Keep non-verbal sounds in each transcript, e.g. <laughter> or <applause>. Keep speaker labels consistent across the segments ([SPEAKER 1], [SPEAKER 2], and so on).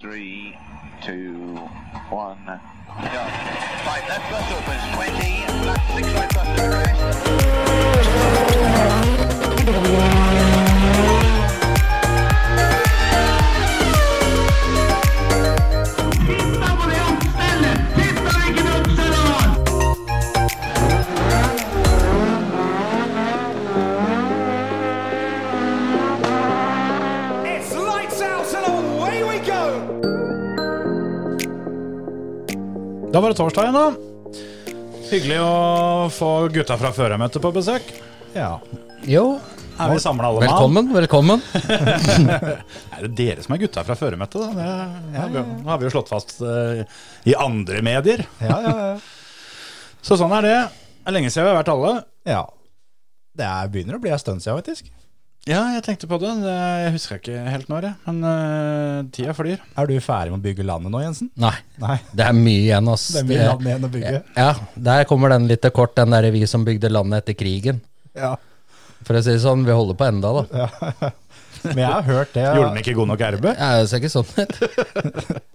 [SPEAKER 1] three, two, one, go. Right, left bus opens 20, left six right bus to the crest.
[SPEAKER 2] It's lights out and away we go!
[SPEAKER 3] Da var det torsdag igjen, da. Hyggelig å få gutta fra førermøtet på besøk.
[SPEAKER 4] Ja. Jo.
[SPEAKER 3] Er vi samla alle
[SPEAKER 4] Velkommen, velkommen.
[SPEAKER 3] mann? <laughs> Er det dere som er gutta fra førermøtet, da? Det, ja, vi- Nå har vi jo slått fast eh, i andre medier.
[SPEAKER 5] Ja, ja, ja.
[SPEAKER 3] <laughs> Så sånn er det. Det er lenge siden vi har vært alle.
[SPEAKER 5] ja. Det er, begynner å bli en stund siden, faktisk.
[SPEAKER 3] Ja, jeg tenkte på det. det jeg husker ikke helt når, jeg. Men eh, tida flyr.
[SPEAKER 5] Er du ferdig med å bygge landet nå, Jensen?
[SPEAKER 4] Nei,
[SPEAKER 5] Nei.
[SPEAKER 4] det er mye igjen, ass.
[SPEAKER 5] Det er mye land igjen å bygge.
[SPEAKER 4] Ja, der kommer den litt til kort, den der vi som bygde landet etter krigen.
[SPEAKER 5] Ja.
[SPEAKER 4] For å si det sånn, vi holder på enda, da.
[SPEAKER 5] Men jeg har hørt det,
[SPEAKER 3] Gjorde den ikke god nok erbe?
[SPEAKER 4] Ja, det ser ikke sånn ut.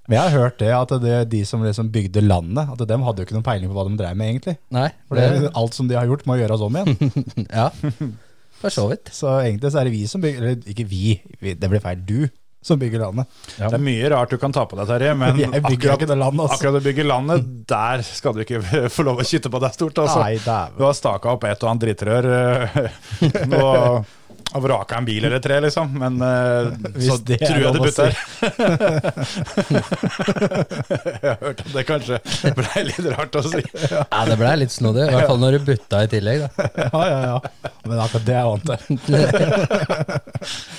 [SPEAKER 5] men jeg har hørt det at det, de som liksom bygde landet, at dem hadde jo ikke noen peiling på hva de drev med, egentlig.
[SPEAKER 4] Nei.
[SPEAKER 5] For det, alt som de har gjort, må gjøres om igjen. <laughs>
[SPEAKER 4] Ja, for så vidt.
[SPEAKER 5] Så egentlig så er det vi som bygger Eller ikke vi, vi det blir feil. Du som bygger landet.
[SPEAKER 3] Det er mye rart du kan ta på deg,
[SPEAKER 5] <laughs>
[SPEAKER 3] Terje, men
[SPEAKER 5] Jeg bygger
[SPEAKER 3] akkurat,
[SPEAKER 5] ikke det landet, altså.
[SPEAKER 3] akkurat å bygge landet,
[SPEAKER 5] <laughs>
[SPEAKER 3] der skal du ikke <laughs> få lov å kytte på deg stort. Altså.
[SPEAKER 5] Nei, dæven.
[SPEAKER 3] Du har staka opp et og annet drittrør eh, <laughs> og, og vraka en bil eller tre, liksom. Men eh, så
[SPEAKER 5] Hvis det er
[SPEAKER 3] tror jeg
[SPEAKER 5] lov å
[SPEAKER 3] det
[SPEAKER 5] si.
[SPEAKER 3] butter. <laughs> jeg har hørt at det kanskje blei litt rart å si.
[SPEAKER 4] Ja, det blei litt snodig, i hvert fall når du butta i tillegg, da.
[SPEAKER 5] Ja, ja, ja. Men akkurat det er jeg vant til.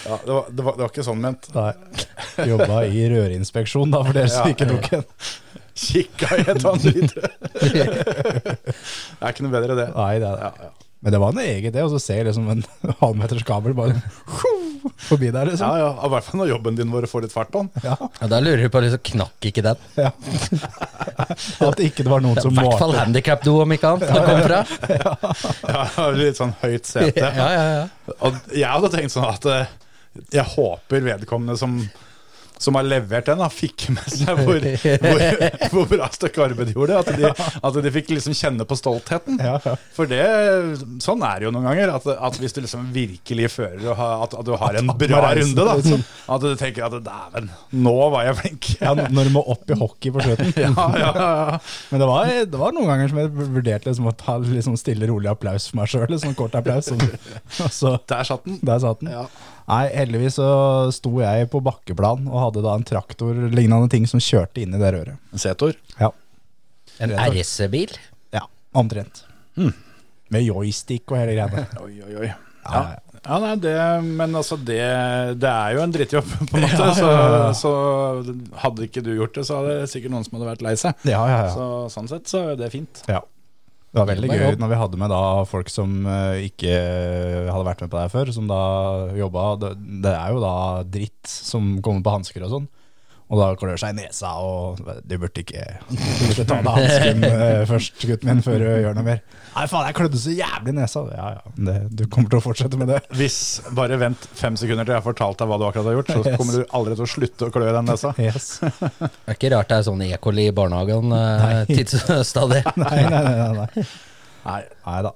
[SPEAKER 3] Ja, det, var, det, var, det var ikke sånn ment.
[SPEAKER 5] Nei. Jobba i rørinspeksjon, da, for dere som
[SPEAKER 3] Ja.
[SPEAKER 5] ikke tok en.
[SPEAKER 3] Kikka i et og annet <laughs> drittrør. Det er ikke noe bedre, det.
[SPEAKER 5] Nei, det er det. Men det var en egen idé, og så ser jeg liksom en <laughs> halvmeters kabel bare <laughs> forbi der,
[SPEAKER 3] Ja,
[SPEAKER 5] liksom.
[SPEAKER 3] ja, I hvert fall når jobben din vår får litt fart på den.
[SPEAKER 5] Ja.
[SPEAKER 4] Ja, da lurer du på liksom, knakk ikke den?
[SPEAKER 5] ja. At ikke det var
[SPEAKER 3] <laughs>
[SPEAKER 5] noen
[SPEAKER 4] Det
[SPEAKER 5] <laughs>
[SPEAKER 4] er
[SPEAKER 5] som
[SPEAKER 4] I hvert fall
[SPEAKER 5] målte.
[SPEAKER 4] handikapdo, om ikke annet, det kom fra.
[SPEAKER 5] <laughs>
[SPEAKER 3] Ja, litt sånn høyt sete.
[SPEAKER 4] Ja, ja, ja.
[SPEAKER 3] Og jeg hadde tenkt sånn at eh, jeg håper vedkommende som, som har levert den, da, fikk med seg hvor, hvor, hvor bra støkk arbeid de gjorde. At de, at de fikk liksom kjenne på stoltheten.
[SPEAKER 5] Ja, ja.
[SPEAKER 3] For det, sånn er det jo noen ganger. At, at hvis du liksom virkelig fører og har, at, at du har en bra
[SPEAKER 5] reisen,
[SPEAKER 3] runde, da,
[SPEAKER 5] liksom.
[SPEAKER 3] at du tenker at dæven, nå var jeg flink.
[SPEAKER 5] <laughs> Ja, når du må opp i hockey på slutten.
[SPEAKER 3] <laughs> Ja, ja, ja.
[SPEAKER 5] Men det var, det var noen ganger som jeg vurderte liksom, å ta liksom, stille, rolig applaus for meg sjøl. Liksom, kort applaus. Sånn. Og så,
[SPEAKER 3] Der satt den.
[SPEAKER 5] der satt den.
[SPEAKER 3] Ja.
[SPEAKER 5] Nei, heldigvis så sto jeg på bakkeplan og hadde da en traktor-lignende ting som kjørte inn i det røret.
[SPEAKER 3] Setor.
[SPEAKER 5] Ja,
[SPEAKER 4] En RC-bil?
[SPEAKER 5] ja omtrent. Med joystick og hele greia.
[SPEAKER 3] Hmm. <laughs> Oi, oi, oi. Ja.
[SPEAKER 5] Ja, ja.
[SPEAKER 3] Ja, nei, det, men altså det, det er jo en drittjobb,
[SPEAKER 5] <laughs>
[SPEAKER 3] på en måte. Så, så hadde ikke du gjort det, så hadde det sikkert noen som hadde vært lei seg.
[SPEAKER 5] Ja, ja, ja.
[SPEAKER 3] Så sånn sett så er det fint.
[SPEAKER 5] Ja. Det var veldig
[SPEAKER 4] Det var
[SPEAKER 5] gøy
[SPEAKER 4] jobb.
[SPEAKER 5] når vi hadde med da folk som eh, ikke hadde vært med på det her før, som da jobba. Det, det er jo da dritt som kommer på hansker og sånn. Og da klør seg i nesa, og du burde ikke du burde ta
[SPEAKER 3] <laughs>
[SPEAKER 5] av deg hansken eh, først, gutten min, før du gjør noe mer. Nei, faen, jeg klødde så jævlig i nesa. Ja, ja, det, du kommer til å fortsette med det.
[SPEAKER 3] Hvis bare vent fem sekunder til jeg har fortalt deg hva du akkurat har gjort, så
[SPEAKER 5] Yes.
[SPEAKER 3] kommer du aldri til å slutte å klø i den nesa.
[SPEAKER 5] Yes.
[SPEAKER 4] Det er ikke rart det er sånn E. coli i barnehagen eh, tids- stadig.
[SPEAKER 5] <laughs> <laughs> Nei, nei, nei. nei, nei.
[SPEAKER 3] Nei.
[SPEAKER 5] Nei da.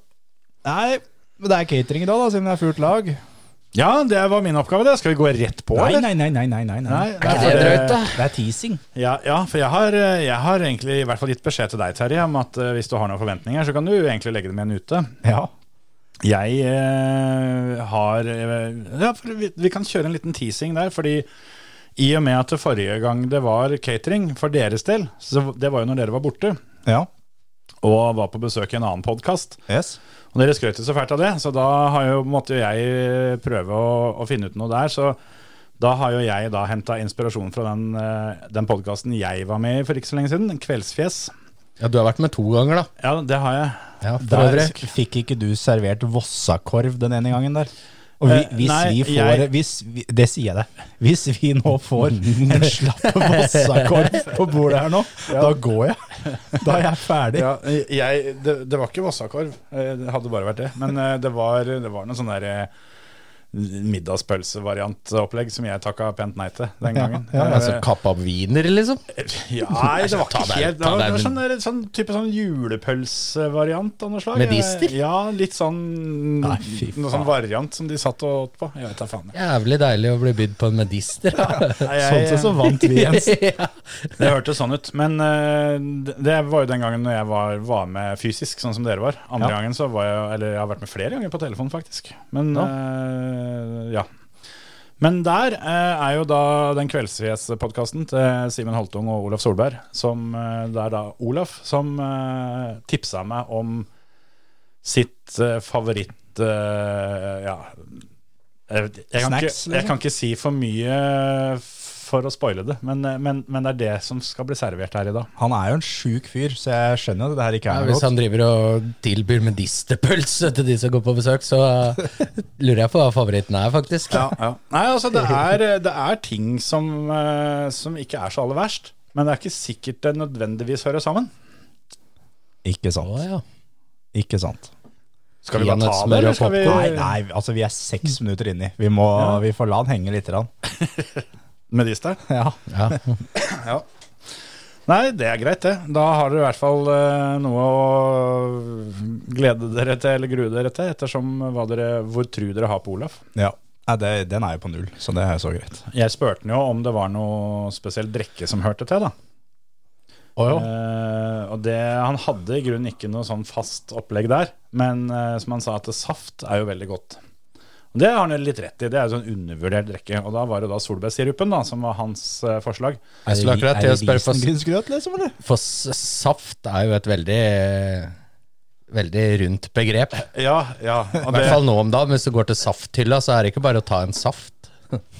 [SPEAKER 5] Nei, men det er catering i dag, da, siden det er fullt lag.
[SPEAKER 3] Ja, det var min oppgave, det. Skal vi gå rett på,
[SPEAKER 5] Nei,
[SPEAKER 3] eller?
[SPEAKER 5] nei, nei, nei. nei, nei, nei.
[SPEAKER 3] Nei, nei,
[SPEAKER 4] ikke
[SPEAKER 3] for
[SPEAKER 4] det drøyt, da?
[SPEAKER 5] Det er teasing.
[SPEAKER 3] Ja, ja for jeg har, eh, jeg har egentlig i hvert fall gitt beskjed til deg, Terje, om at eh, hvis du har noen forventninger, så kan du egentlig legge dem igjen ute.
[SPEAKER 5] Ja.
[SPEAKER 3] Jeg eh, har eh, Ja, for vi, vi kan kjøre en liten teasing der, fordi i og med at det forrige gang det var catering for deres del, så det var jo når dere var borte
[SPEAKER 5] Ja.
[SPEAKER 3] og var på besøk i en annen podkast,
[SPEAKER 5] Yes.
[SPEAKER 3] og dere skrøt jo så fælt av det, så da har jo, måtte jo jeg eh, prøve å, å finne ut noe der. Så da har jo jeg da henta inspirasjon fra den, eh, den podkasten jeg var med i for ikke så lenge siden, Kveldsfjes.
[SPEAKER 4] Ja, du har vært med to ganger, da.
[SPEAKER 3] Ja, det har jeg.
[SPEAKER 4] Ja, for
[SPEAKER 5] Der
[SPEAKER 4] øvrig.
[SPEAKER 5] sk- fikk ikke du servert vossakorv den ene gangen der. Og vi,
[SPEAKER 3] Eh,
[SPEAKER 5] hvis
[SPEAKER 3] nei,
[SPEAKER 5] vi får
[SPEAKER 3] jeg-
[SPEAKER 5] hvis vi, Det sier jeg deg. Hvis vi nå får en slapp vossakorv på bordet
[SPEAKER 3] <laughs>
[SPEAKER 5] her nå, da går jeg. Da er jeg ferdig.
[SPEAKER 3] Ja, jeg, det, det var ikke Vossakorv, eh, det hadde bare vært det. Men eh, det var, det var noe sånn der eh, middagspølsevariantopplegg som jeg takka pent nei til den gangen. Eh,
[SPEAKER 5] Ja, ja,
[SPEAKER 4] Altså kappa av wiener, liksom?
[SPEAKER 3] Ja, nei, det var
[SPEAKER 4] Ta
[SPEAKER 3] ikke
[SPEAKER 4] deg-
[SPEAKER 3] helt Det
[SPEAKER 4] ta
[SPEAKER 3] var, det
[SPEAKER 4] deg
[SPEAKER 3] var
[SPEAKER 4] en-
[SPEAKER 3] sånn, der- sånn type sånn julepølsevariant av noe slag.
[SPEAKER 4] Medister?
[SPEAKER 3] Ja, litt sånn
[SPEAKER 5] Nei, fy faen.
[SPEAKER 3] Noe sånn variant som de satt og åt på. Jeg vet da faen. jeg.
[SPEAKER 4] <laughs> Jævlig deilig å bli bydd på en medister. da.
[SPEAKER 3] Nei, jeg-
[SPEAKER 5] Sånn sett så vant vi, Jens.
[SPEAKER 4] ja.
[SPEAKER 3] Det hørtes sånn ut. Men eh, det- det var jo den gangen når jeg var, var med fysisk, sånn som dere var. Andre
[SPEAKER 5] Ja.
[SPEAKER 3] gangen så var jeg Eller jeg har vært med flere ganger på telefon, faktisk. Men ja. ja. Men der eh, er jo da den kveldsfjes-podkasten til Simen Holtung og Olaf Solberg. Som, eh, det er da Olaf som eh, tipsa meg om sitt eh, favoritt eh, Ja. Jeg, vet- jeg, kan
[SPEAKER 5] Snacks, liksom?
[SPEAKER 3] ikke, jeg kan ikke si for mye for å spoile det, men, eh, men, men det er det som skal bli servert her i dag.
[SPEAKER 5] Han er jo en sjuk fyr, så jeg skjønner jo at det her ikke
[SPEAKER 4] <laughs> Ja,
[SPEAKER 5] er noe
[SPEAKER 4] hvis han
[SPEAKER 5] godt.
[SPEAKER 4] driver og tilbyr medisterpølse til de som går på besøk, så eh, lurer jeg på hva favoritten er, faktisk.
[SPEAKER 3] Nei, altså det er, det er ting som, eh, som ikke er så aller verst, men det er ikke sikkert det nødvendigvis hører sammen.
[SPEAKER 5] Ikke
[SPEAKER 4] Å,
[SPEAKER 5] sant.
[SPEAKER 4] ja.
[SPEAKER 5] Ikke sant.
[SPEAKER 3] Skal vi bare ta
[SPEAKER 4] Peanøttsmør
[SPEAKER 3] det, eller
[SPEAKER 4] og
[SPEAKER 3] skal vi
[SPEAKER 5] Nei, nei, altså vi er
[SPEAKER 3] <laughs>
[SPEAKER 5] seks minutter inni. Vi må vi får la han henge litt. Rann.
[SPEAKER 3] Medister?
[SPEAKER 5] Ja.
[SPEAKER 4] Ja.
[SPEAKER 3] Ja. Nei, det er greit, det. Da har dere i hvert fall eh, noe å glede dere til, eller grue dere til, ettersom hva dere, hvor tru dere har på Olaf.
[SPEAKER 5] ja. Nei, det, den er jo på null, så det er jo så greit.
[SPEAKER 3] Jeg spurte han jo om det var noe spesiell drikke som hørte til, da. Eh, og det, han hadde i grunnen ikke noe sånn fast opplegg der, men eh, som han sa, at saft er jo veldig godt. Og Det har han jo litt rett i, det er jo sånn undervurdert drikke. Og da var det da solbærsirupen da, som var hans eh, forslag.
[SPEAKER 4] Jeg skulle akkurat til å spørre, for,
[SPEAKER 5] risengrynsgrøt, liksom, eller?
[SPEAKER 4] for s- saft er jo et veldig eh, Veldig rundt begrep. I
[SPEAKER 3] Ja, ja. Og det,
[SPEAKER 4] hvert fall nå om dagen. Hvis du går til safthylla, så er det ikke bare å ta en saft.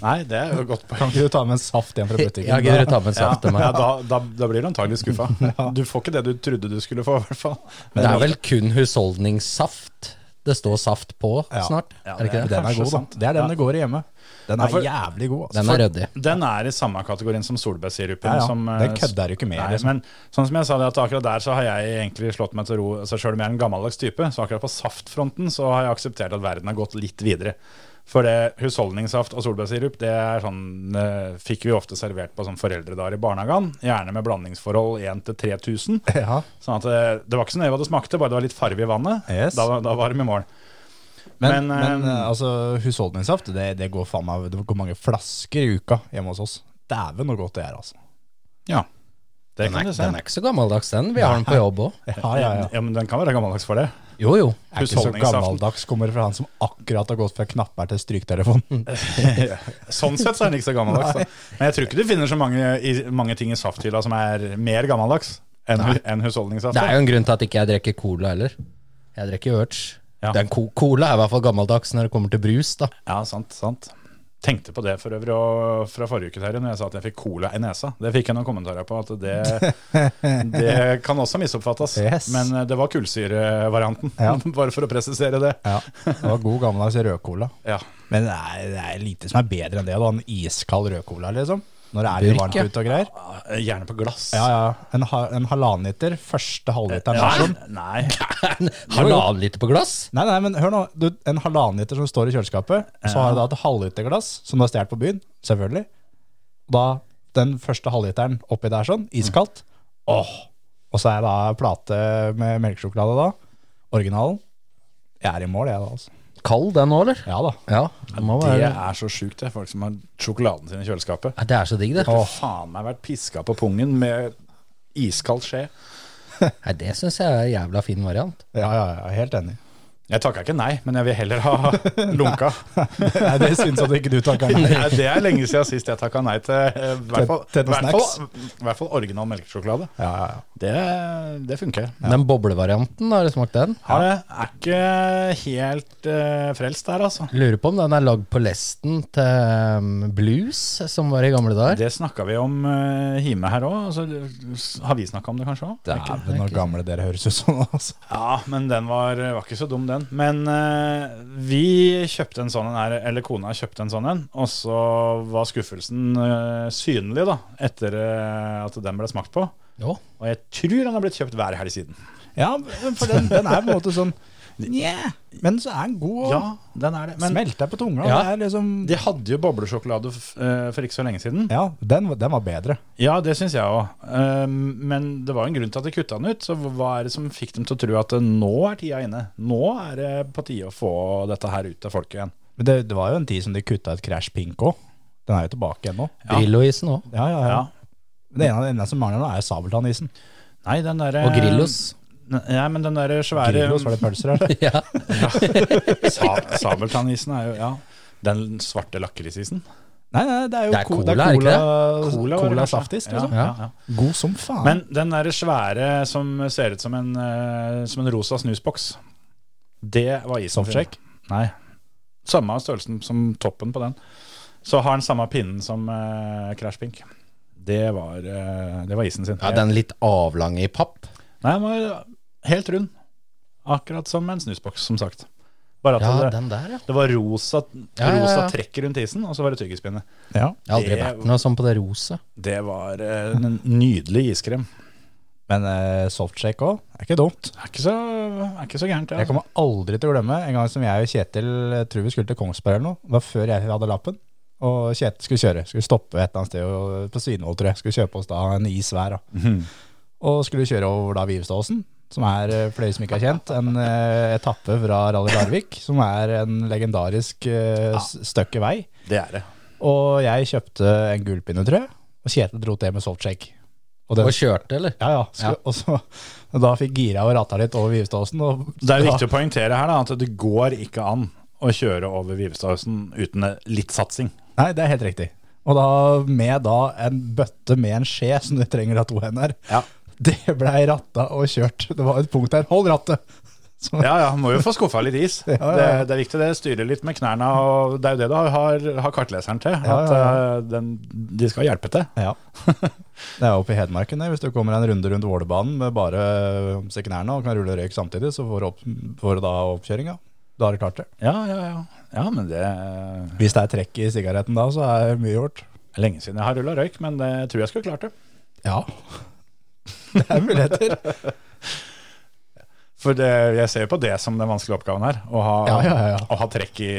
[SPEAKER 3] nei, det er jo godt
[SPEAKER 5] Kan ikke du ta med en saft igjen fra butikken?
[SPEAKER 4] Ja, gidder du ta med en saft til
[SPEAKER 3] Ja,
[SPEAKER 4] meg?
[SPEAKER 3] da, da, da blir du antagelig
[SPEAKER 5] <laughs>
[SPEAKER 3] skuffa. Du får ikke det du trodde du skulle få, i hvert fall.
[SPEAKER 4] Det er vel kun husholdningssaft det står saft på
[SPEAKER 5] Ja.
[SPEAKER 4] snart?
[SPEAKER 3] Ja,
[SPEAKER 4] Er det ikke
[SPEAKER 3] det
[SPEAKER 4] det?
[SPEAKER 5] Den er god, da.
[SPEAKER 3] sant.
[SPEAKER 5] Det er den
[SPEAKER 3] Ja.
[SPEAKER 5] det går i hjemme. Den
[SPEAKER 3] Ja,
[SPEAKER 5] er
[SPEAKER 3] for-
[SPEAKER 5] jævlig god. Altså.
[SPEAKER 4] Den er ryddig.
[SPEAKER 3] Den er i samme kategorien som solbærsirupen.
[SPEAKER 5] Ja, ja.
[SPEAKER 3] som, eh,
[SPEAKER 5] Den kødder jo ikke med,
[SPEAKER 3] Nei,
[SPEAKER 5] liksom.
[SPEAKER 3] men sånn som jeg sa det, at akkurat der så har jeg egentlig slått meg til ro. Så selv om jeg er en gammeldags type, så akkurat på saftfronten så har jeg akseptert at verden har gått litt videre. For det husholdningssaft og solbærsirup, det er sånn, eh, fikk vi ofte servert på sånn foreldredager i barnehagen. Gjerne med blandingsforhold 1 til 3000.
[SPEAKER 5] <laughs> Ja.
[SPEAKER 3] Sånn at eh, det var ikke så nøye hva det smakte, bare det var litt farve i vannet.
[SPEAKER 5] Yes.
[SPEAKER 3] Da, da var de i mål.
[SPEAKER 5] Men,
[SPEAKER 3] Men,
[SPEAKER 5] men,
[SPEAKER 3] eh,
[SPEAKER 5] eh, altså, husholdningssaft, det, det går faen meg Det går mange flasker i uka hjemme hos oss. Dæven hvor godt det er, altså.
[SPEAKER 3] Ja, det
[SPEAKER 4] Den
[SPEAKER 3] kan
[SPEAKER 4] er,
[SPEAKER 3] du se.
[SPEAKER 4] den er ikke så gammeldags, den. Vi har den på jobb òg.
[SPEAKER 5] Ja, ja, ja.
[SPEAKER 3] ja, men den kan være gammeldags for det.
[SPEAKER 4] Jo, jo.
[SPEAKER 5] Er ikke så
[SPEAKER 3] Husholdningssaften.
[SPEAKER 5] gammeldags kommer det fra han som akkurat har gått fra knapper til stryktelefon.
[SPEAKER 3] Sånn sett så er den ikke så gammeldags. Da. Men jeg tror ikke du finner så mange, i, mange ting i safthylla som er mer gammeldags enn hu- enn husholdningssaft.
[SPEAKER 4] Det er jo en grunn til at ikke jeg drikker cola heller. Jeg drikker Urge.
[SPEAKER 3] Ja.
[SPEAKER 4] Den co cola er i hvert fall gammeldags når det kommer til brus, da.
[SPEAKER 3] Ja, sant, sant. Tenkte på det for øvrig og fra forrige uke Terje, når jeg sa at jeg fikk cola i nesa. Det fikk jeg noen kommentarer på, at
[SPEAKER 5] <laughs>
[SPEAKER 3] det, det kan også misoppfattes.
[SPEAKER 5] Yes.
[SPEAKER 3] Men eh, det var kullsyrevarianten,
[SPEAKER 5] Ja.
[SPEAKER 3] <laughs> bare for å presisere det.
[SPEAKER 5] Ja, det var god gammeldags rødcola.
[SPEAKER 3] Ja.
[SPEAKER 5] Men det er, det er lite som er bedre enn det, da. En iskald rødcola, liksom. Når det er litt
[SPEAKER 4] Burk,
[SPEAKER 5] varmt
[SPEAKER 4] ja.
[SPEAKER 5] ute og greier.
[SPEAKER 3] Gjerne på glass.
[SPEAKER 5] Ja, ja. En, ha, en halvannen liter, første halvliteren. er
[SPEAKER 3] Nei,
[SPEAKER 5] sånn.
[SPEAKER 3] nei.
[SPEAKER 4] Halvannen liter på glass?
[SPEAKER 5] Nei, nei, men hør nå. Du, en halvannen liter som står i kjøleskapet, så har du da et halvliterglass som du har stjålet på byen, selvfølgelig. Da den første halvliteren oppi der sånn, iskaldt. Åh. Og så er det da plate med melkesjokolade da. Originalen. Jeg er i mål, jeg da, altså.
[SPEAKER 4] Kald den òg, eller?
[SPEAKER 5] Ja da.
[SPEAKER 4] Ja, det må
[SPEAKER 3] Det
[SPEAKER 4] være det.
[SPEAKER 3] er så sjukt, det. Folk som har sjokoladen sin i kjøleskapet.
[SPEAKER 4] Ja, Det er så digg, det.
[SPEAKER 3] Åh. Faen meg vært piska på pungen med iskald skje.
[SPEAKER 4] Nei, Det syns jeg er en jævla fin variant.
[SPEAKER 5] Ja, ja, ja, helt enig. <laughs>
[SPEAKER 3] Jeg takka ikke nei, men jeg vil heller ha <laughs> lunka.
[SPEAKER 5] Nei, det syns jeg at ikke du takker. nei.
[SPEAKER 3] Nei, det er lenge siden sist jeg takka nei til eh, i hvert fall,
[SPEAKER 5] Til- til noen
[SPEAKER 3] hvert fall, hvert fall original melkesjokolade.
[SPEAKER 5] Ja, ja, ja.
[SPEAKER 3] Det, det funker.
[SPEAKER 4] Den boblevarianten, har du smakt den?
[SPEAKER 3] Har det. Er ikke helt eh, frelst der, altså.
[SPEAKER 4] Lurer på om den er lagd på lesten til um, blues, som var i gamle dager.
[SPEAKER 3] Det snakka vi om eh, hjemme her òg, og så har vi snakka om det kanskje òg.
[SPEAKER 5] Dæven, hvor gamle dere høres ut som. Altså.
[SPEAKER 3] Ja, men den var, eh, var ikke så dum, den. Men eh, vi kjøpte en sånn en her, eller kona kjøpte en sånn en, og så var skuffelsen eh, synlig, da, etter eh, at den ble smakt på.
[SPEAKER 4] Jo.
[SPEAKER 3] Og jeg tror han har blitt kjøpt hver helg siden.
[SPEAKER 5] Ja, men for den, den er på en måte sånn Nja, Men så er den god.
[SPEAKER 3] Ja,
[SPEAKER 5] og
[SPEAKER 3] den er det. Men
[SPEAKER 5] Smelter på tunga.
[SPEAKER 3] Ja.
[SPEAKER 5] Det er liksom
[SPEAKER 3] de hadde jo boblesjokolade f- eh, for ikke så lenge siden.
[SPEAKER 5] Ja, den, var- den var bedre.
[SPEAKER 3] Ja, det syns jeg òg. men det var en grunn til at de kutta den ut. Så hva er det som fikk dem til å tro at eh, nå er tida inne? Nå er det på tide å få dette her ut til folket igjen.
[SPEAKER 5] Men det, det var jo en tid som de kutta ut Crash Pink òg. Den er jo tilbake igjen nå.
[SPEAKER 3] Ja.
[SPEAKER 4] Drillo-isen òg.
[SPEAKER 5] Ja, ja, ja.
[SPEAKER 3] Ja.
[SPEAKER 5] Det ene, det ene som mangler nå, er Sabeltann-isen.
[SPEAKER 3] Nei, den der,
[SPEAKER 4] Og Grillos.
[SPEAKER 3] Nei, men den derre svære
[SPEAKER 5] Grillos, var det pølser her?
[SPEAKER 4] Ja.
[SPEAKER 3] Sa Sabeltannisen er jo Ja. Den svarte lakrisisen.
[SPEAKER 5] Nei, nei, det er jo
[SPEAKER 4] Det er
[SPEAKER 5] co-
[SPEAKER 4] cola, er det
[SPEAKER 5] cola, cola,
[SPEAKER 3] var det kanskje?
[SPEAKER 5] saftis, liksom.
[SPEAKER 3] Ja, ja, ja.
[SPEAKER 5] <laughs> God som faen.
[SPEAKER 3] Men den derre svære som ser ut som en, eh, som en rosa snusboks, det var isen.
[SPEAKER 5] Softshake?
[SPEAKER 3] Nei. Samme størrelsen som toppen på den. Så har den samme pinnen som eh, Crash Pink. Det var, eh, det var isen sin.
[SPEAKER 4] ja, den litt avlange i papp.
[SPEAKER 3] Nei, den var helt rund. Akkurat som en snusboks, som sagt. Bare at
[SPEAKER 4] Ja,
[SPEAKER 3] det,
[SPEAKER 4] den der, ja.
[SPEAKER 3] det var rosa,
[SPEAKER 4] Ja, ja, ja.
[SPEAKER 3] rosa trekk rundt isen, og så var det tyggispinne.
[SPEAKER 5] ja.
[SPEAKER 4] Jeg har aldri
[SPEAKER 3] Det-
[SPEAKER 4] vært noe sånn på det rosa.
[SPEAKER 3] Det var eh, en nydelig iskrem.
[SPEAKER 5] Men eh, softshake òg, er ikke dumt.
[SPEAKER 3] Er ikke så, er ikke så gærent,
[SPEAKER 5] Jeg
[SPEAKER 3] det.
[SPEAKER 5] kommer aldri til å glemme en gang som jeg og Kjetil eh, tror vi skulle til Kongsberg eller noe. Det var før jeg hadde lappen. Og Kjetil skulle kjøre. Skulle stoppe et eller annet sted og- på Svinvoll, tror jeg. Skulle kjøpe oss da en is hver. da.
[SPEAKER 3] Mhm.
[SPEAKER 5] Og skulle kjøre over da Vivstadåsen, som er, eh, for dere som ikke har kjent, en eh, etappe fra Rally Larvik. Som er en legendarisk eh, s- støkke vei.
[SPEAKER 3] Det er det.
[SPEAKER 5] Og jeg kjøpte en gullpinne, tror jeg. Og Kjetil dro til med softshake. Og den-
[SPEAKER 4] Og kjørte, eller?
[SPEAKER 5] ja, ja. Skulle, Og så, da fikk gira og rata litt over Vivstadåsen. og-
[SPEAKER 3] Det er
[SPEAKER 5] da-
[SPEAKER 3] viktig å poengtere her da, at det går ikke an å kjøre over Vivestadhusen uten litt satsing.
[SPEAKER 5] Nei, det er helt riktig. Og da med da en bøtte med en skje som du trenger av to hender.
[SPEAKER 3] Ja.
[SPEAKER 5] Det blei ratta og kjørt. Det var et punkt der. Hold rattet! Så,
[SPEAKER 3] Ja, ja, må jo få skuffa litt is. Det,
[SPEAKER 5] <laughs> ja,
[SPEAKER 3] det
[SPEAKER 5] ja.
[SPEAKER 3] er viktig, det. Styre litt med knærne. og Det er jo det du har, har kartleseren til. At
[SPEAKER 5] Ja, ja,
[SPEAKER 3] eh, Den, de skal hjelpe til.
[SPEAKER 5] ja. <laughs> Det er oppe i Hedmarken, det. Hvis du kommer en runde rundt Vålerbanen med bare knærne og kan rulle røyk samtidig, så får du, opp, får du da oppkjøringa. Da har du klart det.
[SPEAKER 3] Ja, ja, ja. Ja, men det er
[SPEAKER 5] Hvis det er trekk i sigaretten da, så er det mye gjort.
[SPEAKER 3] lenge siden jeg har rulla røyk, men det tror jeg skulle klart det.
[SPEAKER 5] Ja. <laughs> Det er muligheter.
[SPEAKER 3] For det, jeg ser jo på det som den vanskelige oppgaven her. Å ha,
[SPEAKER 5] Ja, ja, ja.
[SPEAKER 3] Å ha trekk i,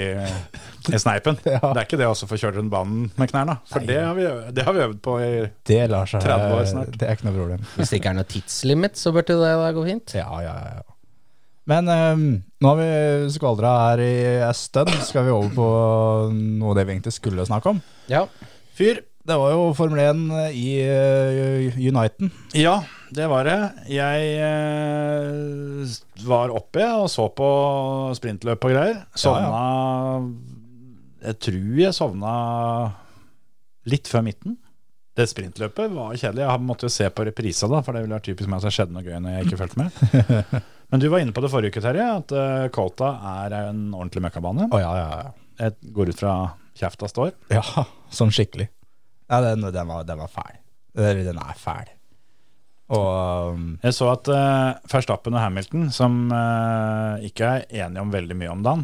[SPEAKER 3] i sneipen.
[SPEAKER 5] <laughs> Ja.
[SPEAKER 3] Det er ikke det også for å kjøre rundt banen med knærne. For det har, vi, øv- det har vi øvd på i
[SPEAKER 5] <laughs> Det lar seg
[SPEAKER 3] 30 år snart.
[SPEAKER 5] Det er ikke noe problem.
[SPEAKER 4] Hvis det ikke er noe tidslimit, så burde det da gå fint.
[SPEAKER 5] Ja, ja, ja. ja. Men ehm, nå har vi skvaldra her i en stund. Skal vi over på noe av det vi egentlig skulle snakke om?
[SPEAKER 4] Ja.
[SPEAKER 5] Fyr, det var jo Formel 1 i uh, Uniten.
[SPEAKER 3] Ja, det var det. Jeg eh, var oppe og så på sprintløp og greier. Sovna Jeg tror jeg sovna litt før midten. Det sprintløpet var kjedelig. Jeg måtte jo se på reprisa, da, for det ville vært typisk meg at det skjedde noe gøy når jeg ikke fulgte med. Men du var inne på det forrige uke, Terje, at eh, Kolta er en ordentlig møkkabane.
[SPEAKER 5] Å ja, ja,
[SPEAKER 3] Jeg går ut fra kjefta står.
[SPEAKER 5] ja. ja. <laughs> Sånn skikkelig. Ja, den, den, var, den var fæl. Eller, Den er fæl. Og ehm,
[SPEAKER 3] Jeg så at uh, Verstappen og Hamilton, som eh, ikke er enige om veldig mye om dagen,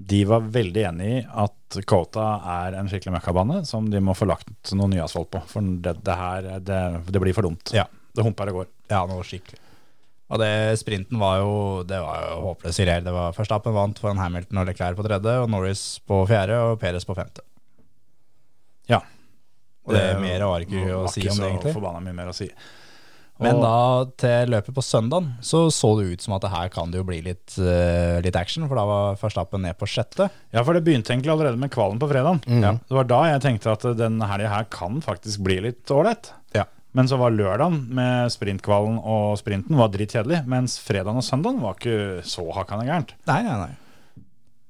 [SPEAKER 3] de var veldig enige i at Kota er en skikkelig møkkabane som de må få lagt noe ny asfalt på. For det, det her, det, det blir for dumt.
[SPEAKER 5] ja,
[SPEAKER 3] Det humper og går.
[SPEAKER 5] ja, noe skikkelig. Og det, sprinten var jo Det var jo håpløs i reell. Det var Verstappen vant foran Hamilton og Leclerc på tredje, og Norris på fjerde og Perez på femte.
[SPEAKER 3] Ja.
[SPEAKER 5] Og det mer var ikke å si om det, egentlig.
[SPEAKER 3] Så forbanna mye mer å si.
[SPEAKER 5] Men da til løpet på søndagen så så det ut som at det her kan det jo bli litt, eh, litt action, for da var Verstappen ned på sjette.
[SPEAKER 3] Ja, for det begynte egentlig allerede med kvalen på fredagen. Mm. Ja. Det var da jeg tenkte at den helga her kan faktisk bli litt ålreit.
[SPEAKER 5] Ja.
[SPEAKER 3] Men så var lørdagen med sprintkvalen og sprinten var drittkjedelig, mens fredagen og søndagen var ikke så hakkande gærent.
[SPEAKER 5] Nei, nei, nei.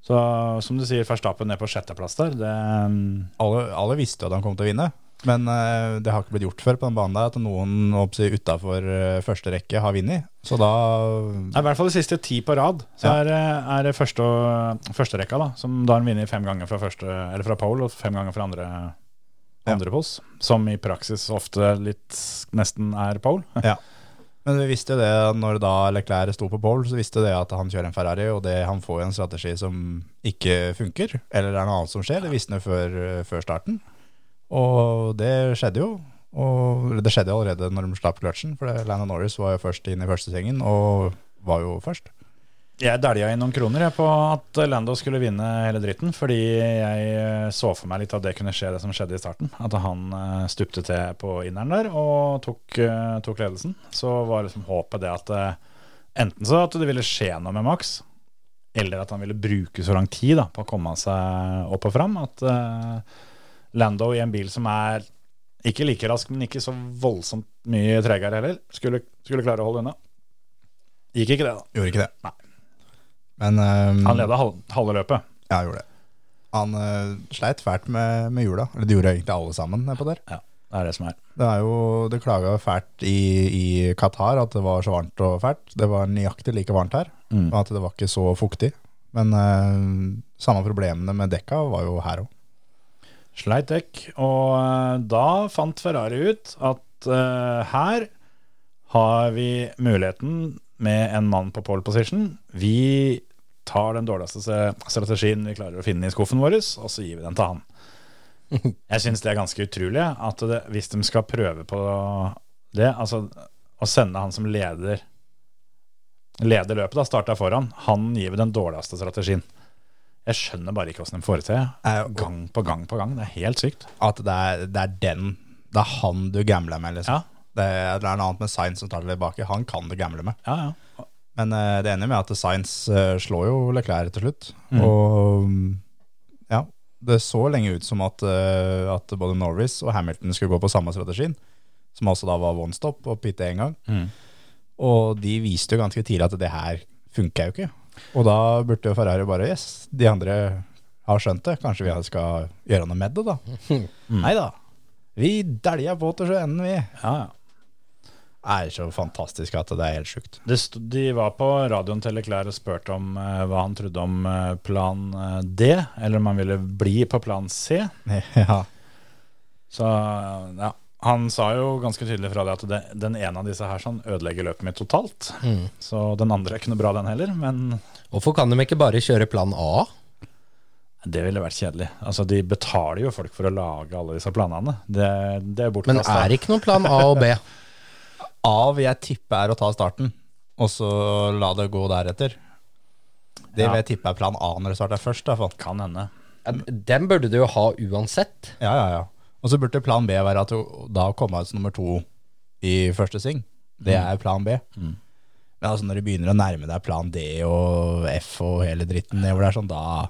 [SPEAKER 3] Så som du sier, Verstappen ned på sjetteplass der, det um,
[SPEAKER 5] Alle, alle visste jo at han kom til å vinne, men eh, det har ikke blitt gjort før på den banen der at noen utafor første rekke har vunnet. Så da
[SPEAKER 3] er i hvert fall de siste ti på rad. Så
[SPEAKER 5] Ja.
[SPEAKER 3] er, eh, er det første, førsterekka, da, som da har han vunnet fem ganger fra, første, eller fra pole og fem ganger fra andre,
[SPEAKER 5] Ja.
[SPEAKER 3] andre pos, som i praksis ofte litt nesten er pole. <laughs>
[SPEAKER 5] Ja. Men vi visste jo det når da Leclerc sto på pole, så visste det at han kjører en Ferrari, og det, han får jo en strategi som ikke funker, eller det er noe annet som skjer. Det visste han jo før, eh, før starten. Og det skjedde jo. Og eller det skjedde jo allerede når de slapp kløtsjen, for det- Lando Norris var jo først inn i første svingen, og var jo først.
[SPEAKER 3] Jeg dælja inn noen kroner jeg, på at Lando skulle vinne hele dritten. Fordi jeg eh, så for meg litt at det kunne skje, det som skjedde i starten. At han eh, stupte til på inneren der og tok, eh, tok ledelsen. Så var liksom håpet det at eh, enten så at det ville skje noe med Max, eller at han ville bruke så lang tid da, på å komme seg opp og fram. At eh, Lando i en bil som er ikke like rask, men ikke så voldsomt mye tregere heller, skulle, skulle klare å holde unna. Gikk ikke det, da.
[SPEAKER 5] Gjorde ikke det.
[SPEAKER 3] Nei.
[SPEAKER 5] Men ehm,
[SPEAKER 3] Han leda halv, halve løpet.
[SPEAKER 5] Ja, han gjorde det. Han eh, sleit fælt med, med jula. Eller det gjorde egentlig alle sammen nedpå der.
[SPEAKER 3] Ja, det er det som er.
[SPEAKER 5] Det er jo, det klaga fælt i, i Qatar at det var så varmt og fælt. Det var nøyaktig like varmt her, og at det var ikke så fuktig. Men eh, samme problemene med dekka var jo her òg.
[SPEAKER 3] Sleit dekk. Og eh, da fant Ferrari ut at eh, her har vi muligheten med en mann på pole position. Vi tar den dårligste se- strategien vi klarer å finne i skuffen vår, og så gir vi den til han. Jeg syns det er ganske utrolig at det, hvis de skal prøve på det, altså å sende han som leder Leder løpet, da, starta foran, han gir vi den dårligste strategien. Jeg skjønner bare ikke åssen de får det til.
[SPEAKER 5] Eh, og-
[SPEAKER 3] Gang på gang på gang. Det er helt sykt.
[SPEAKER 5] At det er, det er den Det er han du gambler med, liksom.
[SPEAKER 3] Ja.
[SPEAKER 5] Det, er- det er noe annet med Sainz som tar det tilbake. Han kan du gamble med.
[SPEAKER 3] Ja, ja.
[SPEAKER 5] Men eh, det ender med at Sainz eh, slår jo Leclerc til slutt. Og mm, ja, det så lenge ut som at, eh, at både Norris og Hamilton skulle gå på samme strategien, som altså da var one stop og pitte én gang.
[SPEAKER 3] Mm.
[SPEAKER 5] Og de viste jo ganske tidlig at det her funker jo ikke. Og da burde jo Ferrari bare Yes, de andre har skjønt det. Kanskje vi skal gjøre noe med det,
[SPEAKER 3] <laughs>
[SPEAKER 5] da.
[SPEAKER 3] Mm.
[SPEAKER 5] Nei da. Vi dælja på til sjøen, vi.
[SPEAKER 3] ja, ja.
[SPEAKER 5] Det er så fantastisk at det er helt sjukt. <laughs>
[SPEAKER 3] Det sto- de var på radioen til Leclerc og spurte om eh, hva han trodde om eh, plan eh, D, eller om han ville bli på plan C.
[SPEAKER 5] Ja.
[SPEAKER 3] Så eh, ja, han sa jo ganske tydelig fra det at det, den ene av disse her sånn ødelegger løpet mitt totalt.
[SPEAKER 4] Mm.
[SPEAKER 3] Så den andre er ikke noe bra, den heller, men
[SPEAKER 4] Hvorfor kan de ikke bare kjøre plan A?
[SPEAKER 3] det ville vært kjedelig. Altså, de betaler jo folk for å lage alle disse planene. Det, det er
[SPEAKER 4] Men
[SPEAKER 3] bortkasta.
[SPEAKER 4] er det ikke noen plan A <laughs> og B?
[SPEAKER 5] A vil jeg tippe er å ta starten, og så la det gå deretter. Det
[SPEAKER 3] Ja.
[SPEAKER 5] vil jeg tippe er plan A når det starter først. Da, faen.
[SPEAKER 3] Kan hende.
[SPEAKER 4] Ja, Den burde du jo ha uansett.
[SPEAKER 5] Ja, ja, ja. Og så burde plan B være at du da kommer ut som nummer to i første sving. Det er plan B. Men altså når du begynner å nærme deg plan D og F og hele dritten nedover der, sånn da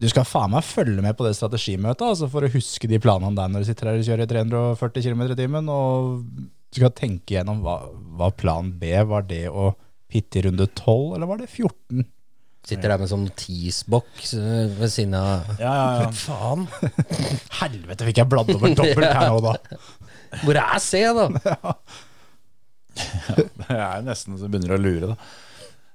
[SPEAKER 5] Du skal faen meg følge med på det strategimøtet altså for å huske de planene der når du sitter her og kjører i 340 km i timen, og du skal tenke gjennom hva, hva plan B var det å pitte i runde 12, eller var det 14?
[SPEAKER 4] Sitter der med sånn teasbox eh, ved siden av
[SPEAKER 3] Ja, ja, ja.
[SPEAKER 4] Faen!
[SPEAKER 5] Helvete, fikk jeg bladd over dobbelt her nå, da!
[SPEAKER 4] Hvor er C, da?
[SPEAKER 3] <laughs> Jeg er nesten så begynner å lure, da.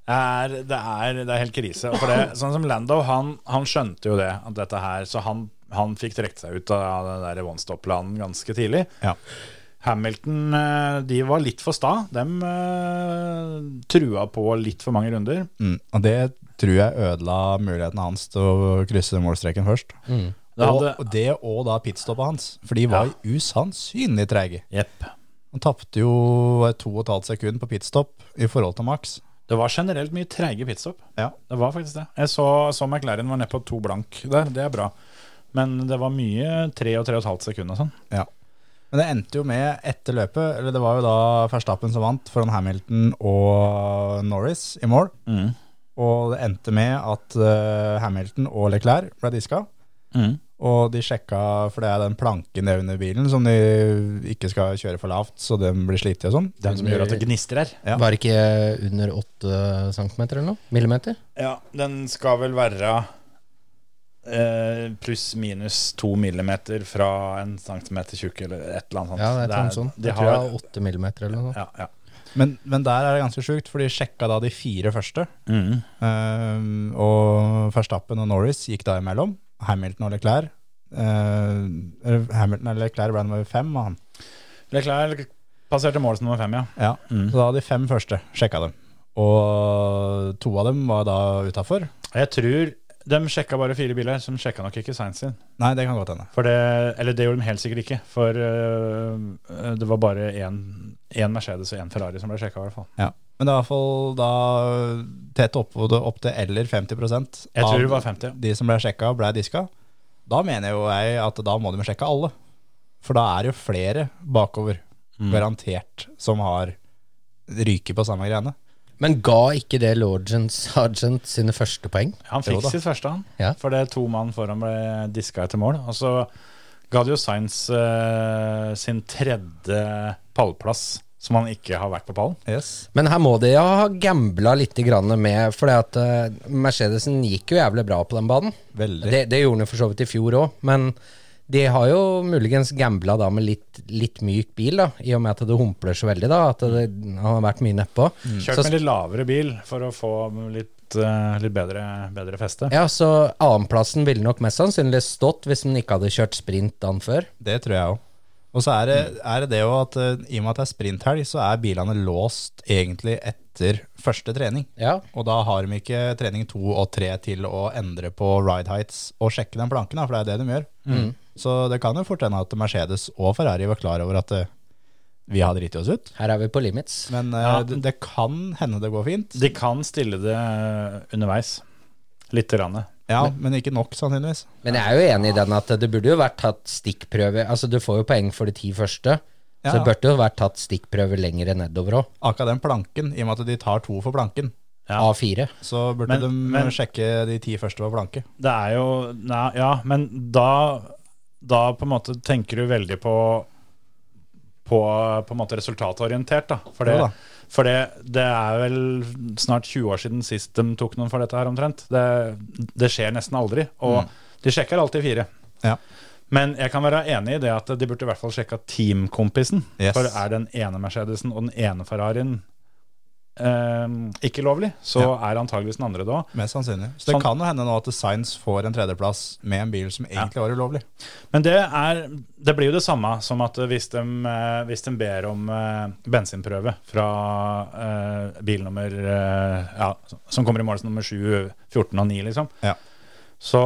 [SPEAKER 3] Er, det, er, det er helt krise. Og For det, sånn som Lando, han, han skjønte jo det, at dette her, så han, han fikk trukket seg ut av den der one stop-planen ganske tidlig.
[SPEAKER 5] Ja.
[SPEAKER 3] Hamilton eh, de var litt for sta. De eh, trua på litt for mange runder.
[SPEAKER 5] Mm, og det tror jeg ødela muligheten hans til å krysse målstreken først. Og,
[SPEAKER 3] Det hadde-
[SPEAKER 5] og det og da pitstoppet hans, for de var usannsynlig treige.
[SPEAKER 3] Jepp.
[SPEAKER 5] Han tapte jo 2,5 sekunder på pitstop i forhold til Max.
[SPEAKER 3] Det var generelt mye treige pitstop.
[SPEAKER 5] Ja.
[SPEAKER 3] Det var faktisk det. Jeg så, så McLaren var nede på to blank der. Det er bra. Men det var mye tre og tre og et halvt sekund og sånn.
[SPEAKER 5] Ja. Men det endte jo med etter løpet, eller det var jo da Verstappen som vant foran Hamilton og Norris i mål. Og det endte med at eh, Hamilton og Leclerc ble diska. Og de sjekka, for det er den planken det er under bilen som de ikke skal kjøre for lavt, så den blir slitig og sånn.
[SPEAKER 3] Den som gjør at det gnistrer her.
[SPEAKER 5] Ja.
[SPEAKER 4] Var det ikke under 8 cm eller noe? Millimeter?
[SPEAKER 3] Ja, den skal vel være eh, pluss-minus to millimeter fra en centimeter tjukk, eller et eller annet sånt.
[SPEAKER 4] Ja, det er et eller annet sånt.
[SPEAKER 3] De
[SPEAKER 4] Jeg tror
[SPEAKER 3] har,
[SPEAKER 4] det er 8 millimeter eller noe.
[SPEAKER 3] ja, ja.
[SPEAKER 5] Men, men der er det ganske sjukt, for de sjekka da de fire første.
[SPEAKER 3] Mm.
[SPEAKER 5] Eh, og Verstappen og Norris gikk da imellom. Hamilton og Leclerc. eh, eller Hamilton eller Leclerc ble nummer fem. og Han.
[SPEAKER 3] Leclerc passerte mål som nummer fem, ja.
[SPEAKER 5] Ja, Så da de fem første sjekka dem. Og to av dem var da utafor.
[SPEAKER 3] Jeg tror de sjekka bare fire biler, så de sjekka nok ikke Sainz sin.
[SPEAKER 5] Nei, det kan godt hende.
[SPEAKER 3] For det, eller det gjorde de helt sikkert ikke, for eh, det var bare én Mercedes og én Ferrari som ble sjekka, i hvert fall.
[SPEAKER 5] Ja. Men det er i hvert fall da tett opptil opp til eller 50
[SPEAKER 3] Jeg tror
[SPEAKER 5] av
[SPEAKER 3] det var 50.
[SPEAKER 5] de som ble sjekka, ble diska. Da mener jo jeg at da må de sjekke alle. For da er det jo flere bakover,
[SPEAKER 3] Mm.
[SPEAKER 5] garantert, som har ryket på samme greiene.
[SPEAKER 4] Men ga ikke det Lorgan Sergeant sine første poeng?
[SPEAKER 3] Han
[SPEAKER 5] Jo
[SPEAKER 3] fikk
[SPEAKER 5] da.
[SPEAKER 3] sitt første, han.
[SPEAKER 4] Ja.
[SPEAKER 3] For det er to mann foran ble diska etter mål. Og så ga det jo Sainz eh, sin tredje pallplass, som han ikke har vært på pallen.
[SPEAKER 5] Yes.
[SPEAKER 4] Men her må de ha gambla litt grann med For eh, Mercedesen gikk jo jævlig bra på den banen.
[SPEAKER 5] Veldig.
[SPEAKER 4] Det, det gjorde den for så vidt i fjor òg, men de har jo muligens gambla da med litt, litt myk bil, da, i og med at det humpler så veldig, da, at det han har vært mye nedpå.
[SPEAKER 5] Mm.
[SPEAKER 3] Kjørt
[SPEAKER 4] Så-
[SPEAKER 3] med litt lavere bil for å få litt, eh, litt bedre, bedre feste.
[SPEAKER 4] Ja, så annenplassen ville nok mest sannsynlig stått hvis den ikke hadde kjørt sprint dagen før.
[SPEAKER 5] Det tror jeg òg. Og så er det
[SPEAKER 3] Mm.
[SPEAKER 5] er det, det jo at eh, i og med at det er sprinthelg, så er bilene låst egentlig etter første trening.
[SPEAKER 4] Ja.
[SPEAKER 5] Og da har de ikke trening to og tre til å endre på ride heights og sjekke den planken, da, for det er det de gjør.
[SPEAKER 3] Mm.
[SPEAKER 5] Så det kan jo fort hende at Mercedes og Ferrari var klar over at eh, vi har driti oss ut.
[SPEAKER 4] Her er vi på limits.
[SPEAKER 5] Men eh,
[SPEAKER 3] Ja.
[SPEAKER 5] det, det kan hende det går fint.
[SPEAKER 3] De kan stille det underveis. Lite grann.
[SPEAKER 5] Ja, men ikke nok, sannsynligvis.
[SPEAKER 4] Men jeg er jo enig i den at det burde jo vært tatt stikkprøver. Altså, du får jo poeng for de ti første, så
[SPEAKER 5] Ja.
[SPEAKER 4] det burde jo vært tatt stikkprøver lengre nedover òg.
[SPEAKER 5] Akkurat den planken, i og med at de tar to for planken,
[SPEAKER 3] Ja.
[SPEAKER 4] A4.
[SPEAKER 5] så burde
[SPEAKER 3] Men-
[SPEAKER 5] de
[SPEAKER 3] men-
[SPEAKER 5] sjekke de ti første på planke.
[SPEAKER 3] Det er jo nei, Ja, men da, da på en måte tenker du veldig på på, på en måte resultatorientert, da. For, det,
[SPEAKER 5] Jo da.
[SPEAKER 3] for det, det er vel snart 20 år siden sist de tok noen for dette her, omtrent. Det, det skjer nesten aldri. Og
[SPEAKER 5] Mm.
[SPEAKER 3] de sjekker alltid fire.
[SPEAKER 5] Ja.
[SPEAKER 3] Men jeg kan være enig i det at de burde i hvert fall sjekka teamkompisen.
[SPEAKER 5] Yes.
[SPEAKER 3] For er den ene Mercedesen og den ene Ferrarien eh, ikke lovlig, så er antageligvis den andre det òg.
[SPEAKER 5] Mest sannsynlig. Så det
[SPEAKER 3] Sånn-
[SPEAKER 5] kan jo hende nå at Science får en tredjeplass med en bil som egentlig var ulovlig.
[SPEAKER 3] Men det, er, det blir jo det samme som at hvis de, eh, hvis de ber om eh, bensinprøve fra eh, bil nummer eh, ja, Som kommer i mål som nummer 7, 14 og 9, liksom.
[SPEAKER 5] Ja.
[SPEAKER 3] Så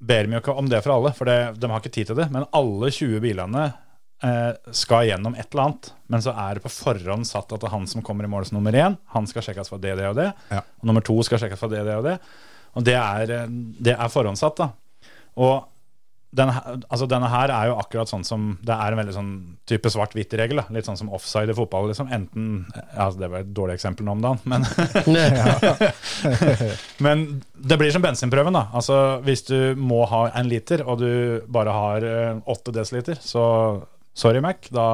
[SPEAKER 3] ber de jo ikke om det for alle, for det, de har ikke tid til det. Men alle 20 bilene eh, skal gjennom et eller annet. Men så er det på forhånd satt at det er han som kommer i mål som nummer 1, han skal sjekkes for det, det og det.
[SPEAKER 5] Ja.
[SPEAKER 3] Og nummer 2 skal sjekkes for det, det og det. Og det er, eh, det er forhåndsatt, da. Og denne, her- altså denne her er jo akkurat sånn som Det er en veldig sånn type svart-hvitt-regel. da. Litt sånn som offside i fotball. liksom Enten ja, altså Det var et dårlig eksempel nå om dagen, men, <laughs> men det blir som bensinprøven. da Altså Hvis du må ha en liter, og du bare har eh, åtte desiliter, så sorry, Mac. Da,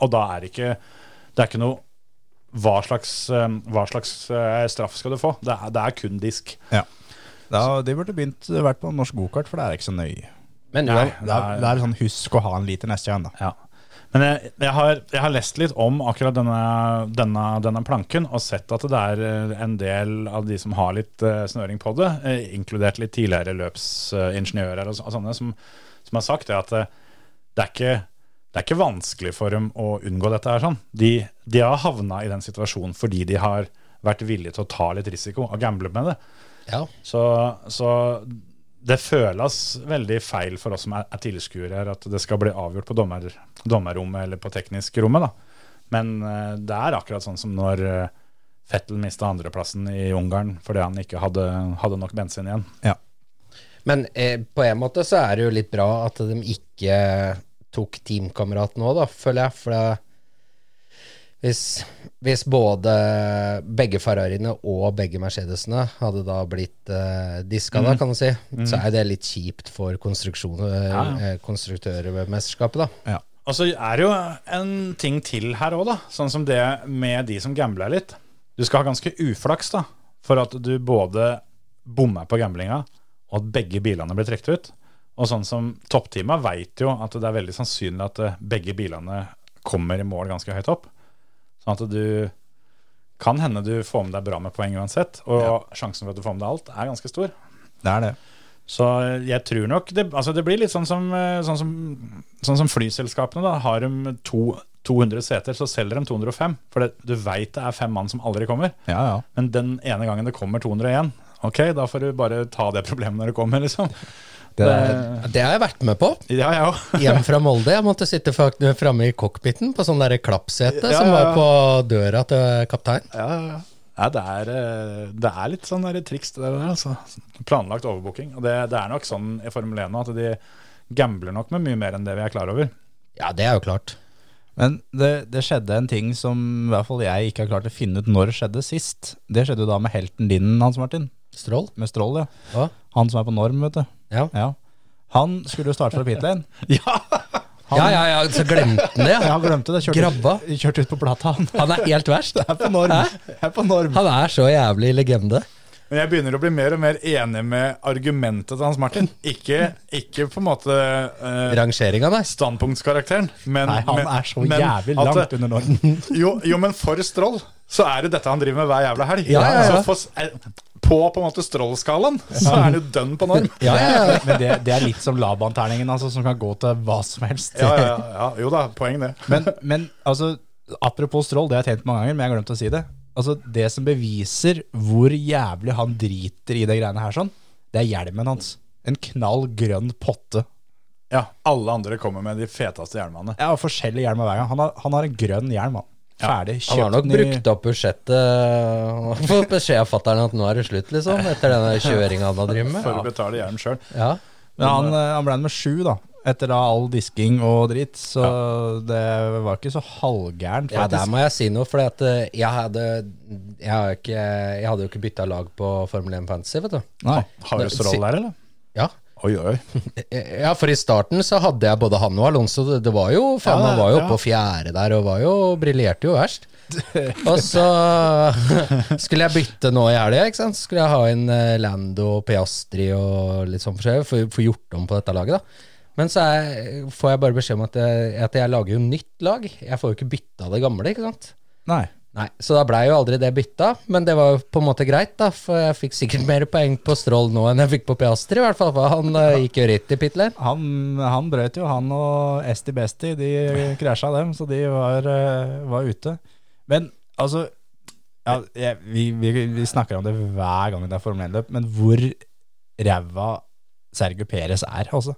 [SPEAKER 3] og da er det ikke Det er ikke noe hva slags, eh, hva slags eh, straff skal du få? Det er, det er kun disk.
[SPEAKER 5] Da, de burde begynt vært på norsk gokart, for det er ikke så nøye.
[SPEAKER 4] Men
[SPEAKER 3] Nei.
[SPEAKER 4] uansett
[SPEAKER 5] Det er, det er sånn husk å ha en liter neste gang, da.
[SPEAKER 3] Ja. Men jeg, jeg, har, jeg har lest litt om akkurat denne, denne, denne planken, og sett at det er eh, en del av de som har litt eh, snøring på det, eh, inkludert litt tidligere løpsingeniører og, så- og sånne, som, som har sagt det at eh, det er ikke det er ikke vanskelig for dem å unngå dette. her sånn. De, de har havna i den situasjonen fordi de har vært villige til å ta litt risiko og gamble med det.
[SPEAKER 4] ja.
[SPEAKER 3] Så, så det føles veldig feil for oss som er, er tilskuere, her, at det skal bli avgjort på dommer, dommerrommet eller på teknisk rommet. Da. Men eh, det er akkurat sånn som når eh, Fettel mista andreplassen i Ungarn fordi han ikke hadde, hadde nok bensin igjen.
[SPEAKER 4] Men eh, på en måte så er det jo litt bra at de ikke tok teamkameraten òg, da, føler jeg. For det, hvis, hvis både begge Ferrariene og begge Mercedesene hadde da blitt eh, diska, da, kan du si, så er det litt kjipt for konstruksjon-
[SPEAKER 3] Mm. Ja,
[SPEAKER 4] eh, konstruktørmesterskapet, da.
[SPEAKER 3] Og så er det jo en ting til her òg, da. Sånn som det med de som gambler litt. Du skal ha ganske uflaks da, for at du både bommer på gamblinga, og at begge bilene blir trukket ut. Og sånn som toppteama veit jo at det er veldig sannsynlig at eh, begge bilene kommer i mål ganske høyt opp. Sånn at du kan hende du får med deg bra med poeng uansett, og sjansen for at du får med deg alt, er ganske stor.
[SPEAKER 5] Det er det.
[SPEAKER 3] Så eh, jeg tror nok det, altså det blir litt sånn som, eh, sånn som, sånn som flyselskapene. da, Har de to, 200 seter, så selger de 205. For det, du veit det er fem mann som aldri kommer.
[SPEAKER 5] Ja, ja.
[SPEAKER 3] Men den ene gangen det kommer 201, ok, da får du bare ta det problemet når det kommer, liksom.
[SPEAKER 5] Det der,
[SPEAKER 4] Det har jeg vært med på.
[SPEAKER 3] Ja, jeg òg.
[SPEAKER 4] Hjem fra Molde. Jeg måtte sitte fak- framme i cockpiten på sånn derre klappsete
[SPEAKER 3] Ja,
[SPEAKER 4] som
[SPEAKER 3] ja,
[SPEAKER 4] var
[SPEAKER 3] ja.
[SPEAKER 4] på døra til kapteinen.
[SPEAKER 3] Ja, ja, ja. Nei, det, er, eh, det er litt sånn der triks det der, altså. Planlagt overbooking. Og det, det er nok sånn i Formel 1 nå at de gambler nok med mye mer enn det vi er klar over.
[SPEAKER 4] Ja, det er jo klart.
[SPEAKER 5] Men det, det skjedde en ting som i hvert fall jeg ikke har klart å finne ut når skjedde sist. Det skjedde jo da med helten din, Hans Martin.
[SPEAKER 4] Strål.
[SPEAKER 5] Med Strål, ja.
[SPEAKER 4] Hva?
[SPEAKER 5] Han som er på norm, vet du.
[SPEAKER 4] Ja.
[SPEAKER 5] Ja. Han skulle jo starte fra pit <laughs> lane.
[SPEAKER 3] Ja!
[SPEAKER 4] ja, ja, ja, så glemte han det.
[SPEAKER 5] Jeg glemte det. Kjørte,
[SPEAKER 4] Grabba.
[SPEAKER 5] kjørte ut på plata, han.
[SPEAKER 4] Han er helt verst.
[SPEAKER 5] Jeg er på norm. Jeg er på norm.
[SPEAKER 4] Han er så jævlig legende.
[SPEAKER 3] Men jeg begynner å bli mer og mer enig med argumentet til Hans Martin. Ikke, ikke på en måte eh,
[SPEAKER 4] Rangeringa, nei.
[SPEAKER 3] standpunktskarakteren, men
[SPEAKER 5] Nei, han
[SPEAKER 3] men-
[SPEAKER 5] er så
[SPEAKER 3] men
[SPEAKER 5] jævlig
[SPEAKER 3] at- eh,
[SPEAKER 5] langt under norm.
[SPEAKER 3] Jo, jo, men for Stroll så er det dette han driver med hver jævla helg.
[SPEAKER 4] Ja, ja, ja.
[SPEAKER 3] Så for, s- eh, på på en måte Stroll-skalaen så er han jo dønn på norm.
[SPEAKER 4] Ja, ja, ja.
[SPEAKER 5] Men det, det er litt som Laban-terningen, altså, som kan gå til hva som helst.
[SPEAKER 3] Ja, ja, ja, jo da, poeng det.
[SPEAKER 5] Men, men altså, apropos Strål, det har jeg tenkt mange ganger, men jeg har glemt å si det. Altså, Det som beviser hvor jævlig han driter i det greiene her, sånn, det er hjelmen hans. En knall grønn potte.
[SPEAKER 3] Ja, alle andre kommer med de feteste hjelmene.
[SPEAKER 5] Ja, og forskjellig hjelm hver gang. Han har, han har en grønn hjelm, han. Ferdig.
[SPEAKER 4] Han har nok
[SPEAKER 5] den i-
[SPEAKER 4] brukt opp budsjettet. Han har fått beskjed av fatter'n at nå er det slutt, liksom. Etter denne kjøringa han har drevet med.
[SPEAKER 3] For å betale hjelm sjøl.
[SPEAKER 4] Ja.
[SPEAKER 5] Men han, eh, han ble med sju, da. Etter da all disking og dritt. Så det var ikke så halvgærent,
[SPEAKER 4] ja, der
[SPEAKER 5] faktisk.
[SPEAKER 4] må jeg si noe, for jeg hadde Jeg, har ikke, jeg hadde jo ikke bytta lag på Formel 1 Fantasy, vet du.
[SPEAKER 5] Nei.
[SPEAKER 3] Har du strål der, eller?
[SPEAKER 4] Ja.
[SPEAKER 3] Oi, oi.
[SPEAKER 4] ja, for i starten så hadde jeg både han og Alonso. Det, det var jo faen,
[SPEAKER 3] Ja,
[SPEAKER 4] Han var jo
[SPEAKER 3] ja.
[SPEAKER 4] på fjerde der og var jo briljerte jo verst. Og
[SPEAKER 3] <laughs>
[SPEAKER 4] så skulle jeg bytte nå i helga. ikke sant? Så Skulle jeg ha inn eh, Lando og Piastri og litt sånn forskjellig, for få gjort om på dette laget, da. Men så er, får jeg bare beskjed om at jeg, at jeg lager jo nytt lag. Jeg får jo ikke bytta det gamle, ikke sant.
[SPEAKER 5] Nei.
[SPEAKER 4] Nei, Så da blei jo aldri det bytta, men det var jo på en måte greit, da. For jeg fikk sikkert mer poeng på Stroll nå enn jeg fikk på Piastri, i hvert fall. For han eh, gikk jo rett i pit lane.
[SPEAKER 5] Han, han brøt jo, han og Esti Besti, de krasja dem, så de var, eh, var ute. Men altså ja, jeg, vi, vi, vi snakker om det hver gang det er Formel 1-løp, men hvor ræva Sergio Perez er, altså.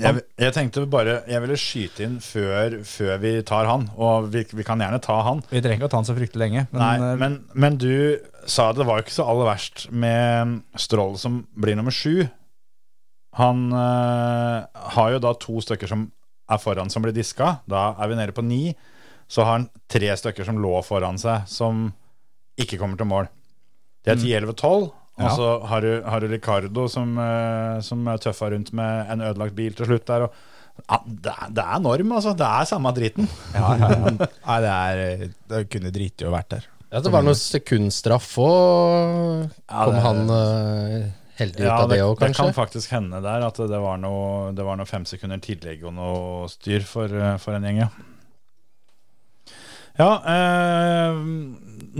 [SPEAKER 3] Jeg, jeg tenkte bare Jeg ville skyte inn før, før vi tar han, og vi, vi kan gjerne ta han.
[SPEAKER 5] Vi trenger ikke å ta han så fryktelig lenge, men,
[SPEAKER 3] Nei,
[SPEAKER 5] eh,
[SPEAKER 3] men, men du sa det var jo ikke så aller verst med um, Stroll som blir nummer sju. Han eh, har jo da to stykker som er foran som blir diska. Da er vi nede på ni. Så har han tre stykker som lå foran seg, som ikke kommer til mål. Det er 10, 11, 12. Og
[SPEAKER 5] Mm. Ja.
[SPEAKER 3] så har du, har du Ricardo som, eh, som tøffa rundt med en ødelagt bil til slutt der. Og, ja, det, er, det er norm, altså. Det er samme driten.
[SPEAKER 5] <laughs> ja, ja, ja. Nei, det, er, det kunne driti å vært der.
[SPEAKER 4] Ja, det var noe sekundstraff òg.
[SPEAKER 3] Ja,
[SPEAKER 4] Kom
[SPEAKER 3] det-
[SPEAKER 4] han eh, heldig ut av det òg,
[SPEAKER 3] det
[SPEAKER 4] kanskje?
[SPEAKER 3] kan faktisk hende der at det var noe, det var noe fem sekunder tillegg og noe styr for, eh, for en gjeng, ja. Ja, eh,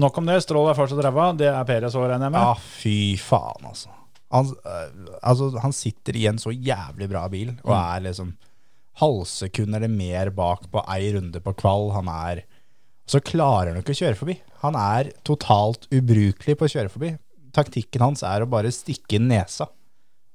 [SPEAKER 3] nok om det. Strål er fortsatt ræva. Det er Perez òg, regner jeg med.
[SPEAKER 5] Ja, fy faen, altså. Han, eh, altså. han sitter i en så jævlig bra bil og er liksom halvsekund eller mer bak på ei runde på kvall. Han er Så klarer han jo ikke å kjøre forbi. Han er totalt ubrukelig på å kjøre forbi. Taktikken hans er å bare stikke inn nesa,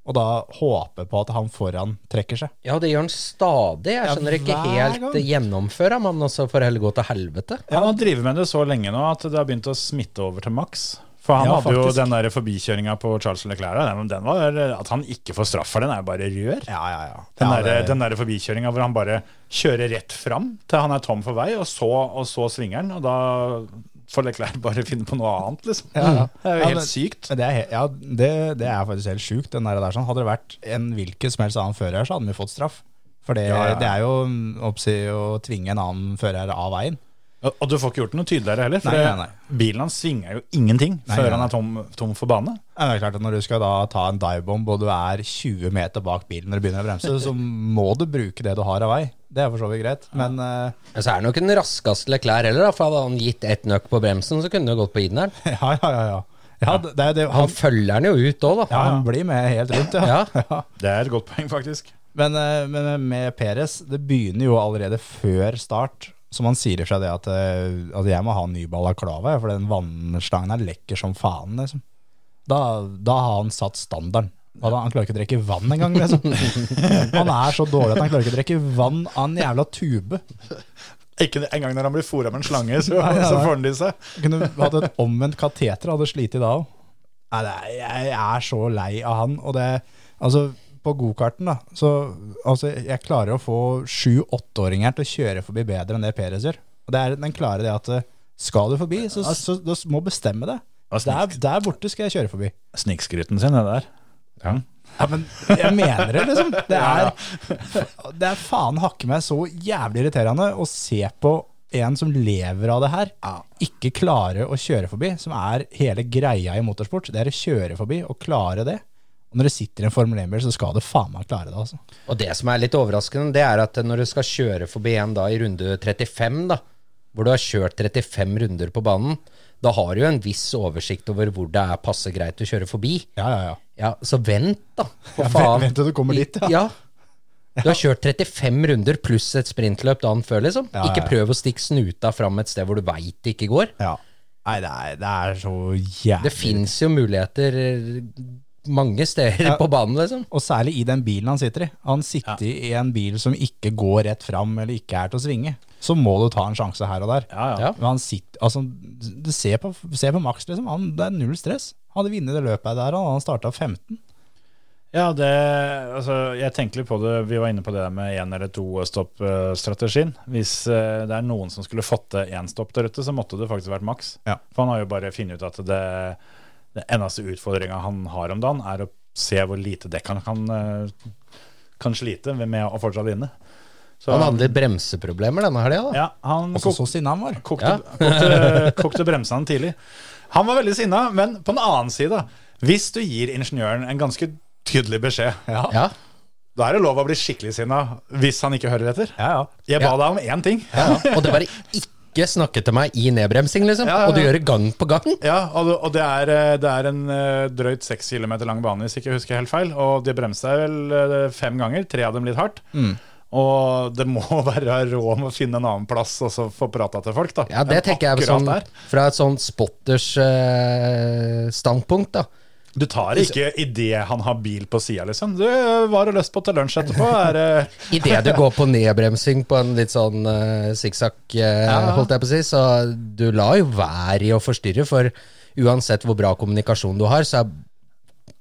[SPEAKER 5] og da håpe på at han foran trekker seg.
[SPEAKER 4] Ja, det gjør han stadig. Jeg skjønner ikke
[SPEAKER 5] hver gang.
[SPEAKER 4] helt gjennomføra, men også får heller gå til helvete.
[SPEAKER 3] Han har drevet med det så lenge nå at det har begynt å smitte over til Max. For han
[SPEAKER 5] Ja,
[SPEAKER 3] hadde jo
[SPEAKER 5] faktisk.
[SPEAKER 3] den der forbikjøringa på Charles Leclerc. Den, den var, at han ikke får straff for den, er jo bare rør.
[SPEAKER 5] Ja, ja, ja.
[SPEAKER 3] Den,
[SPEAKER 5] ja,
[SPEAKER 3] der, eh,
[SPEAKER 5] det-
[SPEAKER 3] den der forbikjøringa hvor han bare kjører rett fram til han er tom for vei, og så, og så svinger han. Og da får Leclerc bare finne på noe annet, liksom. Det er jo
[SPEAKER 5] Ja,
[SPEAKER 3] helt
[SPEAKER 5] men-
[SPEAKER 3] sykt.
[SPEAKER 5] Men Det er, he- ja, det, det er faktisk helt sjukt. Den der, der, sånn. Hadde det vært en hvilken som helst annen fører, så hadde vi fått straff. For det,
[SPEAKER 3] Ja, ja.
[SPEAKER 5] det er jo mm, oppsi, å tvinge en annen fører av veien.
[SPEAKER 3] Og og du får ikke gjort det noe tydeligere heller, for
[SPEAKER 5] Nei, nei, nei.
[SPEAKER 3] bilen hans svinger jo ingenting
[SPEAKER 5] Nei,
[SPEAKER 3] før
[SPEAKER 5] nei,
[SPEAKER 3] han er tom, tom for bane.
[SPEAKER 5] Ja, Det er klart at Når du skal da ta en divebomb og du er 20 meter bak bilen når du begynner å bremse, så må du bruke det du har av vei. Det er for så vidt greit. Men eh,
[SPEAKER 4] Men så er han jo ikke den raskeste Leclerc heller, da, for hadde han gitt ett nøkk på bremsen, så kunne det gått på inneren.
[SPEAKER 5] eh, <laughs> ja, ja, ja. ja. ja det, det, er jo det,
[SPEAKER 4] Han
[SPEAKER 5] han,
[SPEAKER 4] følger han jo ut òg, da.
[SPEAKER 5] ja, han blir med helt rundt, ja.
[SPEAKER 4] Ja.
[SPEAKER 5] <laughs> ja.
[SPEAKER 3] Det er et godt poeng, faktisk.
[SPEAKER 5] Men, eh, men med Peres, det begynner jo allerede før start. Som han sier ifra det at, eh, at jeg må ha en ny balaklava, jeg, for den vannstangen her lekker som faen. Liksom. Da, da har han satt standarden. Hva da? Han klarer ikke å drikke vann engang, liksom. Han er så dårlig at han klarer ikke å drikke vann av en jævla tube.
[SPEAKER 6] Ikke engang når han blir fora med en slange,
[SPEAKER 5] <laughs>
[SPEAKER 6] så,
[SPEAKER 5] Nei, nei.
[SPEAKER 6] så får han det i seg.
[SPEAKER 5] Kunne hatt et omvendt kateter, hadde slitt i dag òg. Nei, det er- Jeg er så lei av han. Og det, altså, på gokarten, da så, altså, Jeg klarer å få sju-åtteåringer til å kjøre forbi bedre enn det Perez gjør. Og det er, den klarer det at eh, skal du forbi, så, så, du må bestemme det. Der, der borte skal jeg kjøre forbi.
[SPEAKER 6] Snikskryten sin, det der. Ja.
[SPEAKER 5] Ja, men jeg mener det, <laughs> liksom. Det er, det er faen hakke meg så jævlig irriterende å se på en som lever av det her, ikke klare å kjøre forbi, som er hele greia i motorsport. Det er å kjøre forbi og klare det. Og når du sitter i en Formel 1-bil, så skal du faen meg klare det, altså.
[SPEAKER 4] Og det som er litt overraskende, det er at når du skal kjøre forbi en da i runde 35, da, hvor du har kjørt 35 runder på banen, da har du jo en viss oversikt over hvor det er passe greit å kjøre forbi.
[SPEAKER 5] Ja, ja, ja.
[SPEAKER 4] Ja, så vent, da. For
[SPEAKER 5] Ja,
[SPEAKER 4] faen.
[SPEAKER 5] vent til du kommer dit, ja.
[SPEAKER 4] ja. Du har kjørt 35 runder pluss et sprintløp dagen før, liksom.
[SPEAKER 5] Ja, ja,
[SPEAKER 4] Ikke
[SPEAKER 5] ja.
[SPEAKER 4] prøv å stikke snuta fram et sted hvor du veit det ikke går.
[SPEAKER 5] ja. Nei, det er, det er så jævlig
[SPEAKER 4] Det fins jo muligheter eh, mange steder på banen, liksom.
[SPEAKER 5] Og særlig i den bilen han sitter i. Han sitter i en bil som ikke går rett fram eller ikke er til å svinge. Så må du ta en sjanse her og der.
[SPEAKER 6] Ja,
[SPEAKER 4] ja.
[SPEAKER 5] Men han sitter, altså, du ser på, se på Max, liksom. Han, det er null stress. Han hadde vunnet det løpet der, og han starta 15.
[SPEAKER 3] Ja, det, altså, jeg tenker litt på det. Vi var inne på det der med én eller to-stopp-strategien. Hvis eh, det er noen som skulle fått til én stopp der ute, så måtte det faktisk vært Max.
[SPEAKER 5] Ja.
[SPEAKER 3] For han har jo bare funnet ut at det, det eneste utfordringa han har om dagen, er å se hvor lite dekk han kan, eh, kan slite med å fortsatt vinne. Så,
[SPEAKER 4] Han hadde litt bremseproblemer denne helga, da.
[SPEAKER 3] ja, han
[SPEAKER 5] Også så sinna han var.
[SPEAKER 3] Kokte, kokte, kokte bremsene tidlig. Han var veldig sinna, men på den annen side, hvis du gir ingeniøren en ganske tydelig beskjed,
[SPEAKER 4] Ja.
[SPEAKER 3] da er det lov å bli skikkelig sinna hvis han ikke hører etter.
[SPEAKER 5] Ja, ja.
[SPEAKER 3] Jeg ba deg om én ting. Ja,
[SPEAKER 4] Og det bare ikke snakke til meg i nedbremsing, liksom.
[SPEAKER 3] Ja, ja, ja.
[SPEAKER 4] Og du gjør det gang på gang.
[SPEAKER 3] og, og det, er, eh, det er en eh, drøyt seks kilometer lang bane, hvis ikke jeg husker helt feil. Og de bremsa vel eh, fem ganger, tre av dem litt hardt.
[SPEAKER 4] Mm.
[SPEAKER 3] Og det må <laughs> være råd om å finne en annen plass og så få prata til folk, da.
[SPEAKER 4] Ja, det
[SPEAKER 3] enn
[SPEAKER 4] tenker jeg er
[SPEAKER 3] akkurat
[SPEAKER 4] sånn,
[SPEAKER 3] der.
[SPEAKER 4] fra et sånn spotters eh, standpunkt, da.
[SPEAKER 3] Du tar ikke idet han har bil på sida, liksom. Du var det lyst på til lunsj etterpå. Er, eh,
[SPEAKER 4] Idet du går på nedbremsing på en litt sånn uh, sikksakk, eh, holdt jeg på å si, så du lar jo være i å forstyrre, for uansett hvor bra kommunikasjon du har, så er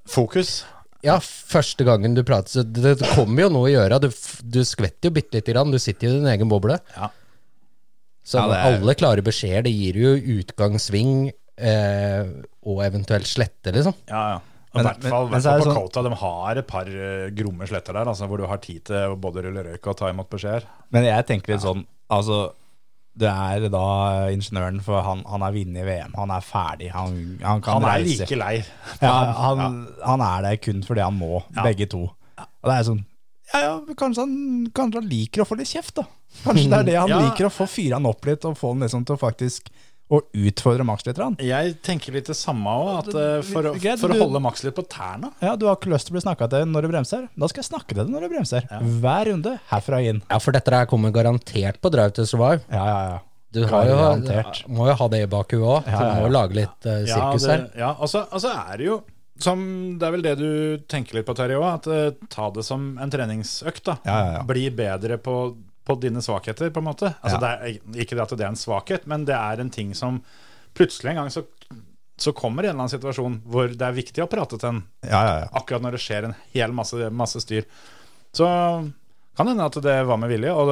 [SPEAKER 3] fokus.
[SPEAKER 4] ja, første gangen du prater, så det det kommer jo noe å gjøre. Du, f- du skvetter jo bitte lite grann, du sitter jo i din egen boble.
[SPEAKER 3] Ja.
[SPEAKER 4] Så
[SPEAKER 5] Ja, det er-
[SPEAKER 4] alle klare beskjeder, det gir jo utgangssving eh, og eventuelt slette, liksom.
[SPEAKER 3] Ja, ja. Og I
[SPEAKER 5] Men-
[SPEAKER 3] hvert fall
[SPEAKER 5] men- men
[SPEAKER 3] i hvert
[SPEAKER 5] så er
[SPEAKER 3] fall
[SPEAKER 5] det
[SPEAKER 3] på
[SPEAKER 5] sånn-
[SPEAKER 3] Kota. De har et par eh, gromme sletter der, altså, hvor du har tid til å både rulle røyk og ta imot beskjeder.
[SPEAKER 5] Men jeg tenker litt sånn, altså det er da ingeniøren, for han, han er vinner i VM. Han er ferdig. Han, han kan
[SPEAKER 3] Han er
[SPEAKER 5] reise.
[SPEAKER 3] like lei.
[SPEAKER 5] Ja, han, han er der kun fordi han må, begge to. Og det er sånn ja, ja, men kanskje, han, kanskje han liker å få litt kjeft, da. Kanskje det er det han <laughs>
[SPEAKER 3] Ja.
[SPEAKER 5] liker, å få fyre han opp litt og få han liksom til å faktisk å utfordre Max litt. grann.
[SPEAKER 3] Jeg tenker litt det samme òg, for, å-
[SPEAKER 5] Greit,
[SPEAKER 3] for å
[SPEAKER 5] du-
[SPEAKER 3] holde Max litt på tærne.
[SPEAKER 5] Ja, Du har ikke lyst til å bli snakka til når du bremser. Da skal jeg snakke til deg når du bremser. Hver runde herfra inn.
[SPEAKER 4] Ja, for dette her kommer garantert på Drive to Survive.
[SPEAKER 5] Ja, ja, ja.
[SPEAKER 4] Du har jo,
[SPEAKER 5] Garantert.
[SPEAKER 4] må jo ha det i bakhuet òg.
[SPEAKER 5] Ja, ja,
[SPEAKER 4] Du må
[SPEAKER 5] ja.
[SPEAKER 4] jo lage litt eh, sirkus
[SPEAKER 3] det,
[SPEAKER 4] her.
[SPEAKER 3] Ja, og så og så er det jo som, Det er vel det du tenker litt på, Terje òg. At eh, ta det som en treningsøkt. da.
[SPEAKER 5] Ja, ja, ja.
[SPEAKER 3] Bli bedre på, på dine svakheter, på en måte. Altså,
[SPEAKER 5] Ja.
[SPEAKER 3] det er, ikke det at det er en svakhet, men det er en ting som plutselig en gang så, så kommer en eller annen situasjon hvor det er viktig å prate til en,
[SPEAKER 5] ja, ja, ja.
[SPEAKER 3] akkurat når det skjer en hel masse, masse styr. Så kan hende at det var med vilje. og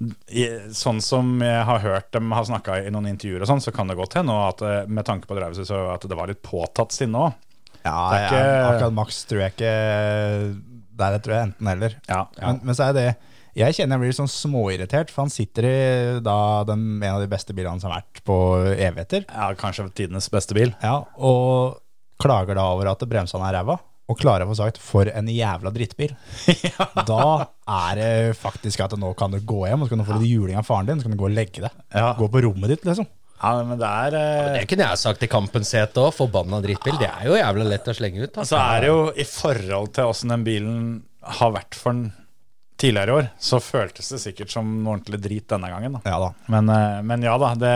[SPEAKER 3] det, i- Sånn som jeg har hørt dem har snakka i noen intervjuer, og sånn, så kan det godt hende og at eh, med tanke på Drausus så at det var litt påtatt sinne òg.
[SPEAKER 5] ja,
[SPEAKER 3] Det er
[SPEAKER 5] ja.
[SPEAKER 3] ikke-
[SPEAKER 5] Akkurat Max tror jeg ikke Det er det tror jeg enten eller.
[SPEAKER 3] Ja, ja.
[SPEAKER 5] Men, men så er det Jeg kjenner jeg blir litt sånn småirritert, for han sitter i da, den, en av de beste bilene som har vært på evigheter.
[SPEAKER 3] ja, kanskje tidenes beste bil.
[SPEAKER 5] Ja, og klager da over at bremsene er ræva, og klarer å få sagt 'for en jævla <laughs> drittbil'. Da er det faktisk at nå kan du gå hjem, og så kan du få litt juling av faren din, så kan du gå og legge deg.
[SPEAKER 3] Ja.
[SPEAKER 5] Gå på rommet ditt, liksom.
[SPEAKER 3] Ja, men det er eh,
[SPEAKER 4] Det kunne jeg sagt i kampens hete òg. Forbanna drittbil. Det er jo jævla lett å slenge ut. altså. Da.
[SPEAKER 3] Så er det jo i forhold til åssen den bilen har vært for den tidligere i år, så føltes det sikkert som noe ordentlig drit denne gangen. da.
[SPEAKER 5] Ja da.
[SPEAKER 3] Men, eh, men ja da, det,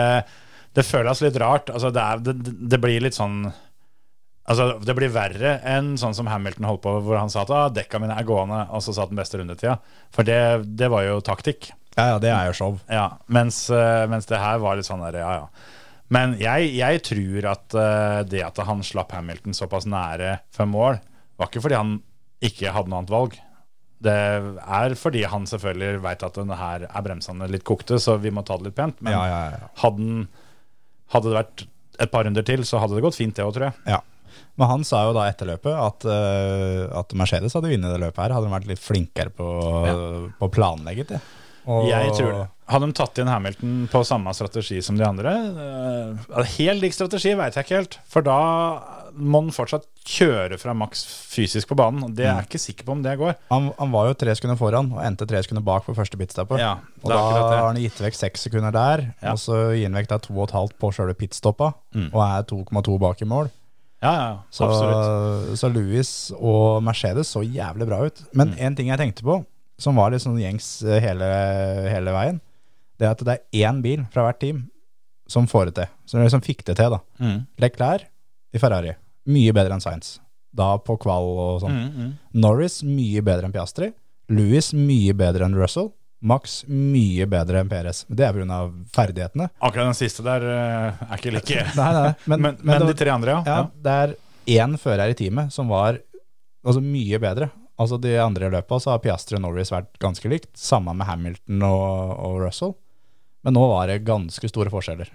[SPEAKER 3] det føles litt rart. Altså, det, er, det, det blir litt sånn Altså, det blir verre enn sånn som Hamilton holdt på, hvor han sa at ah, 'dekka mine er gående', og så sa den beste rundetida. For det, det var jo taktikk.
[SPEAKER 5] Ja, ja, det er jo show.
[SPEAKER 3] Ja, mens, eh, mens det her var litt sånn der, ja, ja. Men jeg, jeg tror at eh, det at han slapp Hamilton såpass nære fem mål, var ikke fordi han ikke hadde noe annet valg. Det er fordi han selvfølgelig veit at denne her er bremsene litt kokte, så vi må ta det litt pent. Men
[SPEAKER 5] Ja, ja, ja, ja.
[SPEAKER 3] Hadde, den- hadde det vært et par runder til, så hadde det gått fint, det òg, tror jeg.
[SPEAKER 5] Ja. Men han sa jo da etter løpet at, eh, at Mercedes hadde vunnet det løpet her. Hadde de vært litt flinkere på, på å planlegge det. Og-
[SPEAKER 3] Jeg tror det. Hadde de tatt inn Hamilton på samme strategi som de andre? eh, helt lik strategi veit jeg ikke helt, for da må den fortsatt kjøre fra maks fysisk på banen. og Det er jeg ikke sikker på om det går.
[SPEAKER 5] Han, han var jo tre sekunder foran og endte tre sekunder bak på første pitstoppet.
[SPEAKER 3] Ja,
[SPEAKER 5] og
[SPEAKER 3] det er
[SPEAKER 5] da
[SPEAKER 3] akkurat det.
[SPEAKER 5] har han gitt vekk seks sekunder der,
[SPEAKER 3] Ja. Mm.
[SPEAKER 5] og så gir han vekk da to og et halvt på sjølve pitstoppa, og er 2,2 bak i mål.
[SPEAKER 3] Ja, ja,
[SPEAKER 5] Så,
[SPEAKER 3] absolutt. Mm.
[SPEAKER 5] så Louis og Mercedes så jævlig bra ut. Men én ting jeg tenkte på, som var litt sånn gjengs eh, hele, hele veien, det er at det er én bil fra hvert team som får det til. Som liksom fikk det til, da.
[SPEAKER 3] Mm.
[SPEAKER 5] Leclerc i Ferrari, mye bedre enn Sainz. Da på kval og
[SPEAKER 3] Mm.
[SPEAKER 5] sånn. Norris mye bedre enn Piastri. Louis mye bedre enn Russell. Max mye bedre enn Perez. Men Det er pga. ferdighetene.
[SPEAKER 3] Akkurat den siste der eh, er ikke like.
[SPEAKER 5] Nei, nei,
[SPEAKER 3] Men, men,
[SPEAKER 5] det var-
[SPEAKER 3] de tre andre, ja.
[SPEAKER 5] ja, det er én fører i teamet som var altså, mye bedre. Altså De andre løpa så har Piastri og Norris vært ganske likt, samme med Hamilton og, og Russell. Men nå var det ganske store forskjeller.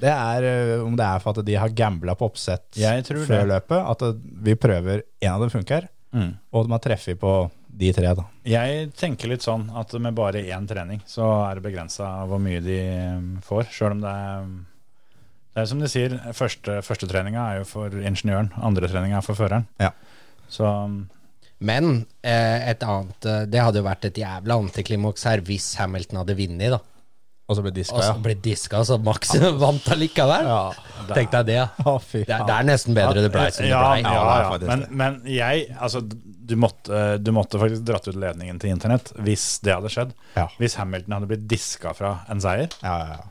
[SPEAKER 5] Det er øh, Om det er for at de har gambla på oppsett
[SPEAKER 3] Jeg tror
[SPEAKER 5] før
[SPEAKER 3] det.
[SPEAKER 5] løpet, at øh, vi prøver én av dem funker,
[SPEAKER 3] Mm.
[SPEAKER 5] og de har treffet på de tre, da.
[SPEAKER 3] Jeg tenker litt sånn at med bare én trening så er det begrensa hvor mye de eh, får. Sjøl om det er um, Det er som de sier, første, første treninga er jo for ingeniøren, andre treninga er for føreren.
[SPEAKER 5] Ja.
[SPEAKER 3] Så um,
[SPEAKER 4] Men eh, et annet eh, Det hadde jo vært et jævla antiklimaks her hvis Hamilton hadde vunnet, da.
[SPEAKER 5] Og så ble
[SPEAKER 4] Og
[SPEAKER 5] diska,
[SPEAKER 4] så
[SPEAKER 5] ja.
[SPEAKER 4] ble diska, så Max <laughs> vant allikevel.
[SPEAKER 5] Ja.
[SPEAKER 4] Tenk deg det, ja.
[SPEAKER 5] <laughs> Å, fy
[SPEAKER 4] Det, er-
[SPEAKER 5] faen.
[SPEAKER 4] det er nesten bedre det blei som det
[SPEAKER 3] ja,
[SPEAKER 4] blei.
[SPEAKER 3] ja,
[SPEAKER 5] Ja, det er
[SPEAKER 3] ja.
[SPEAKER 5] faktisk
[SPEAKER 3] Men,
[SPEAKER 5] det.
[SPEAKER 3] men jeg Altså, du måtte, du måtte faktisk dratt ut ledningen til internett hvis det hadde skjedd.
[SPEAKER 5] Ja.
[SPEAKER 3] Hvis Hamilton hadde blitt diska fra en seier.
[SPEAKER 5] Ja, ja, ja.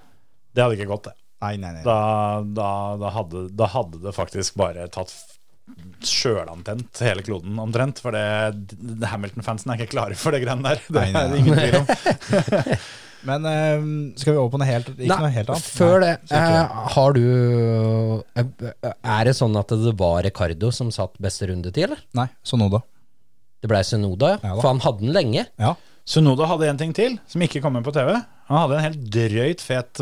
[SPEAKER 3] Det hadde ikke gått, det.
[SPEAKER 5] Nei, nei, nei.
[SPEAKER 3] Da, da, da, hadde, da hadde det faktisk bare tatt f- sjølantent hele kloden, omtrent. For det, d- Hamilton-fansen er ikke klare for det greiene der. Det
[SPEAKER 5] Nei, nei,
[SPEAKER 3] er
[SPEAKER 5] nei.
[SPEAKER 3] det ingen tvil om.
[SPEAKER 5] Men øh, skal vi over på noe helt, ikke noe helt annet?
[SPEAKER 4] Før det,
[SPEAKER 5] skal ikke
[SPEAKER 4] eh, har du Er det sånn at det var Ricardo som satt beste rundetid, eller?
[SPEAKER 5] Nei, så nå, da.
[SPEAKER 4] Det blei Sunoda, ja.
[SPEAKER 5] Ja da.
[SPEAKER 4] For han hadde den lenge.
[SPEAKER 5] Ja.
[SPEAKER 3] Sunoda hadde en ting til, som ikke kom med på TV. Han hadde en helt drøyt fet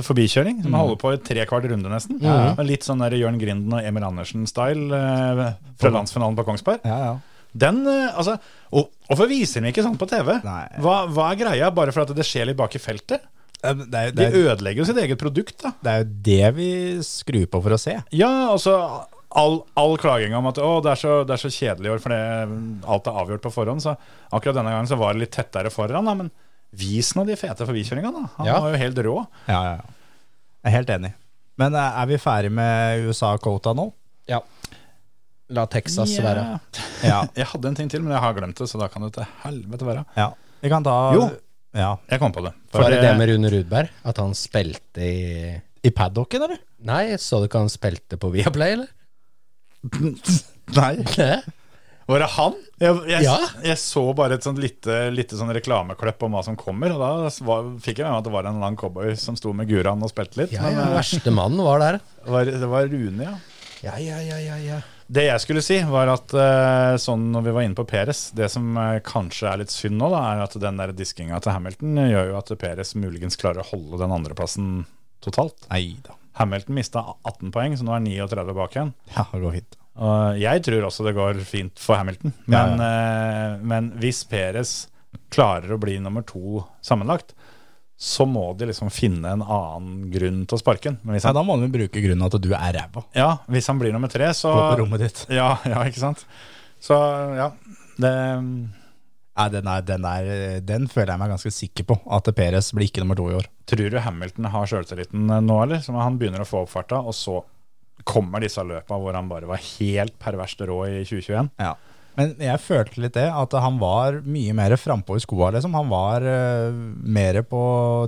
[SPEAKER 5] Mm.
[SPEAKER 3] forbikjøring, som han holder på i tre kvart runde nesten. Og Litt sånn der Jørn Grinden og Emil Andersen-style eh, fra landsfinalen på Kongsberg.
[SPEAKER 5] Ja, ja.
[SPEAKER 3] Den, eh, altså, og, Hvorfor viser de ikke sånn på TV?
[SPEAKER 5] Nei.
[SPEAKER 3] Hva, hva er greia, bare for at det skjer litt bak i feltet?
[SPEAKER 5] Ja, men Det er, jo-
[SPEAKER 3] De
[SPEAKER 5] det, er,
[SPEAKER 3] ødelegger jo sitt eget produkt, da.
[SPEAKER 5] det er jo det vi skrur på for å se.
[SPEAKER 3] Ja, altså all, all klaging om at å, det, er så, det er så kjedelig i år fordi alt er avgjort på forhånd. Så akkurat denne gangen så var det litt tettere foran, da. Men vis nå de fete forbikjøringene, da. Han
[SPEAKER 4] Ja.
[SPEAKER 3] var jo helt rå.
[SPEAKER 5] Ja, ja, ja. Jeg er helt enig. Men eh, er vi ferdig med USA-kvota nå?
[SPEAKER 4] Ja. La Texas
[SPEAKER 3] Ja.
[SPEAKER 4] være.
[SPEAKER 5] Ja.
[SPEAKER 3] Jeg hadde en ting til, men jeg har glemt det, så da kan det til helvete være.
[SPEAKER 5] ja. Vi kan ta
[SPEAKER 3] Jo.
[SPEAKER 5] Ja.
[SPEAKER 3] Jeg kom på det. For
[SPEAKER 4] Var det
[SPEAKER 3] det-
[SPEAKER 4] det med Rune Rudberg? At han spilte i
[SPEAKER 5] I paddocken, eller?
[SPEAKER 4] Nei, så du ikke han spilte på Viaplay, eller?
[SPEAKER 5] Nei.
[SPEAKER 4] Nei.
[SPEAKER 3] Var det han? Jeg, jeg,
[SPEAKER 4] Ja.
[SPEAKER 3] jeg så bare et sånt lite, lite sånn reklamekløpp om hva som kommer, og da var, fikk jeg med meg at det var en lang cowboy som sto med guran og spilte litt.
[SPEAKER 4] Ja,
[SPEAKER 3] men
[SPEAKER 4] ja,
[SPEAKER 3] eh,
[SPEAKER 4] verste mannen var der.
[SPEAKER 3] det var, det var Rune, ja.
[SPEAKER 4] Ja, ja, ja, ja, ja.
[SPEAKER 3] Det jeg skulle si, var at eh, sånn når vi var inne på Peres Det som eh, kanskje er litt synd nå, da, er at den der diskinga til Hamilton gjør jo at Peres muligens klarer å holde den andreplassen totalt.
[SPEAKER 5] Nei da.
[SPEAKER 3] Hamilton mista 18 poeng, så nå er han 39 bak igjen.
[SPEAKER 5] Ja, det går fint.
[SPEAKER 3] Og jeg tror også det går fint for Hamilton.
[SPEAKER 5] Ja,
[SPEAKER 3] Men, eh, men hvis Perez klarer å bli nummer to sammenlagt, så må de liksom finne en annen grunn til å sparke han. Men hvis
[SPEAKER 5] Nei,
[SPEAKER 3] han,
[SPEAKER 5] da må vi bruke grunnen at du er ræva.
[SPEAKER 3] ja, hvis han blir nummer tre, så
[SPEAKER 5] Gå på rommet ditt.
[SPEAKER 3] <laughs> Ja, ja, ikke sant? Så ja. Det,
[SPEAKER 5] Nei, den, er, den, er, den føler jeg meg ganske sikker på. At Perez blir ikke nummer to i år.
[SPEAKER 3] tror du Hamilton har sjøltilliten nå, eller? Som han begynner å få opp farta, og så kommer disse løpa hvor han bare var helt perverst rå i 2021.
[SPEAKER 5] Ja. Men jeg følte litt det, at han var mye mer frampå i skoa, liksom. Han var eh, mer på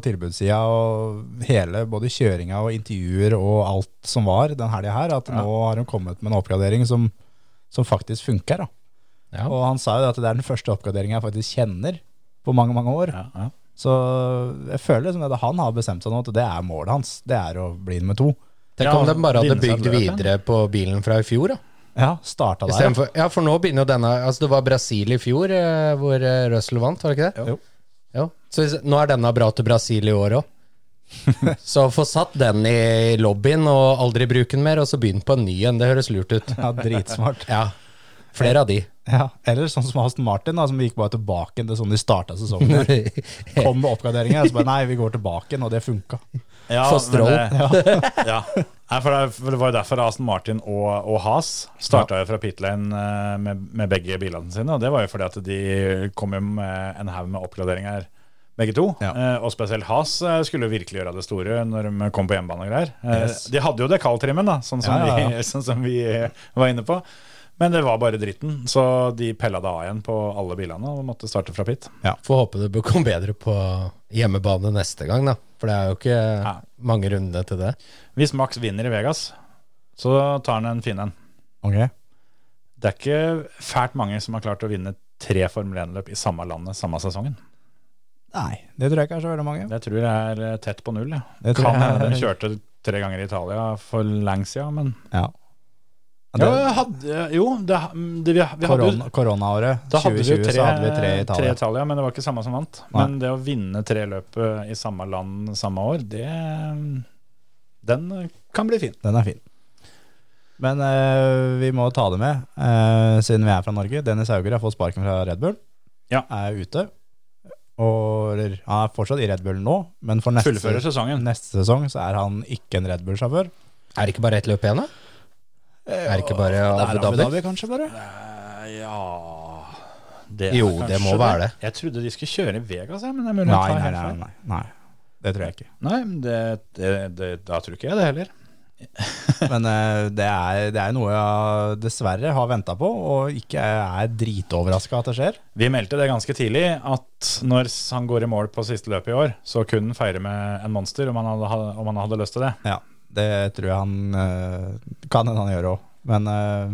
[SPEAKER 5] tilbudssida og hele, både kjøringa og intervjuer og alt som var den helga her. At nå har han kommet med en oppgradering som, som faktisk funker, da.
[SPEAKER 4] Ja.
[SPEAKER 5] Og han sa jo at det er den første oppgraderinga jeg faktisk kjenner på mange, mange år. Så jeg føler liksom at han har bestemt seg nå at det er målet hans. Det er å bli nummer to.
[SPEAKER 4] Tenk
[SPEAKER 3] Ja,
[SPEAKER 4] om de bare hadde
[SPEAKER 3] vinne seg
[SPEAKER 4] bygd
[SPEAKER 3] løpet.
[SPEAKER 4] videre på bilen fra i fjor, da.
[SPEAKER 5] Ja, starta
[SPEAKER 4] I
[SPEAKER 5] der.
[SPEAKER 4] stedet for, ja, for nå begynner jo denne Altså, det var Brasil i fjor eh, hvor eh, Russell vant, var det ikke det?
[SPEAKER 5] Jo.
[SPEAKER 4] Jo. Så hvis, nå er denne bra til Brasil i år òg. så få satt den i lobbyen og aldri bruke den mer, og så begynn på en ny en. Det høres lurt ut.
[SPEAKER 5] Ja, dritsmart.
[SPEAKER 4] Ja. Flere av de.
[SPEAKER 5] Ja, Eller sånn som Aston Martin, da, som gikk bare tilbake til sånn de starta sesongen. med. Kom med oppgraderinger, og så bare nei, vi går tilbake igjen, og det funka.
[SPEAKER 3] Ja,
[SPEAKER 4] For Stroll.
[SPEAKER 3] men det-
[SPEAKER 5] <laughs>
[SPEAKER 3] Ja. Nei, for det, for det var jo derfor Aston Martin og, og Haas starta jo fra pit lane eh, med, med begge bilene sine. Og det var jo fordi at de kom jo med en haug med oppgraderinger, begge to.
[SPEAKER 5] Ja.
[SPEAKER 3] Eh, Og spesielt Haas eh, skulle jo virkelig gjøre det store når de kom på hjemmebane og greier. Eh,
[SPEAKER 5] Yes.
[SPEAKER 3] De hadde jo dekaltrimmen, da, sånn som,
[SPEAKER 5] Ja, ja, ja.
[SPEAKER 3] Vi, <laughs> sånn som vi eh, var inne på. Men det var bare dritten, så de pella det av igjen på alle bilene og måtte starte fra pit.
[SPEAKER 4] Får håpe det kom bedre på hjemmebane neste gang, da. For det er jo ikke
[SPEAKER 3] Ja.
[SPEAKER 4] mange rundene til det.
[SPEAKER 3] Hvis Max vinner i Vegas, så tar han en fin en.
[SPEAKER 5] Ok.
[SPEAKER 3] Det er ikke fælt mange som har klart å vinne tre Formel 1-løp i samme landet samme sesongen.
[SPEAKER 5] Nei, det tror jeg ikke er så veldig mange.
[SPEAKER 3] Det tror jeg er eh, tett på null. Ja.
[SPEAKER 5] Det tror
[SPEAKER 3] Kan
[SPEAKER 5] jeg
[SPEAKER 3] hende
[SPEAKER 5] er-
[SPEAKER 3] de kjørte tre ganger i Italia for lenge siden, men
[SPEAKER 5] Ja.
[SPEAKER 3] ja,
[SPEAKER 5] Det,
[SPEAKER 3] hadde, Jo, det, det, vi, vi hadde,
[SPEAKER 5] korona, koronaåret
[SPEAKER 3] da hadde vi jo
[SPEAKER 5] 2020
[SPEAKER 3] tre,
[SPEAKER 5] så hadde vi tre i
[SPEAKER 3] tre
[SPEAKER 5] Italia.
[SPEAKER 3] Italia, men det var ikke samme som vant.
[SPEAKER 5] Nei.
[SPEAKER 3] Men det å vinne tre løp eh, i samme land samme år, det eh, Den eh, kan bli fin.
[SPEAKER 5] Den er fin. Men eh, vi må ta det med, eh, siden vi er fra Norge. Dennis Hauger har fått sparken fra Red Bull.
[SPEAKER 3] Ja.
[SPEAKER 5] Er ute. Og, eller, han er fortsatt i Red Bull nå, men for neste,
[SPEAKER 3] Fullfører sesongen.
[SPEAKER 5] neste sesong så er han ikke en Red Bull-sjåfør.
[SPEAKER 4] Er det ikke bare ett løp igjen, da? Er det ikke
[SPEAKER 5] Eh,
[SPEAKER 4] bare Abu Dhabi?
[SPEAKER 5] kanskje, bare?
[SPEAKER 3] Ja det er
[SPEAKER 4] Jo,
[SPEAKER 3] kanskje
[SPEAKER 4] det må være det.
[SPEAKER 3] Jeg trodde de skulle kjøre i Vegas, jeg, men det er mulig
[SPEAKER 5] Nei,
[SPEAKER 3] jeg tar
[SPEAKER 5] nei,
[SPEAKER 3] helt
[SPEAKER 5] nei,
[SPEAKER 3] feil.
[SPEAKER 5] nei, nei. Det tror jeg
[SPEAKER 4] <laughs>
[SPEAKER 5] ikke.
[SPEAKER 3] Nei, men det, det, det, da tror ikke jeg det heller.
[SPEAKER 5] Men eh, det, er, det er noe jeg dessverre har venta på, og ikke er dritoverraska at det skjer.
[SPEAKER 3] Vi meldte det ganske tidlig, at når han går i mål på siste løpet i år, så kunne han feire med en monster om han hadde, om han hadde lyst til det.
[SPEAKER 5] Ja, det tror jeg han eh, kan hende han gjør òg. Men eh,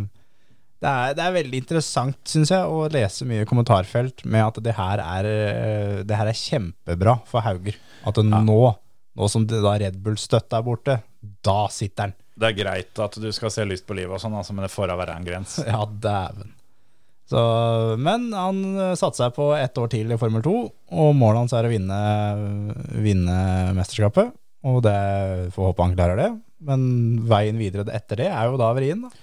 [SPEAKER 5] det, er, det er veldig interessant, syns jeg, å lese mye kommentarfelt med at det her er, eh, det her er kjempebra for Hauger. At det nå, nå som det da Red Bull-støtta er borte, da sitter han.
[SPEAKER 3] Det er greit at du skal se lyst på livet og sånn, altså, men det får da være en grense.
[SPEAKER 5] <laughs> Ja, dæven. Så, men han eh, satte seg på ett år til i Formel 2, og målet hans er å vinne, vinne mesterskapet. Og det får håpe han klarer det. Men veien videre etter det er jo da vrien. da.
[SPEAKER 3] <laughs>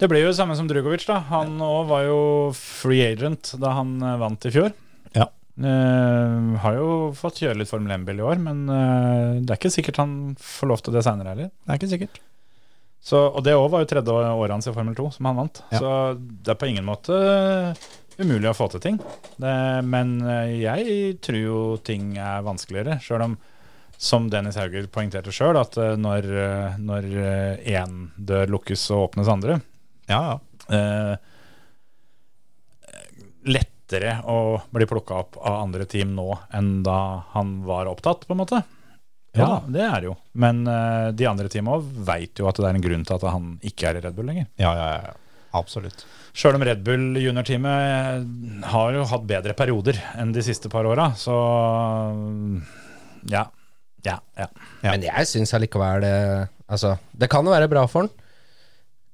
[SPEAKER 3] Det blir jo det samme som Drugovic, da. Han òg var jo free agent da han eh, vant i fjor.
[SPEAKER 5] Ja.
[SPEAKER 3] Eh, har jo fått kjøre litt Formel 1-bil i år, men eh, det er ikke sikkert han får lov til det seinere heller.
[SPEAKER 5] Det er ikke sikkert.
[SPEAKER 3] Så, og det òg var jo tredje året hans i Formel 2 som han vant.
[SPEAKER 5] Ja.
[SPEAKER 3] Så det er på ingen måte eh, umulig å få til ting. Det, men eh, jeg tror jo ting er vanskeligere, sjøl om, som Dennis Hauger poengterte sjøl, at eh, når, eh, når eh, én dør lukkes og åpnes andre,
[SPEAKER 5] Ja, ja.
[SPEAKER 3] eh, lettere å bli plukka opp av andre team nå enn da han var opptatt, på en måte.
[SPEAKER 5] Ja
[SPEAKER 3] Ja, det er det jo. Men eh, de andre teama veit jo at det er en grunn til at han ikke er i Red Bull lenger.
[SPEAKER 5] Ja, ja, ja. Absolutt.
[SPEAKER 3] Sjøl om Red Bull juniorteamet eh, har jo hatt bedre perioder enn de siste par åra, så mm, ja. Ja, ja.
[SPEAKER 5] Ja.
[SPEAKER 4] Men jeg syns allikevel eh, Altså, det kan jo være bra for han.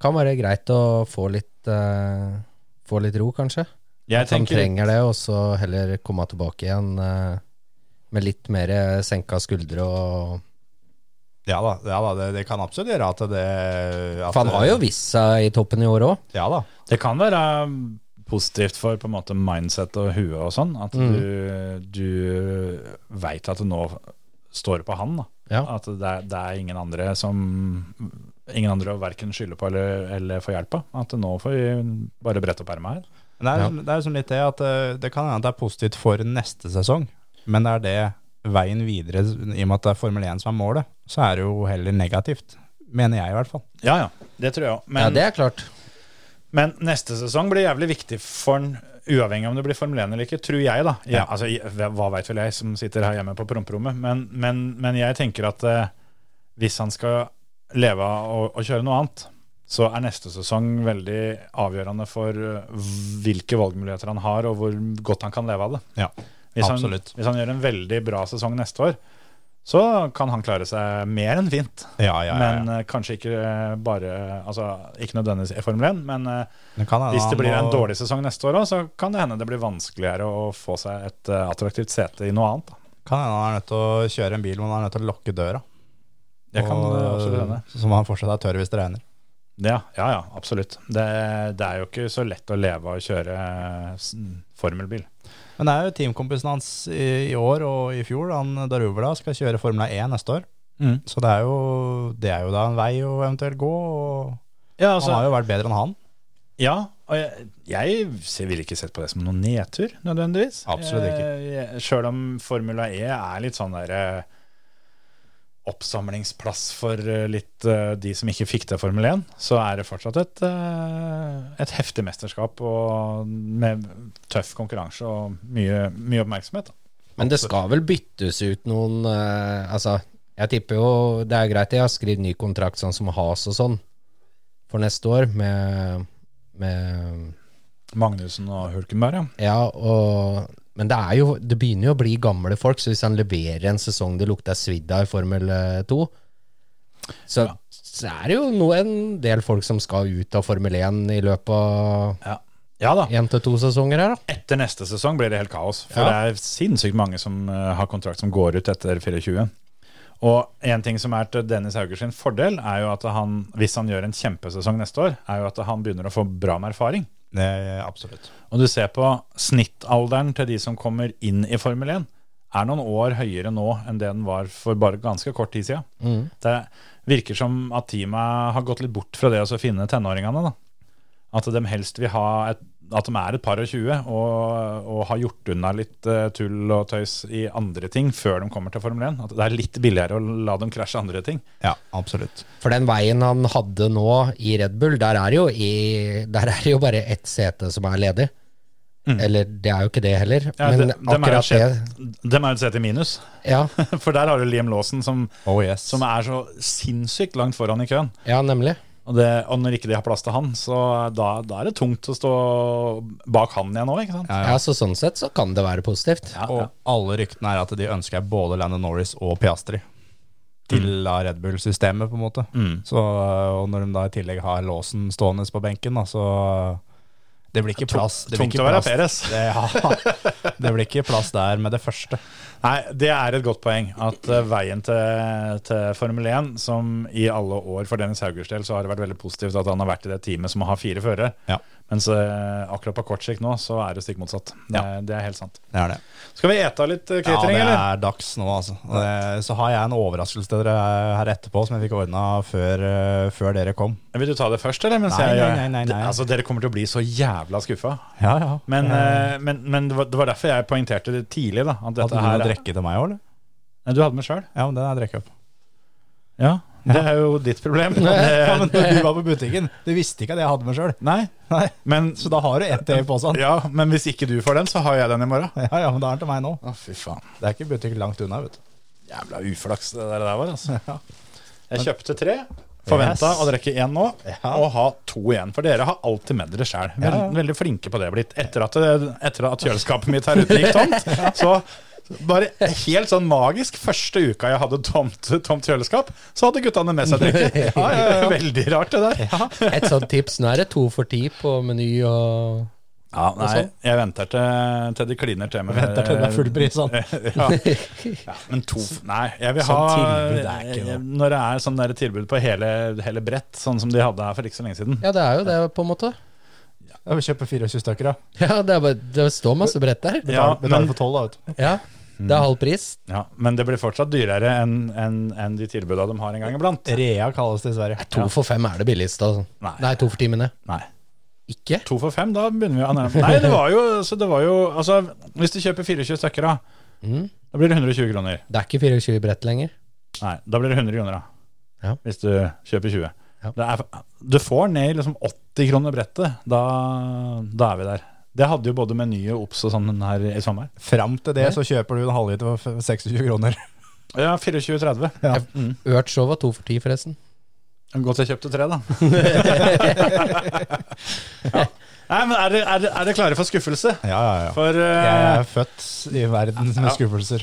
[SPEAKER 4] Kan være greit å få litt eh, Få litt ro, kanskje.
[SPEAKER 3] Jeg
[SPEAKER 4] At han
[SPEAKER 3] tenker
[SPEAKER 4] trenger det, og så heller komme tilbake igjen eh, med litt mer eh, senka skuldre og
[SPEAKER 5] Ja da, ja, da det, det kan absolutt gjøre at det at
[SPEAKER 4] For han har jo vist seg i toppen i år òg.
[SPEAKER 5] Ja da.
[SPEAKER 3] Det kan være positivt for på en måte mindset og huet og sånn, at
[SPEAKER 4] Mm.
[SPEAKER 3] du, du veit at det nå står på han. da.
[SPEAKER 4] Ja.
[SPEAKER 3] At det er, det er ingen andre som Ingen andre å verken skylde på eller, eller få hjelp av. At nå får vi bare brette opp ermet her.
[SPEAKER 5] Men det er,
[SPEAKER 4] Ja.
[SPEAKER 5] liksom- det er liksom litt det at eh, det kan hende at det er positivt for neste sesong, men det er det veien videre, i og med at det er Formel 1 som er målet, så er det jo heller negativt. Mener jeg i hvert fall.
[SPEAKER 3] Ja ja, det tror jeg òg. Men
[SPEAKER 4] ja, det er klart.
[SPEAKER 3] Men neste sesong blir jævlig viktig for han, uavhengig om det blir Formel 1 eller ikke, tror jeg, da. Ja, altså, jeg- hva veit vel jeg som sitter her hjemme på promperommet, men, men, men jeg tenker at eh, hvis han skal leve av å, å kjøre noe annet, så er neste sesong veldig avgjørende for eh, hvilke valgmuligheter han har, og hvor godt han kan leve av det.
[SPEAKER 5] Ja,
[SPEAKER 3] Hvis han,
[SPEAKER 5] absolutt.
[SPEAKER 3] hvis han gjør en veldig bra sesong neste år, så kan han klare seg mer enn fint.
[SPEAKER 5] Ja, ja, ja, ja.
[SPEAKER 3] Men eh, kanskje ikke eh, bare Altså, ikke nødvendigvis i Formel 1, men eh,
[SPEAKER 5] Det kan hende
[SPEAKER 3] hvis det
[SPEAKER 5] han
[SPEAKER 3] blir en
[SPEAKER 5] må-
[SPEAKER 3] dårlig sesong neste år òg, så kan det hende det blir vanskeligere å få seg et eh, attraktivt sete i noe annet. Da.
[SPEAKER 5] Kan hende han er nødt til å kjøre en bil, men han er nødt til å lukke døra.
[SPEAKER 3] Det kan
[SPEAKER 5] Og-
[SPEAKER 3] eh, absolutt hende.
[SPEAKER 5] Som han fortsatt er tørr hvis det regner.
[SPEAKER 3] Ja, ja, ja absolutt. Det, det er jo ikke så lett å leve av å kjøre eh, s- formelbil.
[SPEAKER 5] Men det er jo teamkompisen hans i, i år og i fjor, han Daruvla, skal kjøre Formel 1 neste år.
[SPEAKER 3] Mm.
[SPEAKER 5] Så det er, jo, det er jo da en vei å eventuelt gå. Og
[SPEAKER 3] Ja,
[SPEAKER 5] han har jo vært bedre enn han.
[SPEAKER 3] ja og jeg, jeg ser- ville ikke sett på det som noen nedtur, nødvendigvis. Eh,
[SPEAKER 5] Absolutt ikke.
[SPEAKER 3] Jeg- jeg- Sjøl om Formula E er litt sånn derre Oppsamlingsplass for eh, litt eh, de som ikke fikk til Formel 1, så er det fortsatt et, eh, et heftig mesterskap og med tøff konkurranse og mye, mye oppmerksomhet. da.
[SPEAKER 4] Men det skal vel byttes ut noen eh, Altså, jeg tipper jo Det er greit jeg har skrevet ny kontrakt sånn som Has og sånn for neste år, med, med
[SPEAKER 3] Magnussen og Hulkenberg, ja.
[SPEAKER 4] Ja, og men det, er jo, det begynner jo å bli gamle folk, så hvis han leverer en sesong det lukter svidd av i Formel 2, så, så er det jo nå en del folk som skal ut av Formel 1 i løpet av
[SPEAKER 3] Ja, ja da.
[SPEAKER 4] én til to sesonger her, da.
[SPEAKER 3] Etter neste sesong blir det helt kaos. For
[SPEAKER 4] Ja.
[SPEAKER 3] det er sinnssykt mange som eh, har kontrakt som går ut etter 24. Og en ting som er til Dennis Haugers sin fordel, er jo at han, hvis han gjør en kjempesesong neste år, er jo at han begynner å få bra med erfaring.
[SPEAKER 5] Det, absolutt.
[SPEAKER 3] Og du ser på snittalderen til de som kommer inn i Formel 1, er noen år høyere nå enn det den var for bare ganske kort tid siden.
[SPEAKER 4] Mm.
[SPEAKER 3] Det virker som at teamet har gått litt bort fra det å så finne tenåringene. Da. At de helst vil ha et, at de er et par og tjue og, og har gjort unna litt eh, tull og tøys i andre ting før de kommer til Formel 1. At det er litt billigere å la dem krasje andre ting.
[SPEAKER 5] Ja, absolutt.
[SPEAKER 4] For den veien han hadde nå i Red Bull, der er jo, i, der er jo bare ett sete som er ledig. Eller det er jo ikke det heller,
[SPEAKER 3] Mm. Ja,
[SPEAKER 4] men
[SPEAKER 3] de, de, er jo
[SPEAKER 4] akkurat det.
[SPEAKER 3] sett- de er jo et sett i minus, <laughs>
[SPEAKER 4] Ja,
[SPEAKER 3] for der har du Liam Lawson som
[SPEAKER 5] Oh yes.
[SPEAKER 3] som er så sinnssykt langt foran i køen.
[SPEAKER 4] ja, nemlig.
[SPEAKER 3] <laughs> Og, det, og når ikke de har plass til han, så da, da er det tungt å stå bak han igjen òg, ikke sant?
[SPEAKER 5] Ja, ja.
[SPEAKER 4] Ja, så sånn sett så kan det være positivt.
[SPEAKER 3] Ja,
[SPEAKER 5] og
[SPEAKER 3] ja.
[SPEAKER 5] alle ryktene er at de ønsker både Landon Norris og Piastri til
[SPEAKER 3] Mm.
[SPEAKER 5] da Red Bull-systemet, på en måte. Så, og når de da i tillegg har låsen stående på benken, da, så det blir ikke plass. Det blir
[SPEAKER 3] tungt
[SPEAKER 5] ikke
[SPEAKER 3] å være
[SPEAKER 5] plass.
[SPEAKER 3] Perez.
[SPEAKER 5] Det, <laughs> ja, det blir ikke plass der med det første.
[SPEAKER 3] Nei, det er et godt poeng at eh, veien til, til Formel 1, som i alle år for Dennis Haugers del, så har det vært veldig positivt at han har vært i det teamet som har fire førere.
[SPEAKER 5] Ja.
[SPEAKER 3] Mens eh, akkurat på kort sikt nå, så er det stikk motsatt. Det,
[SPEAKER 5] Ja.
[SPEAKER 3] det er helt sant.
[SPEAKER 5] Det er det.
[SPEAKER 3] Skal vi ete av litt eh,
[SPEAKER 5] Ja,
[SPEAKER 3] catering,
[SPEAKER 5] det
[SPEAKER 3] eller?
[SPEAKER 5] er dags nå, altså. Og det- Så har jeg en overraskelse til dere her etterpå, som jeg fikk ordna før, eh, før dere kom.
[SPEAKER 3] Vil du ta det først, eller? Mens
[SPEAKER 5] Nei,
[SPEAKER 3] jeg,
[SPEAKER 5] nei, nei, nei, nei.
[SPEAKER 3] Altså, dere kommer til å bli så jævla skuffa.
[SPEAKER 5] Ja, ja.
[SPEAKER 3] Men, eh, men, men det, var, det var derfor jeg poengterte det tidlig. da at dette
[SPEAKER 5] Hadde du noe å
[SPEAKER 3] her,
[SPEAKER 5] drikke til meg òg, eller?
[SPEAKER 3] Nei, Du hadde med sjøl?
[SPEAKER 5] Ja, men den har jeg drukket opp.
[SPEAKER 3] Ja. Det er jo ditt problem.
[SPEAKER 5] <laughs> Ja,
[SPEAKER 3] Det, <laughs>
[SPEAKER 5] men når du var på butikken, du visste ikke at jeg hadde meg sjøl.
[SPEAKER 3] nei,
[SPEAKER 5] <laughs> Nei,
[SPEAKER 3] men,
[SPEAKER 5] så da har du ett til i posen.
[SPEAKER 3] ja, men hvis ikke du får den, så har jeg den i morgen.
[SPEAKER 5] Ja, ja, men da er den til meg nå.
[SPEAKER 3] Å, fy faen.
[SPEAKER 5] Det er ikke butikk langt unna, vet du.
[SPEAKER 3] Jævla uflaks det der, det der var. altså Jeg kjøpte tre. Forventa
[SPEAKER 5] Yes.
[SPEAKER 3] å drikke én nå,
[SPEAKER 5] Ja.
[SPEAKER 3] og ha to igjen. For dere har alltid med dere sjæl. Vel,
[SPEAKER 5] Ja, ja.
[SPEAKER 3] Veldig flinke på det blitt. Etter at, det- etter at kjøleskapet mitt her ute gikk
[SPEAKER 5] <laughs>
[SPEAKER 3] tomt, så bare helt sånn magisk Første uka jeg hadde tomt, tomt kjøleskap, så hadde guttene med seg drikke.
[SPEAKER 5] <laughs>
[SPEAKER 3] Ja, ja, ja. Veldig rart, det der. Ja.
[SPEAKER 4] Et sånt tips. Nå er det to for ti på Meny og
[SPEAKER 3] Ja, nei,
[SPEAKER 4] sånn.
[SPEAKER 3] jeg venter til, til de kliner til meg.
[SPEAKER 5] Venter til det er full pris,
[SPEAKER 3] eh.
[SPEAKER 5] sånn.
[SPEAKER 3] <laughs> ja. ja, men to Nei, jeg vil ha
[SPEAKER 5] Sånn tilbud er ikke noe.
[SPEAKER 3] Når det er sånn der tilbud på hele, hele brett, sånn som de hadde her for ikke så lenge siden.
[SPEAKER 4] Ja, det er jo det, på en måte.
[SPEAKER 5] Ja, vi kjøper 24 stykker, da.
[SPEAKER 4] Ja, Det, er bare, det står masse brett der.
[SPEAKER 3] Ja,
[SPEAKER 5] Betaler, betaler
[SPEAKER 3] men-
[SPEAKER 5] for 12, da, vet du.
[SPEAKER 4] Ja, Det er halv pris.
[SPEAKER 3] Ja, men det blir fortsatt dyrere enn enn- enn de tilbudene de har en gang iblant.
[SPEAKER 5] Rea kalles det i Sverige.
[SPEAKER 4] To for fem er det billigste. Altså.
[SPEAKER 3] Nei.
[SPEAKER 4] Nei, to for timene.
[SPEAKER 3] Nei.
[SPEAKER 4] Ikke?
[SPEAKER 3] To for fem, da begynner vi å nærme Nei, det var jo, så det var jo Altså, hvis du kjøper 24 stykker, da,
[SPEAKER 4] Mm.
[SPEAKER 3] da blir det 120 kroner.
[SPEAKER 4] Det er ikke 24 brett lenger.
[SPEAKER 3] Nei, da blir det 100 kroner, da.
[SPEAKER 4] Ja.
[SPEAKER 3] Hvis du kjøper 20. Det er, du får ned liksom 80 kroner brettet. Da, da er vi der. Det hadde jo både Meny og Ops og sånn her i sommer.
[SPEAKER 5] Fram til det så kjøper du en halvliter for f- 26 kroner.
[SPEAKER 3] Ja, 24,30.
[SPEAKER 5] Ja.
[SPEAKER 3] Mm.
[SPEAKER 4] Ørt show var to for ti, forresten.
[SPEAKER 3] Godt jeg kjøpte
[SPEAKER 5] <laughs>
[SPEAKER 3] tre, da. ja. Nei, men er dere er det, er det klare for skuffelse?
[SPEAKER 5] Ja, ja, ja.
[SPEAKER 3] For eh,
[SPEAKER 5] Jeg er født i verden med skuffelser.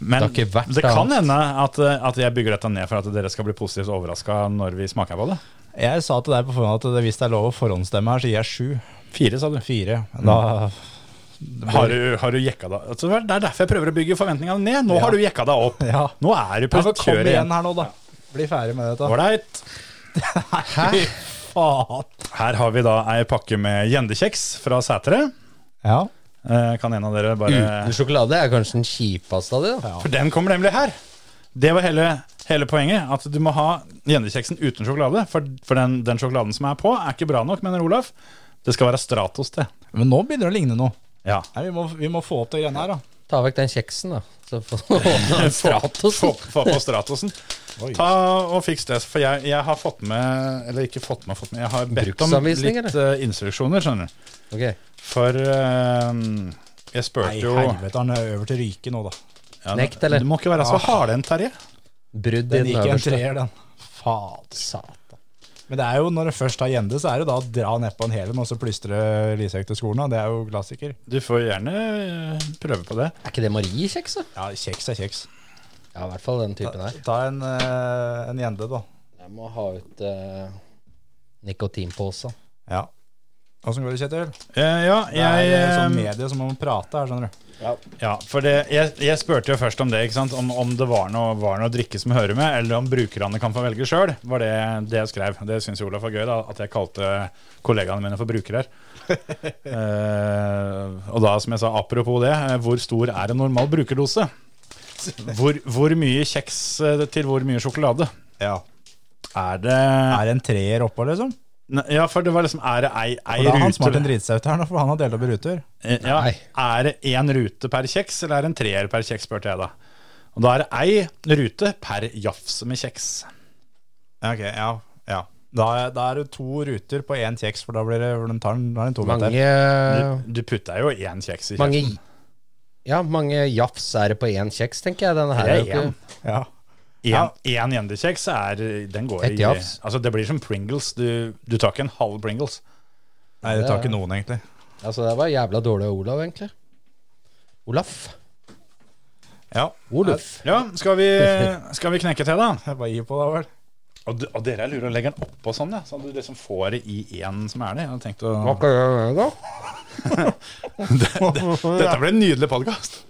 [SPEAKER 3] Men
[SPEAKER 4] Det har ikke vært
[SPEAKER 3] det kan
[SPEAKER 4] annet.
[SPEAKER 3] hende at, eh, at jeg bygger dette ned for at dere skal bli positivt overraska når vi smaker på det.
[SPEAKER 5] Jeg sa til deg på forhånd at det- hvis det er lov å forhåndsstemme her, så gir jeg sju.
[SPEAKER 3] Fire, sa du.
[SPEAKER 5] Fire. Da
[SPEAKER 3] Har du, har du jekka deg altså, Det er derfor jeg prøver å bygge forventningene ned. Nå har du jekka deg opp.
[SPEAKER 5] Ja.
[SPEAKER 3] Nå er du på
[SPEAKER 5] Ja, men Kom
[SPEAKER 3] kjøret
[SPEAKER 5] igjen
[SPEAKER 3] igjen.
[SPEAKER 5] her nå, da. Bli ferdig med dette. <laughs>
[SPEAKER 3] Ålreit.
[SPEAKER 5] Hæ? Faen.
[SPEAKER 3] Her har vi da ei pakke med gjendekjeks fra Sætre.
[SPEAKER 5] Ja.
[SPEAKER 3] Eh, Kan en av dere bare
[SPEAKER 4] Uten sjokolade er kanskje den kjipeste av de, da.
[SPEAKER 3] For den kommer nemlig her. Det var hele, hele poenget. At du må ha gjendekjeksen uten sjokolade. For, for den, den sjokoladen som er på, er ikke bra nok, mener Olaf. Det skal være Stratos til.
[SPEAKER 5] Men nå begynner det å ligne noe.
[SPEAKER 3] Ja.
[SPEAKER 5] Nei, vi, må, vi må få opp det greiene her, da.
[SPEAKER 4] Ta vekk den kjeksen, da. Så <laughs> får Stratos.
[SPEAKER 3] Få, få på
[SPEAKER 5] <laughs>
[SPEAKER 3] Stratosen. Ta og fiks det. For jeg, jeg har fått med Eller ikke fått med, fått med jeg har bedt om
[SPEAKER 4] Bruksanvisning,
[SPEAKER 3] litt eh, instruksjoner, skjønner du.
[SPEAKER 4] Ok.
[SPEAKER 3] For eh, jeg spurte
[SPEAKER 5] Nei,
[SPEAKER 3] jo
[SPEAKER 5] helvete, han er over til Ryke nå, da. Ah.
[SPEAKER 3] ja,
[SPEAKER 4] Knekt, eller?
[SPEAKER 3] Du må ikke være så hardendt, Terje.
[SPEAKER 4] Brudd i
[SPEAKER 5] Den
[SPEAKER 4] den
[SPEAKER 5] gikk i en
[SPEAKER 4] øverste.
[SPEAKER 5] treer, den. Fader.
[SPEAKER 4] Satan.
[SPEAKER 5] Men det er jo når det først har gjende, så er det jo da å dra nedpå en hel en og så plystre Lisek til skolen. da. Det er jo klassiker.
[SPEAKER 3] Du får gjerne eh, prøve på det.
[SPEAKER 4] Er ikke det Marie-kjeks, da?
[SPEAKER 5] Ja, kjeks er kjeks.
[SPEAKER 4] Ja, i hvert fall den typen her.
[SPEAKER 5] Ta en, eh, en gjende, da.
[SPEAKER 4] Jeg må ha ut uh, nikotinposen.
[SPEAKER 5] Ja. Åssen går det, Kjetil?
[SPEAKER 3] Eh, ja,
[SPEAKER 5] Det er
[SPEAKER 3] jeg
[SPEAKER 5] eh, sånn
[SPEAKER 3] eh,
[SPEAKER 5] medie som man må prate her, skjønner du.
[SPEAKER 3] Ja, for det, jeg, jeg spurte jo først om det, ikke sant? Om, om det var noe, var noe drikke som hører med, eller om brukerne kan få velge sjøl, var det, det jeg skrev. Det syns Olaf var gøy, da, at jeg kalte kollegaene mine for brukere. eh, og da, som jeg sa, apropos det, eh, hvor stor er en normal brukerdose? Hvor, hvor mye kjeks eh, til hvor mye sjokolade?
[SPEAKER 5] Ja.
[SPEAKER 3] Er det
[SPEAKER 5] Er det en treer oppå, liksom?
[SPEAKER 3] Nei, Ja, for det var liksom Er det ei, ei
[SPEAKER 5] Og da har han smart en
[SPEAKER 3] rute?
[SPEAKER 5] dritsaut her, nå, for han har delt opp i ruter.
[SPEAKER 3] Eh, Ja,
[SPEAKER 4] Nei.
[SPEAKER 3] er det én rute per kjeks, eller er det en treer per kjeks, spurte jeg da. Og da er det ei rute per jafs med kjeks.
[SPEAKER 5] Ja, ok, ja, ja. Da, er- da er det to ruter på én kjeks, for da blir det, den tar den, da er den to meter.
[SPEAKER 4] Mange, eh,
[SPEAKER 3] Du, du putta jo én kjeks i kjeksen.
[SPEAKER 4] mange Ja, mange jafs er det på én kjeks, tenker jeg. Denne her
[SPEAKER 3] Det
[SPEAKER 4] er
[SPEAKER 3] er
[SPEAKER 4] jo
[SPEAKER 3] én.
[SPEAKER 4] ikke
[SPEAKER 5] Ja.
[SPEAKER 3] Én én gjendekjeks er Den går
[SPEAKER 4] Et
[SPEAKER 3] i
[SPEAKER 4] jafs.
[SPEAKER 3] Altså, det blir som Pringles. Du, du tar ikke en halv Pringles.
[SPEAKER 5] Nei, det tar ikke noen, egentlig.
[SPEAKER 4] Altså, det var jævla dårlig av Olav, egentlig. Olaf.
[SPEAKER 5] Ja.
[SPEAKER 4] Oluf.
[SPEAKER 3] Ja, skal vi, skal vi knekke til, da?
[SPEAKER 5] Jeg bare gir på, da vel.
[SPEAKER 3] Og, d- og dere er lure og legger den oppå sånn, ja. Sånn at du liksom får det i én som er det. Jeg hadde tenkt å
[SPEAKER 4] Hva kan jeg
[SPEAKER 3] <laughs>
[SPEAKER 4] gjøre da?
[SPEAKER 3] Dette blir en nydelig podkast.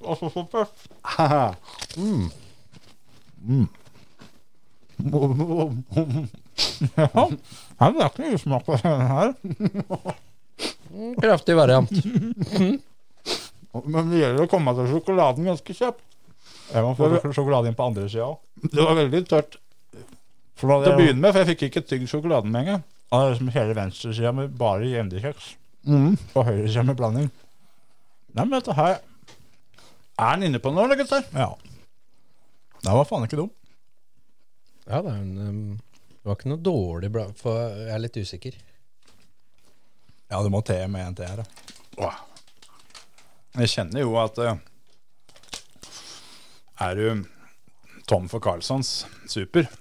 [SPEAKER 5] Nei, det er ikke mye smak på den her.
[SPEAKER 4] Kraftig variant.
[SPEAKER 3] Men det gjelder å komme til sjokoladen ganske kjapt.
[SPEAKER 5] Jeg må få sjok- sjokolade inn på andre sida òg.
[SPEAKER 3] Det var veldig tørt til å begynne med, for jeg fikk ikke tygd sjokoladen med en gang.
[SPEAKER 5] Det er liksom hele venstresida med bare MD-kjeks.
[SPEAKER 3] Mm.
[SPEAKER 5] Og høyresida med blanding. Nei, men dette her
[SPEAKER 3] Er den inne på noe, eller gutter?
[SPEAKER 5] Ja. Den var faen ikke dum.
[SPEAKER 4] Ja, det, er en, um, det var ikke noe dårlig bra, for jeg er litt usikker.
[SPEAKER 5] Ja, du må te med en te her, da.
[SPEAKER 3] Jeg kjenner jo at eh, er du tom for Carlsons super,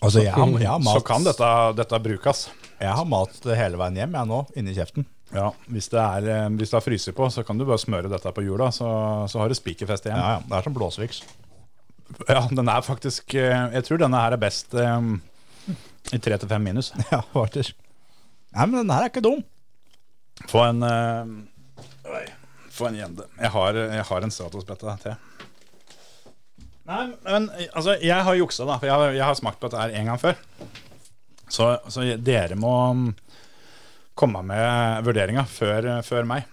[SPEAKER 5] Altså, jeg har, jeg har mat
[SPEAKER 3] så kan dette, dette brukes.
[SPEAKER 5] Jeg har mat hele veien hjem, jeg nå, inni kjeften.
[SPEAKER 3] Ja, hvis det, er, eh, hvis det er fryser på, så kan du bare smøre dette på hjula, så, så har du spikerfest igjen.
[SPEAKER 5] Ja, ja, Det er som blåsviks.
[SPEAKER 3] Ja, den er faktisk eh, Jeg tror denne her er best eh, i tre til fem minus.
[SPEAKER 5] <laughs> Ja, faktisk. Nei, men den her er ikke dum.
[SPEAKER 3] Få en eh, Oi. Få en gjende. Jeg har, jeg har en Stratos-brette til. Nei, men altså, jeg har juksa, da. For jeg, har- jeg har smakt på dette her en gang før. Så, så dere må mm, komme med vurderinga før, før meg.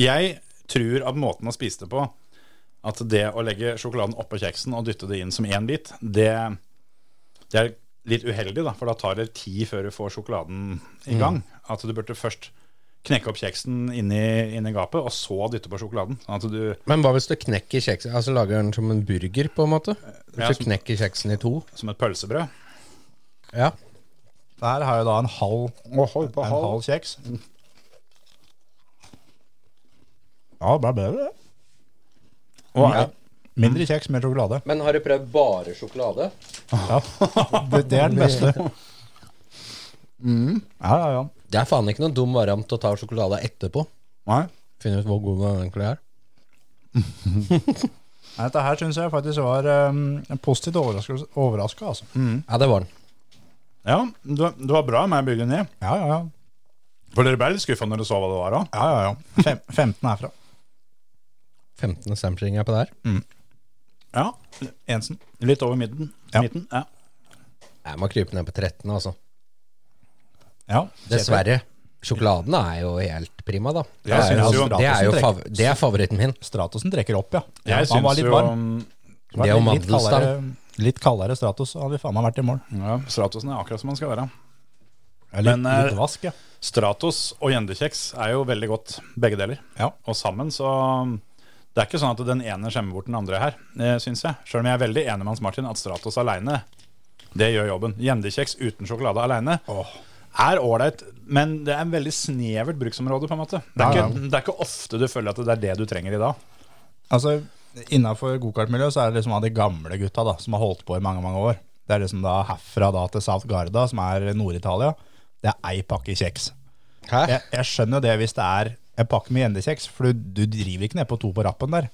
[SPEAKER 3] Jeg tror at måten å spise det på At det å legge sjokoladen oppå kjeksen og dytte det inn som én bit, det, det er litt uheldig, da, for da tar det tid før du får sjokoladen i gang. At du burde først knekke opp kjeksen inni, inni gapet, og så dytte på sjokoladen. Sånn at du
[SPEAKER 4] Men hva hvis du knekker kjeksen? Altså lager den som en burger, på en måte?
[SPEAKER 3] Ja,
[SPEAKER 4] Hvis du
[SPEAKER 3] som-
[SPEAKER 4] knekker kjeksen i to?
[SPEAKER 3] Som et pølsebrød.
[SPEAKER 4] Ja.
[SPEAKER 5] Der har jeg da en halv,
[SPEAKER 3] Hold på
[SPEAKER 5] en
[SPEAKER 3] halv.
[SPEAKER 5] halv kjeks. Ja, det ble bedre. det.
[SPEAKER 3] Hva er det?
[SPEAKER 5] Mindre kjeks, mer sjokolade.
[SPEAKER 4] Men har du prøvd bare sjokolade?
[SPEAKER 5] Ja. Det, det er den <laughs> beste. Ja, ja, ja.
[SPEAKER 4] Det er faen ikke noen dum variant å ta sjokolade etterpå.
[SPEAKER 5] Nei.
[SPEAKER 4] Finne ut hvor god den egentlig er.
[SPEAKER 5] Nei, Dette her syns jeg faktisk var um, en positivt overraskelse, overraska, altså.
[SPEAKER 4] Ja, det var den.
[SPEAKER 3] Ja, det var- det var bra med bygge ned.
[SPEAKER 5] Ja, ja, ja.
[SPEAKER 3] For dere ble litt skuffa når dere så hva det var òg.
[SPEAKER 5] ja, ja, ja. Fem, 15 herfra.
[SPEAKER 4] 15. samstring er på der.
[SPEAKER 3] Ja.
[SPEAKER 5] Ensen.
[SPEAKER 3] Litt over midten. midten. Ja.
[SPEAKER 4] Jeg må krype ned på 13, altså.
[SPEAKER 5] Ja.
[SPEAKER 4] Dessverre. Sjokoladen er jo helt prima, da. Det
[SPEAKER 3] Jeg
[SPEAKER 4] er
[SPEAKER 3] synes
[SPEAKER 4] jo,
[SPEAKER 3] jo-
[SPEAKER 4] det er jo fav det er favoritten min.
[SPEAKER 5] Stratosen trekker opp, ja.
[SPEAKER 3] Jeg
[SPEAKER 5] han var
[SPEAKER 3] syns
[SPEAKER 5] litt
[SPEAKER 3] jo
[SPEAKER 5] varm.
[SPEAKER 4] Det er jo
[SPEAKER 5] Litt kaldere-
[SPEAKER 4] mandelstang.
[SPEAKER 5] Litt kaldere Stratos hadde vi faen meg vært i mål.
[SPEAKER 3] ja, Stratosen er akkurat som den skal være.
[SPEAKER 5] Ja, litt,
[SPEAKER 3] Men, eh,
[SPEAKER 5] litt vask, ja.
[SPEAKER 3] Stratos og gjendekjeks er jo veldig godt, begge deler.
[SPEAKER 5] Ja.
[SPEAKER 3] Og sammen, så Det er ikke sånn at den ene skjemmer bort den andre her, eh, syns jeg. Sjøl om jeg er veldig enig med Hans Martin at Stratos aleine, det gjør jobben. Gjendekjeks uten sjokolade aleine er ålreit, men det er en veldig snevert bruksområde, på en måte. Det er,
[SPEAKER 5] Ja,
[SPEAKER 3] ikke, det er ikke ofte du føler at det er det du trenger i dag.
[SPEAKER 5] Altså, Innafor gokartmiljøet så er det liksom av de gamle gutta da, som har holdt på i mange mange år. Det er liksom da herfra da til South Garda, som er Nord-Italia. Det er ei pakke kjeks.
[SPEAKER 4] Hæ?
[SPEAKER 5] Jeg, jeg skjønner det hvis det er en pakke med gjendekjeks, for du, du driver ikke ned på to på rappen der.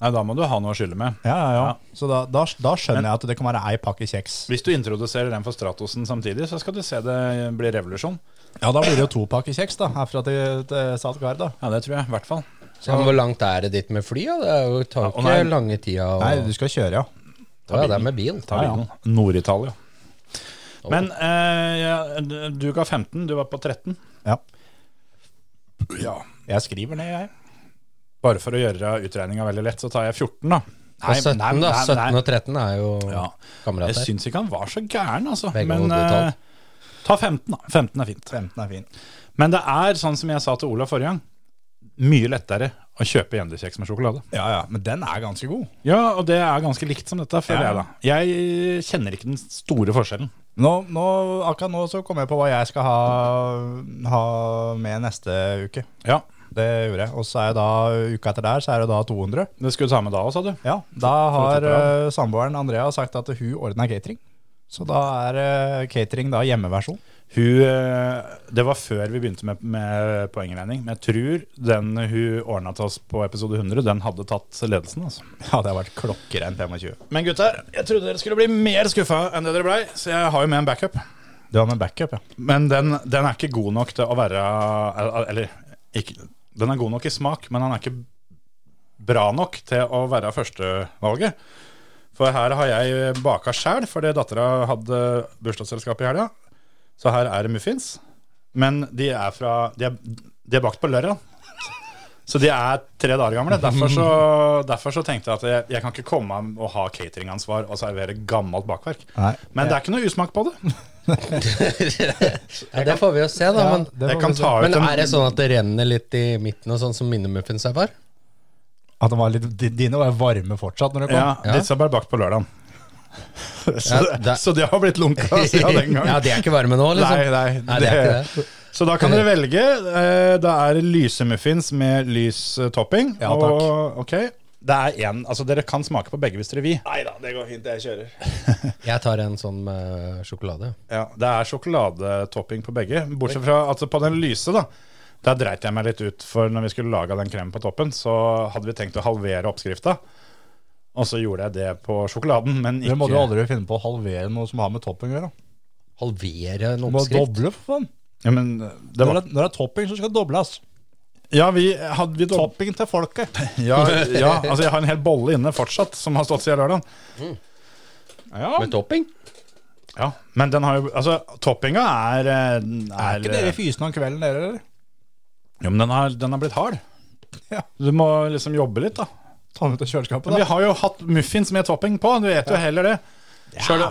[SPEAKER 3] Nei, da må du ha noe å skylde med.
[SPEAKER 5] Ja, ja, ja.
[SPEAKER 3] Ja.
[SPEAKER 5] Så da, da, da skjønner jeg at det kan være ei pakke kjeks.
[SPEAKER 3] Hvis du introduserer den for Stratosen samtidig, så skal du se det bli revolusjon.
[SPEAKER 5] Ja, da blir det jo to pakker kjeks da, herfra til, til South Garda.
[SPEAKER 3] Ja, det tror jeg. I hvert fall.
[SPEAKER 4] Ja, men hvor langt er det dit med fly? Da? Det er jo, tar jo
[SPEAKER 3] Ja, og
[SPEAKER 4] ikke
[SPEAKER 3] nei.
[SPEAKER 4] lange tida. Og,
[SPEAKER 5] Nei, du skal kjøre, ja.
[SPEAKER 4] Å ja, det er med bil.
[SPEAKER 3] Ta bilen. Nord-Italia. Men eh, ja, du ga 15, du var på 13.
[SPEAKER 5] ja.
[SPEAKER 3] Ja.
[SPEAKER 5] Jeg skriver ned, jeg.
[SPEAKER 3] Bare for å gjøre utregninga veldig lett, så tar jeg 14, da.
[SPEAKER 4] Og 17, da. 17 og 13 er jo
[SPEAKER 3] Ja. Jeg
[SPEAKER 4] kamerater.
[SPEAKER 3] syns ikke han var så gæren, altså.
[SPEAKER 4] Begge
[SPEAKER 3] Men
[SPEAKER 4] var gode tall.
[SPEAKER 3] eh, ta 15, da. 15 er fint.
[SPEAKER 5] 15 er fin.
[SPEAKER 3] Men det er, sånn som jeg sa til Olav forrige gang, mye lettere å kjøpe gjendekjeks med sjokolade.
[SPEAKER 5] Ja, ja, men den er ganske god.
[SPEAKER 3] Ja, og det er ganske likt som dette, føler
[SPEAKER 5] Ja.
[SPEAKER 3] jeg, da. Jeg kjenner ikke den store forskjellen.
[SPEAKER 5] Nå, nå, akkurat nå så kom jeg på hva jeg skal ha, ha med neste uke.
[SPEAKER 3] Ja,
[SPEAKER 5] Det gjorde jeg. Og så er det da uka etter der, så er det da 200.
[SPEAKER 3] Det skulle du ta med da òg, sa du?
[SPEAKER 5] Ja, da har
[SPEAKER 3] For å toppe
[SPEAKER 5] eh, samboeren Andrea sagt at hun ordner catering. Så da er eh, catering da hjemmeversjon.
[SPEAKER 3] Hun, eh, det var før vi begynte med, med poengregning, men jeg tror den hun ordna til oss på episode 100, den hadde tatt ledelsen. altså.
[SPEAKER 5] Ja, det har vært klokkerein 25.
[SPEAKER 3] Men gutter, jeg trodde dere skulle bli mer skuffa enn det dere blei, så jeg har jo med en backup.
[SPEAKER 5] Du har med backup, ja.
[SPEAKER 3] Men den, den er ikke god nok til å være el- Eller ikke, den er god nok i smak, men den er ikke bra nok til å være førstevalget. For her har jeg baka sjæl, fordi dattera hadde bursdagsselskap i helga. Så her er det muffins. Men de er fra De er, de er bakt på lørdag. Så de er tre dager gamle. Derfor så,
[SPEAKER 5] <laughs>
[SPEAKER 3] derfor så tenkte jeg at jeg, jeg kan ikke komme og ha cateringansvar og servere gammelt bakverk.
[SPEAKER 5] Nei.
[SPEAKER 3] Men det er ikke noe usmak på det.
[SPEAKER 4] Ja, det får vi jo se, da. Men,
[SPEAKER 5] det
[SPEAKER 3] Jeg
[SPEAKER 5] får
[SPEAKER 3] kan
[SPEAKER 5] vi se.
[SPEAKER 3] ta ut
[SPEAKER 4] men
[SPEAKER 3] en
[SPEAKER 4] er det sånn at det renner litt i midten, og sånn som mine
[SPEAKER 5] <laughs>
[SPEAKER 4] muffins er for?
[SPEAKER 5] <laughs> At det var litt, di- dine var varme fortsatt når det kom.
[SPEAKER 3] Ja,
[SPEAKER 4] Ja.
[SPEAKER 3] disse ble bakt på lørdagen. <laughs> så,
[SPEAKER 4] Ja, det-
[SPEAKER 3] så de har blitt
[SPEAKER 5] <laughs>
[SPEAKER 3] lunka siden den gang.
[SPEAKER 4] ja, de er ikke varme nå,
[SPEAKER 3] Nei,
[SPEAKER 4] liksom?
[SPEAKER 3] nei,
[SPEAKER 4] Nei, det er ikke det.
[SPEAKER 3] Så da kan dere velge. Eh, Da er det lyse muffins med lys eh, topping.
[SPEAKER 5] Ja, takk.
[SPEAKER 3] Og, ok. Det er en, altså Dere kan smake på begge hvis dere vil.
[SPEAKER 4] Jeg tar en sånn med sjokolade.
[SPEAKER 3] Ja, det er sjokoladetopping på begge. Bortsett fra at på den lyse, da. Der dreit jeg meg litt ut, for når vi skulle lage den kremen på toppen, så hadde vi tenkt å halvere oppskrifta. Og så gjorde jeg det på sjokoladen, men
[SPEAKER 5] Det
[SPEAKER 3] ikke
[SPEAKER 5] må du aldri finne på å halvere noe som har med topping å gjøre.
[SPEAKER 4] Halvere en
[SPEAKER 5] Du må
[SPEAKER 4] oppskrift.
[SPEAKER 5] doble, for faen.
[SPEAKER 3] ja, men det
[SPEAKER 5] Når
[SPEAKER 3] var,
[SPEAKER 5] det, når det er topping, så skal det dobles.
[SPEAKER 3] ja, vi hadde vi dobbelt-
[SPEAKER 5] Topping til folket.
[SPEAKER 3] Ja, ja, <laughs> altså jeg har en hel bolle inne fortsatt som har stått siden lørdagen. Ja,
[SPEAKER 4] Med topping?
[SPEAKER 3] ja, men den har jo Altså, toppinga er eh,
[SPEAKER 5] Er ikke dere fysene om kvelden, dere? eller?
[SPEAKER 3] Jo, men den har, den har blitt hard.
[SPEAKER 5] Ja.
[SPEAKER 3] Du må liksom jobbe litt, da.
[SPEAKER 5] Ta den ut av kjøleskapet,
[SPEAKER 3] Men vi
[SPEAKER 5] da.
[SPEAKER 3] har jo hatt muffins med topping på. Du vet jo heller det. Sjøl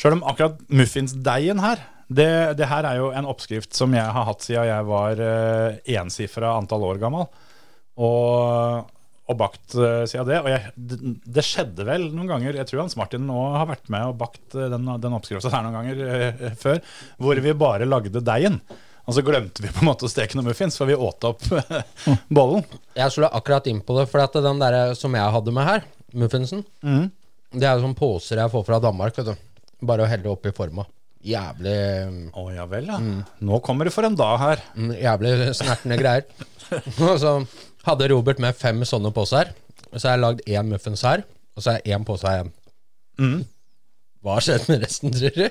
[SPEAKER 3] sjøl om akkurat muffinsdeigen her det, det her er jo en oppskrift som jeg har hatt siden jeg var eh, ensifra antall år gammel. Og, og bakt eh, siden det. Og jeg, det, det skjedde vel noen ganger, jeg tror Hans Martin nå har vært med og bakt eh, den, den oppskrifta her noen ganger eh, før, hvor vi bare lagde deigen. Og så glemte vi på en måte å steke noen muffins, for vi åt opp <laughs> bollen.
[SPEAKER 4] Jeg slo akkurat inn på det, for at den der som jeg hadde med her, muffinsen,
[SPEAKER 5] Mm.
[SPEAKER 4] det er jo sånne poser jeg får fra Danmark, vet du. Bare å helle oppi forma. Jævlig
[SPEAKER 3] Å ja vel, ja. Nå kommer det for en dag her.
[SPEAKER 4] mm, Jævlig snertne
[SPEAKER 3] <laughs>
[SPEAKER 4] greier. Og så hadde Robert med fem sånne poser. Så har jeg lagd én muffins her, og så er én pose her igjen.
[SPEAKER 3] Mm.
[SPEAKER 4] Hva har skjedd med resten, tror du?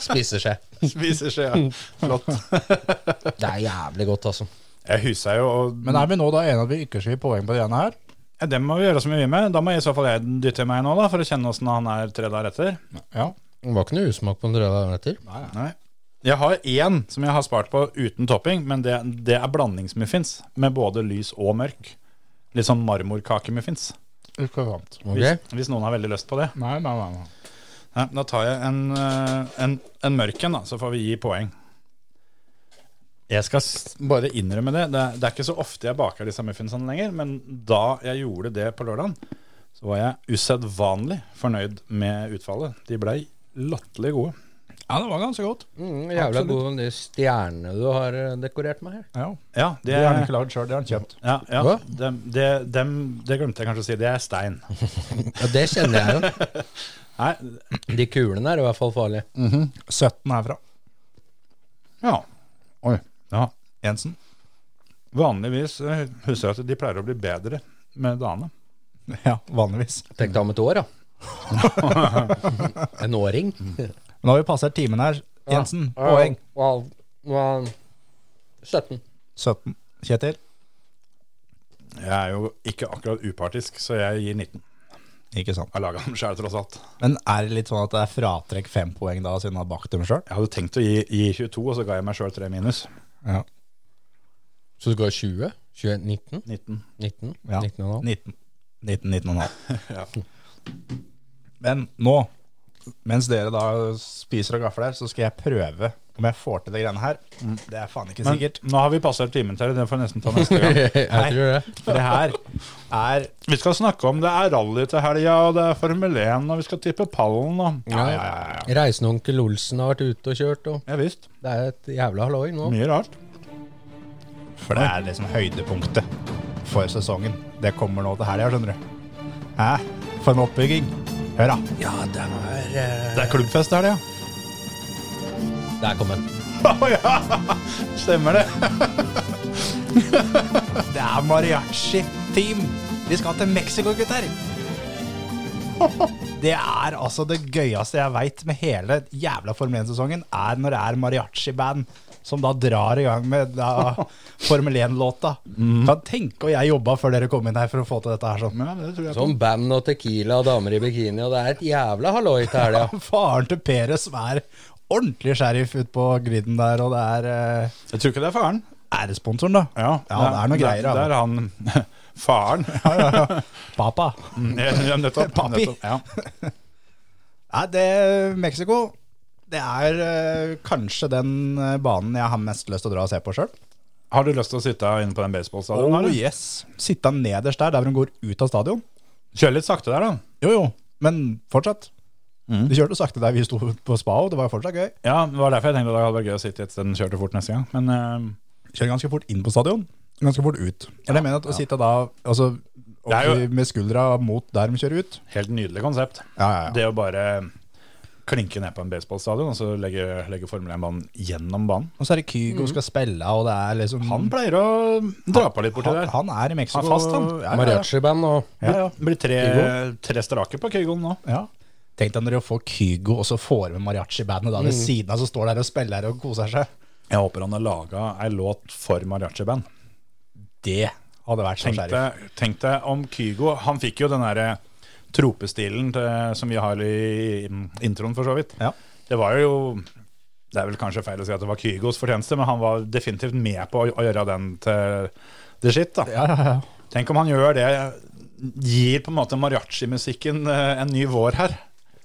[SPEAKER 4] Spiser seg. <laughs>
[SPEAKER 3] Spiser skjea. Flott.
[SPEAKER 4] Det er jævlig godt, altså.
[SPEAKER 3] Jeg husa jo og-
[SPEAKER 5] Men er vi nå da enige at vi ikke skal gi poeng på de ene her?
[SPEAKER 3] Ja, Det må vi gjøre så mye med. Da må jeg i så fall jeg dytte i meg nå, da, for å kjenne åssen han er tre dager etter.
[SPEAKER 5] Ja.
[SPEAKER 4] Det var ikke noe usmak på en drøy meter.
[SPEAKER 3] Nei. Jeg har én som jeg har spart på uten topping, men det, det er blandingsmuffins. Med både lys og mørk. Litt sånn marmorkakemuffins.
[SPEAKER 5] Ikke sant.
[SPEAKER 4] Okay.
[SPEAKER 3] Hvis, hvis noen har veldig lyst på det.
[SPEAKER 5] Nei, nei, nei. nei.
[SPEAKER 3] Ja, da tar jeg en, eh, en, en mørk en, da, så får vi gi poeng. Jeg skal s- bare innrømme det. Det er, det er ikke så ofte jeg baker disse muffinsene lenger, men da jeg gjorde det på lørdagen, så var jeg usedvanlig fornøyd med utfallet. De blei latterlig gode.
[SPEAKER 5] Ja, det var ganske godt.
[SPEAKER 4] Mm, jævla
[SPEAKER 5] Absolutt.
[SPEAKER 4] gode de stjernene du har eh, dekorert med her.
[SPEAKER 5] Ja.
[SPEAKER 3] Ja, det
[SPEAKER 5] Det har han ikke lagd sjøl, det har han kjøpt.
[SPEAKER 3] ja, ja
[SPEAKER 4] Hva?
[SPEAKER 3] dem, det, dem, det glemte jeg kanskje å si. Det er stein.
[SPEAKER 4] Ja, det kjenner jeg jo.
[SPEAKER 3] <laughs> Nei,
[SPEAKER 4] De kulene er i hvert fall farlige.
[SPEAKER 5] 17 herfra.
[SPEAKER 3] ja.
[SPEAKER 5] Oi.
[SPEAKER 3] ja.
[SPEAKER 5] Jensen. <laughs>
[SPEAKER 3] Vanligvis eh, husker jeg at de pleier å bli bedre med dagene.
[SPEAKER 5] Ja, vanligvis.
[SPEAKER 4] Tenk deg om et
[SPEAKER 3] <laughs>
[SPEAKER 4] år, da. en åring.
[SPEAKER 3] Mm.
[SPEAKER 5] Men nå har vi passert timen her. Jensen, poeng.
[SPEAKER 4] Wow. Wow. 17.
[SPEAKER 5] 17. Kjetil.
[SPEAKER 3] Jeg er jo ikke akkurat upartisk, så jeg gir 19.
[SPEAKER 5] Ikke sant.
[SPEAKER 3] Jeg laga dem sjøl, tross alt.
[SPEAKER 5] Men er det litt sånn at det er fratrekk fem poeng da, siden han har bakt dem sjøl?
[SPEAKER 3] Jeg hadde tenkt å gi, gi 22, og så ga jeg meg sjøl 3 minus.
[SPEAKER 5] Ja.
[SPEAKER 4] Så du ga 20? 21, 19?
[SPEAKER 3] 19.
[SPEAKER 4] 19?
[SPEAKER 5] Ja.
[SPEAKER 4] 19 og en halv.
[SPEAKER 5] 19. 19, 19,5.
[SPEAKER 3] <laughs>
[SPEAKER 5] Men nå, mens dere da spiser og gafler, så skal jeg prøve om jeg får til de greiene her. Det er faen ikke
[SPEAKER 3] Mm. Men
[SPEAKER 5] sikkert.
[SPEAKER 3] nå har vi passert timen til, den får jeg nesten ta neste
[SPEAKER 5] <laughs>
[SPEAKER 3] gang.
[SPEAKER 4] <laughs> Jeg tror det.
[SPEAKER 5] For det her er
[SPEAKER 3] Vi skal snakke om det er rally til helga, og det er Formel 1, og vi skal tippe pallen, og
[SPEAKER 5] Ja, ja, ja. ja.
[SPEAKER 4] Reisende onkel Olsen har vært ute og kjørt, og
[SPEAKER 3] Ja visst.
[SPEAKER 4] det er et jævla halloi nå.
[SPEAKER 3] Mye rart.
[SPEAKER 5] For det er liksom høydepunktet for sesongen. Det kommer nå til helga, skjønner du. Hæ? For en oppbygging. Hør, da.
[SPEAKER 4] Ja, det var eh,
[SPEAKER 5] Det er klubbfest
[SPEAKER 3] <laughs>
[SPEAKER 5] her, det, ja.
[SPEAKER 4] Der kom den.
[SPEAKER 3] Stemmer det.
[SPEAKER 5] Det er mariachi-team. De skal til Mexico, gutter. Det er altså det gøyeste jeg veit med hele jævla Formel 1-sesongen, er når det er mariachi-band som da drar i gang med da Formel 1-låta. Kan tenke og jeg jobba før dere kom inn her for å få til dette her sånn.
[SPEAKER 3] Mm. Ja, det tror jeg på.
[SPEAKER 4] Sånn band og tequila og damer i bikini, og det er et jævla halloi til <laughs> helga.
[SPEAKER 5] Faren til Perez er ordentlig sheriff ute på griden der, og det er eh,
[SPEAKER 3] Jeg tror ikke det er faren.
[SPEAKER 5] æresponsoren, da. ja, det er noe greier. altså. da.
[SPEAKER 3] Det er han <laughs>
[SPEAKER 5] <laughs>
[SPEAKER 3] faren. Ja,
[SPEAKER 5] Papa.
[SPEAKER 3] <laughs> ja, nettopp.
[SPEAKER 5] Papi.
[SPEAKER 3] nettopp, Ja.
[SPEAKER 5] Nei, det Mexico Det er eh, kanskje den eh, banen jeg har mest lyst til å dra og se på sjøl.
[SPEAKER 3] Har du lyst til å sitte inne på den
[SPEAKER 5] Oh,
[SPEAKER 3] baseballstadionen? eller?
[SPEAKER 5] yes. Sitte nederst der, der hvor hun går ut av stadion.
[SPEAKER 3] Kjør litt sakte der, da.
[SPEAKER 5] Jo, jo, men fortsatt.
[SPEAKER 3] Mm.
[SPEAKER 5] De kjørte sakte der vi sto på spa, og det var jo fortsatt gøy.
[SPEAKER 3] Ja, Det var derfor jeg tenkte at det hadde vært gøy å sitte i et sted den kjørte fort neste gang. Men eh,
[SPEAKER 5] Kjører ganske fort inn på stadion, ganske fort ut. Men jeg mener at å sitte da altså,
[SPEAKER 3] Det er jo-
[SPEAKER 5] oppi med skuldra mot der de kjører ut
[SPEAKER 3] helt nydelig konsept.
[SPEAKER 5] Ja, ja, ja.
[SPEAKER 3] Det å bare klinke ned på en baseballstadion og så legge, legge Formel 1-banen gjennom banen.
[SPEAKER 5] Og så er det Kygo skal spille, og det er liksom
[SPEAKER 3] Han pleier å dra på litt borti
[SPEAKER 5] han,
[SPEAKER 3] der.
[SPEAKER 5] han er i Mexico.
[SPEAKER 3] Han er fast, han.
[SPEAKER 5] Ja, ja, ja.
[SPEAKER 4] Mariachi-band og
[SPEAKER 3] Ja, ja. Blir tre, tre strake på Kygoen nå.
[SPEAKER 5] Ja. Tenk deg når de får Kygo, og så får med mariachi-bandet da ved siden av, så står der og spiller og koser seg.
[SPEAKER 3] Mm. Jeg håper han har laga ei låt for mariachi-band.
[SPEAKER 5] Det hadde vært som
[SPEAKER 3] Tenk
[SPEAKER 5] sheriff.
[SPEAKER 3] deg, tenk deg om Kygo Han fikk jo den derre tropestilen til, som vi har i introen, for så vidt.
[SPEAKER 5] Ja.
[SPEAKER 3] Det var jo Det er vel kanskje feil å si at det var Kygos fortjeneste, men han var definitivt med på å, å gjøre den til the shit. da
[SPEAKER 5] Ja, ja, ja.
[SPEAKER 3] Tenk om han gjør det Gir på en måte mariachi-musikken eh, en ny vår her.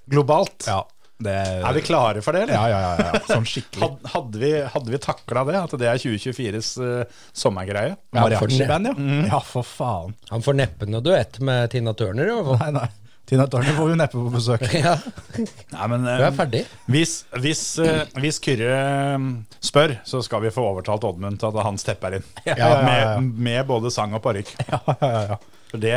[SPEAKER 3] Globalt.
[SPEAKER 5] Ja. Det,
[SPEAKER 3] Er vi klare for det, eller?
[SPEAKER 5] Ja, ja, ja, ja. Sånn skikkelig.
[SPEAKER 3] Had, hadde vi, hadde vi takla det, at det er 2024s eh, sommergreie?
[SPEAKER 5] Mariachi-band, ja. Mm. Ja, for faen.
[SPEAKER 4] Han får neppe noe duett med Tina Turner, i hvert fall.
[SPEAKER 5] Nei, nei. Tina Turner får vi neppe på besøk.
[SPEAKER 4] <laughs> Ja,
[SPEAKER 3] Nei, men
[SPEAKER 4] du
[SPEAKER 3] eh,
[SPEAKER 4] er ferdig.
[SPEAKER 3] hvis, hvis, eh, hvis Kyrre eh, spør, så skal vi få overtalt Oddmund til at han stepper inn.
[SPEAKER 5] ja, ja.
[SPEAKER 3] Med, med både sang og
[SPEAKER 5] <laughs>
[SPEAKER 3] parykk. For Det,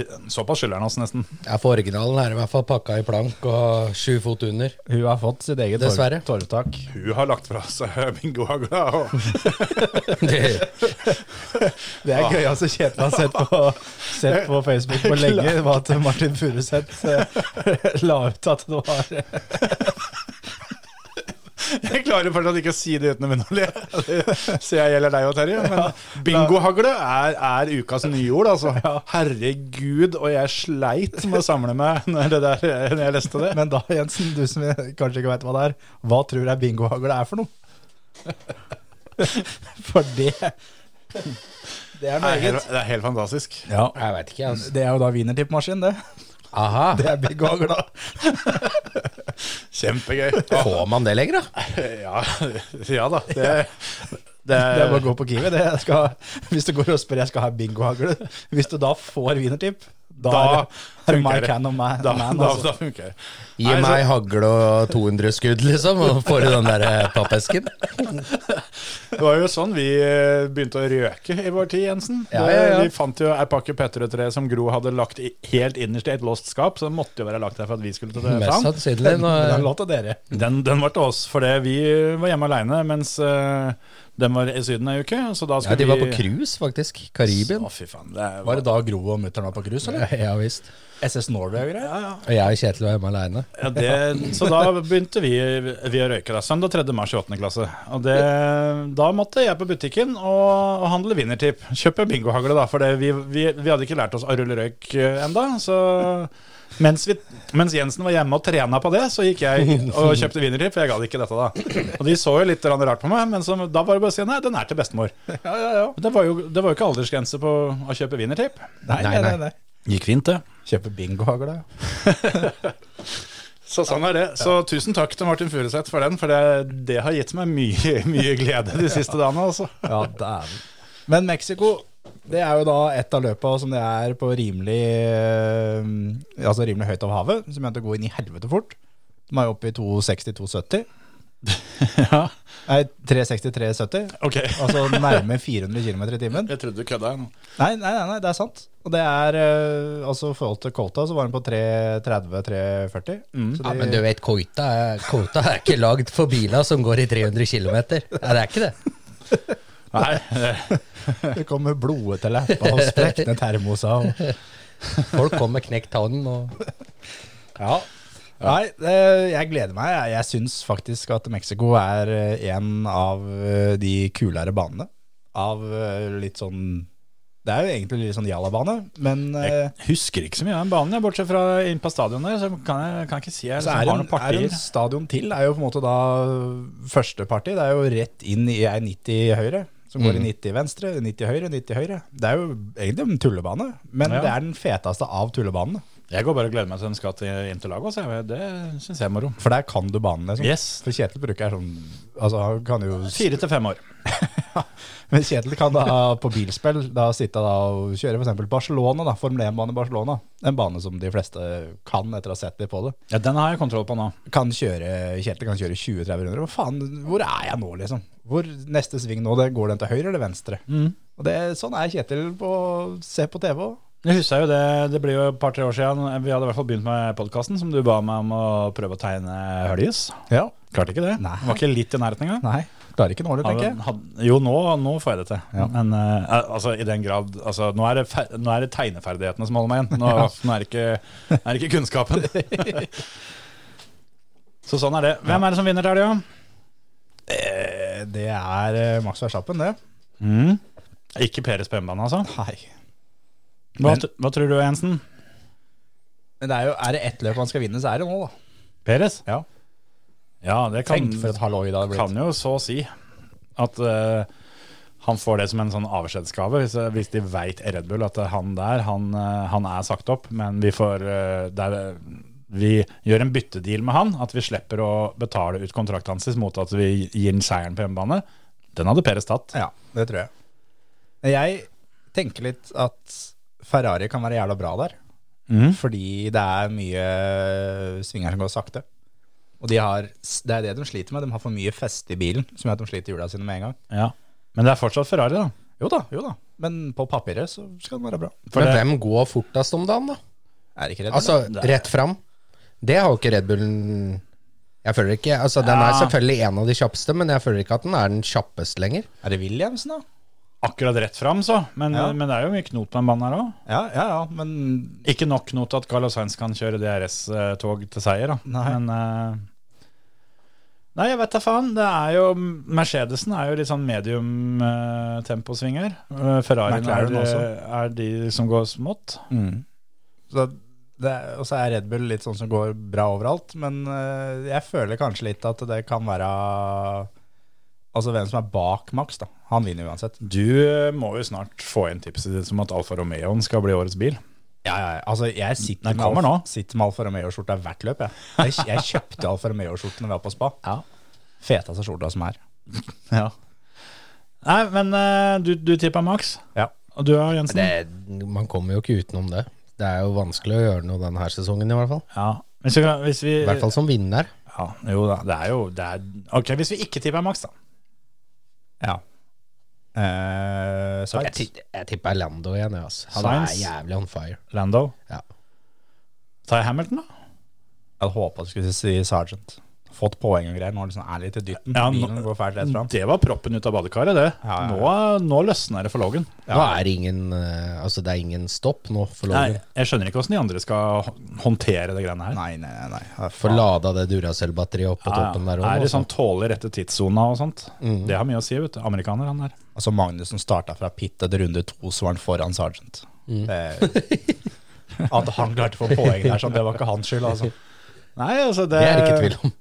[SPEAKER 3] det, såpass skylder han oss nesten.
[SPEAKER 4] Ja, For originalen er i hvert fall pakka i plank og sju fot under.
[SPEAKER 5] Hun har fått sitt eget
[SPEAKER 4] Dessverre.
[SPEAKER 5] torv- torvtak.
[SPEAKER 3] Hun har lagt fra seg <laughs> bingohagla. og-
[SPEAKER 4] <laughs> Det-
[SPEAKER 5] Det er gøyeste Kjetil har sett på, sett på Facebook på lenge, var at Martin Furuseth eh, <laughs> la ut at det var
[SPEAKER 3] Jeg klarer fortsatt ikke å si det uten å begynne å le. Det ser jeg gjelder deg òg, Terje.
[SPEAKER 5] <laughs>
[SPEAKER 3] Men bingohagle er, er ukas nyord, altså. Herregud, og jeg sleit med å samle meg <laughs> når, det der, når jeg leste det.
[SPEAKER 5] Men da, Jensen, du som kanskje ikke veit hva det er, hva tror jeg bingohagle er for noe? <laughs> For det Det er
[SPEAKER 3] Det
[SPEAKER 5] noe
[SPEAKER 3] er helt,
[SPEAKER 5] eget.
[SPEAKER 3] det er helt fantastisk.
[SPEAKER 5] Ja.
[SPEAKER 4] Jeg veit ikke, altså.
[SPEAKER 5] Det er jo da wienertippmaskin, det.
[SPEAKER 4] Aha.
[SPEAKER 5] Det er bingohagle.
[SPEAKER 3] Kjempegøy.
[SPEAKER 5] <laughs>
[SPEAKER 4] Får man det lenger, da?
[SPEAKER 3] Ja, ja da. Det, det,
[SPEAKER 5] Det er bare å gå på Kiwi. Det Jeg skal, hvis du går og spør jeg skal ha bingohagle, hvis du da får wienertipp, da,
[SPEAKER 3] Da
[SPEAKER 5] er det- er det
[SPEAKER 3] funker
[SPEAKER 5] my
[SPEAKER 3] det.
[SPEAKER 5] can of man.
[SPEAKER 3] da,
[SPEAKER 5] man
[SPEAKER 3] da,
[SPEAKER 5] altså.
[SPEAKER 3] da funker det.
[SPEAKER 4] Gi
[SPEAKER 3] Nei, så-
[SPEAKER 4] meg hagle og 200 skudd, liksom, og får du den der eh, pappesken.
[SPEAKER 3] Det var jo sånn vi eh, begynte å røke i vår tid, Jensen.
[SPEAKER 4] Ja, ja, ja.
[SPEAKER 3] Det- Vi fant jo ei pakke petrøtre som Gro hadde lagt i, helt innerst i et låst skap, så den måtte jo være lagt der for at vi skulle ta det
[SPEAKER 4] Mest
[SPEAKER 3] fram.
[SPEAKER 4] sannsynlig.
[SPEAKER 5] Men den
[SPEAKER 4] Når,
[SPEAKER 5] lå til dere.
[SPEAKER 3] Den, den var til oss, for det vi var hjemme aleine mens eh, den var i Syden ei uke. Så da
[SPEAKER 4] ja,
[SPEAKER 3] skulle
[SPEAKER 4] de var på
[SPEAKER 3] vi
[SPEAKER 4] cruise, faktisk. Karibien.
[SPEAKER 3] Å, fy faen. Det
[SPEAKER 5] Var
[SPEAKER 3] var,
[SPEAKER 5] det da Gro og mutter'n var på cruise, eller?
[SPEAKER 4] Ja visst.
[SPEAKER 5] SS Norway og greier? Ja,
[SPEAKER 4] Og jeg og Kjetil var hjemme aleine.
[SPEAKER 3] ja, det, så da begynte vi, vi å røyke. Da. Søndag 3. mars i 8. klasse. Og det, da måtte jeg på butikken og, og handle wienertipp. Kjøpe bingohagle, da, for det, vi, vi, vi hadde ikke lært oss å rulle røyk ennå. Så mens, vi, mens Jensen var hjemme og trena på det, så gikk jeg og kjøpte wienertipp, for jeg gadd ikke dette da. Og de så jo litt rart på meg, men så, da var det bare å si nei, den er til bestemor.
[SPEAKER 5] ja, ja. ja.
[SPEAKER 3] Men Det var jo, det var jo ikke aldersgrense på å kjøpe wienertipp.
[SPEAKER 5] Nei, nei,
[SPEAKER 4] Nei,
[SPEAKER 5] nei.
[SPEAKER 4] nei.
[SPEAKER 5] nei.
[SPEAKER 3] Gikk fint, det.
[SPEAKER 5] Kjøpe bingohagle. ja.
[SPEAKER 3] Så sånn er det. Så tusen takk til Martin Furuseth for den, for det, det har gitt meg mye, <laughs> mye glede de siste dagene. Altså.
[SPEAKER 5] Ja, dæven. Men Mexico, det er jo da et av løpa som det er på rimelig eh, Altså rimelig høyt over havet, som begynte å gå inn i helvete fort. De er jo oppe i 260-270.
[SPEAKER 3] Ja,
[SPEAKER 5] Nei, 360-370.
[SPEAKER 3] ok.
[SPEAKER 5] <laughs> Altså nærme 400 km i timen.
[SPEAKER 3] Jeg trodde du kødda. jeg nå.
[SPEAKER 5] Nei, nei, nei, nei, det er sant. Og det er eh, Altså i forhold til Colta, så var den på 330-340. Så
[SPEAKER 4] Ja,
[SPEAKER 5] de-
[SPEAKER 4] men du vet, Kota er, Kota er ikke lagd for biler som går i 300 km. Nei, det er ikke det.
[SPEAKER 3] Nei, det-
[SPEAKER 5] Det kommer blodet til leppa og sprekne termoser. Og...
[SPEAKER 4] Folk kommer med knekt tann og
[SPEAKER 5] Ja. Nei, det, jeg gleder meg. Jeg, jeg syns faktisk at Mexico er eh, en av eh, de kulere banene. Av eh, litt sånn Det er jo egentlig litt sånn Jalla-bane, men eh,
[SPEAKER 3] jeg husker ikke så mye av den banen, jeg, bortsett fra inn på stadion der. Så kan jeg kan ikke si jeg
[SPEAKER 5] så er
[SPEAKER 3] liksom,
[SPEAKER 5] det
[SPEAKER 3] har
[SPEAKER 5] en,
[SPEAKER 3] noen
[SPEAKER 5] er det
[SPEAKER 3] partier.
[SPEAKER 5] en stadion til. Er jo på en måte da første parti. Det er jo rett inn i ei 90 høyre. Som
[SPEAKER 3] Mm.
[SPEAKER 5] går i 90 venstre, 90 høyre, 90 høyre. Det er jo egentlig en tullebane, men
[SPEAKER 3] Ja.
[SPEAKER 5] det er den feteste av tullebanene.
[SPEAKER 3] Jeg går bare og gleder meg til den skal til Interlagos. jeg. Det syns jeg er moro.
[SPEAKER 5] For der kan du banen, liksom.
[SPEAKER 3] Yes.
[SPEAKER 5] For Kjetil bruker er sånn Altså, han kan jo
[SPEAKER 3] Fire til fem år.
[SPEAKER 5] Men Kjetil kan da på bilspill da sitte da og kjøre f.eks. Barcelona, da, Formel 1-bane Barcelona. En bane som de fleste kan, etter å ha sett litt på det.
[SPEAKER 3] Ja, Den har jeg kontroll på nå.
[SPEAKER 5] Kan kjøre, Kjetil kan kjøre 20-30 runder. Hva faen, hvor er jeg nå, liksom? Hvor neste sving nå? Det, går den til høyre eller venstre? Og det, sånn er Kjetil på se på TV òg.
[SPEAKER 3] Jeg husker jo det, det blir jo et par-tre år siden. Vi hadde i hvert fall begynt med podkasten, som du ba meg om å prøve å tegne høljes.
[SPEAKER 5] Ja.
[SPEAKER 3] Klarte ikke det.
[SPEAKER 5] Nei.
[SPEAKER 3] Var ikke litt i nærheten engang.
[SPEAKER 5] Nei. Klarer ikke nå, det, tenker jeg.
[SPEAKER 3] Hadde- hadde- Jo, nå, nå får jeg det til. Men eh, altså, i den grad altså, nå, er det fer nå er det tegneferdighetene som holder meg
[SPEAKER 5] <laughs>
[SPEAKER 3] igjen. Nå, nå er, det ikke, er det ikke kunnskapen. Så sånn er det. Hvem er det som vinner til helga?
[SPEAKER 5] Eh, Det er eh, Max Verstappen, det.
[SPEAKER 3] Mm. Ikke Peres på hjemmebane, altså.
[SPEAKER 5] Nei.
[SPEAKER 3] Hva, tr- hva tror du, Jensen?
[SPEAKER 5] Men det er jo, er det ett løp han skal vinne, så er det nå, da.
[SPEAKER 3] Peres?
[SPEAKER 5] Ja.
[SPEAKER 3] Ja, det kan
[SPEAKER 5] Tenk for et halloi det hadde blitt.
[SPEAKER 3] kan jo så si at eh, han får det som en sånn avskjedsgave, hvis, hvis de eh, veit Red Bull at han der, han, eh, han er sagt opp, men vi får eh, det, er, vi gjør en byttedeal med han, at vi slipper å betale ut kontrakten hans mot at vi gir den seieren på hjemmebane, den hadde Peres tatt.
[SPEAKER 5] Ja, det tror jeg. Jeg tenker litt at Ferrari kan være jævla bra der.
[SPEAKER 3] Mhm.
[SPEAKER 5] Fordi det er mye svinger som går sakte. Og de har, det er det de sliter med. De har for mye feste i bilen, som gjør at de sliter hjula sine med en gang.
[SPEAKER 3] Ja. Men det er fortsatt Ferrari, da.
[SPEAKER 5] Jo da, jo da. Men på papiret så skal den være bra.
[SPEAKER 3] For
[SPEAKER 4] Men
[SPEAKER 3] det,
[SPEAKER 4] hvem går fortest om dagen, da?
[SPEAKER 5] Er ikke redd?
[SPEAKER 4] Altså,
[SPEAKER 5] eller?
[SPEAKER 4] rett fram. Det har jo ikke Red Bullen Jeg føler ikke Altså, den er
[SPEAKER 3] Ja.
[SPEAKER 4] selvfølgelig en av de kjappeste, men jeg føler ikke at den er den kjappeste lenger.
[SPEAKER 5] er det Williamsen, da?
[SPEAKER 3] akkurat rett fram, så. Men,
[SPEAKER 5] Ja.
[SPEAKER 3] men det er jo mye knot på den banen her òg.
[SPEAKER 5] Ja, ja, ja, men
[SPEAKER 3] Ikke nok knot at Carlos Sainz kan kjøre DRS-tog til seier, da.
[SPEAKER 5] Nei.
[SPEAKER 3] Men eh, Nei, jeg vet da faen. Det er jo Mercedesen er jo litt sånn medium uh, temposving her. Eh, Ferrarien er, eh,
[SPEAKER 5] McLaren også. Mm.
[SPEAKER 3] er de som går smått.
[SPEAKER 5] så det, er- Og så er Red Bull litt sånn som går bra overalt, men eh, jeg føler kanskje litt at det kan være Altså hvem som er bak Max, da. Han vinner uansett.
[SPEAKER 3] Du eh, må jo snart få inn tipset ditt om at Alfa Romeoen skal bli årets bil.
[SPEAKER 5] Ja, ja, ja. altså jeg sitter
[SPEAKER 3] Den
[SPEAKER 5] med,
[SPEAKER 3] kommer
[SPEAKER 5] Alfa-
[SPEAKER 3] nå.
[SPEAKER 5] sitter med Alfa Romeo-skjorta hvert løp. Jeg, jeg, jeg kjøpte Alfa Romeo-skjorten da vi var på spa.
[SPEAKER 3] Ja.
[SPEAKER 5] Feteste skjorta
[SPEAKER 3] <laughs>
[SPEAKER 5] som er.
[SPEAKER 3] Nei, men eh, du, du tippa Max.
[SPEAKER 5] Ja.
[SPEAKER 3] Og du da, Jensen?
[SPEAKER 4] Det, man kommer jo ikke utenom det. Det er jo vanskelig å gjøre noe denne sesongen, i hvert fall.
[SPEAKER 3] Ja. Hvis vi, kan- hvis vi
[SPEAKER 4] I hvert fall som vinner.
[SPEAKER 3] Ja, jo da. Det er jo det er, Ok, hvis vi ikke tipper Max, da.
[SPEAKER 5] ja. Eh,
[SPEAKER 4] Jeg,
[SPEAKER 5] Sveits.
[SPEAKER 4] ti- jeg tipper Lando igjen, jeg, altså. Han er
[SPEAKER 3] Sainz?
[SPEAKER 4] jævlig on fire.
[SPEAKER 3] Lando.
[SPEAKER 4] Ja.
[SPEAKER 3] Tar jeg Hamilton, da?
[SPEAKER 5] Jeg hadde håpa du skulle si Sergeant. Fått poeng og greier. Nå er det sånn ærlig til dytten.
[SPEAKER 3] Ja, nå-
[SPEAKER 5] Bilen går fælt rett fram.
[SPEAKER 3] Det var proppen ut av badekaret, det.
[SPEAKER 5] Ja, ja,
[SPEAKER 3] Nå, nå løsner det for Logan.
[SPEAKER 4] Nå er det ingen eh, Altså, det er ingen stopp nå for
[SPEAKER 3] Nei,
[SPEAKER 4] Logan.
[SPEAKER 3] jeg skjønner ikke åssen de andre skal hå- håndtere det greiene her.
[SPEAKER 5] Nei, nei, nei. nei. Ja,
[SPEAKER 4] Få
[SPEAKER 5] faen.
[SPEAKER 4] lada det Duracell-batteriet opp på
[SPEAKER 3] Ja,
[SPEAKER 4] toppen der
[SPEAKER 3] er
[SPEAKER 4] altså. òg.
[SPEAKER 5] altså.
[SPEAKER 3] det sånn tåler rette tidssona og sånt? Det har mye å si, vet du. Amerikaner, han der.
[SPEAKER 5] Mm. Altså Magnussen starta fra pit etter runde to, så var han foran Sergeant. Eh, at han klarte å få poeng der, sånn, det var ikke hans skyld, altså.
[SPEAKER 3] Nei, altså det,
[SPEAKER 4] Det er det ikke tvil om.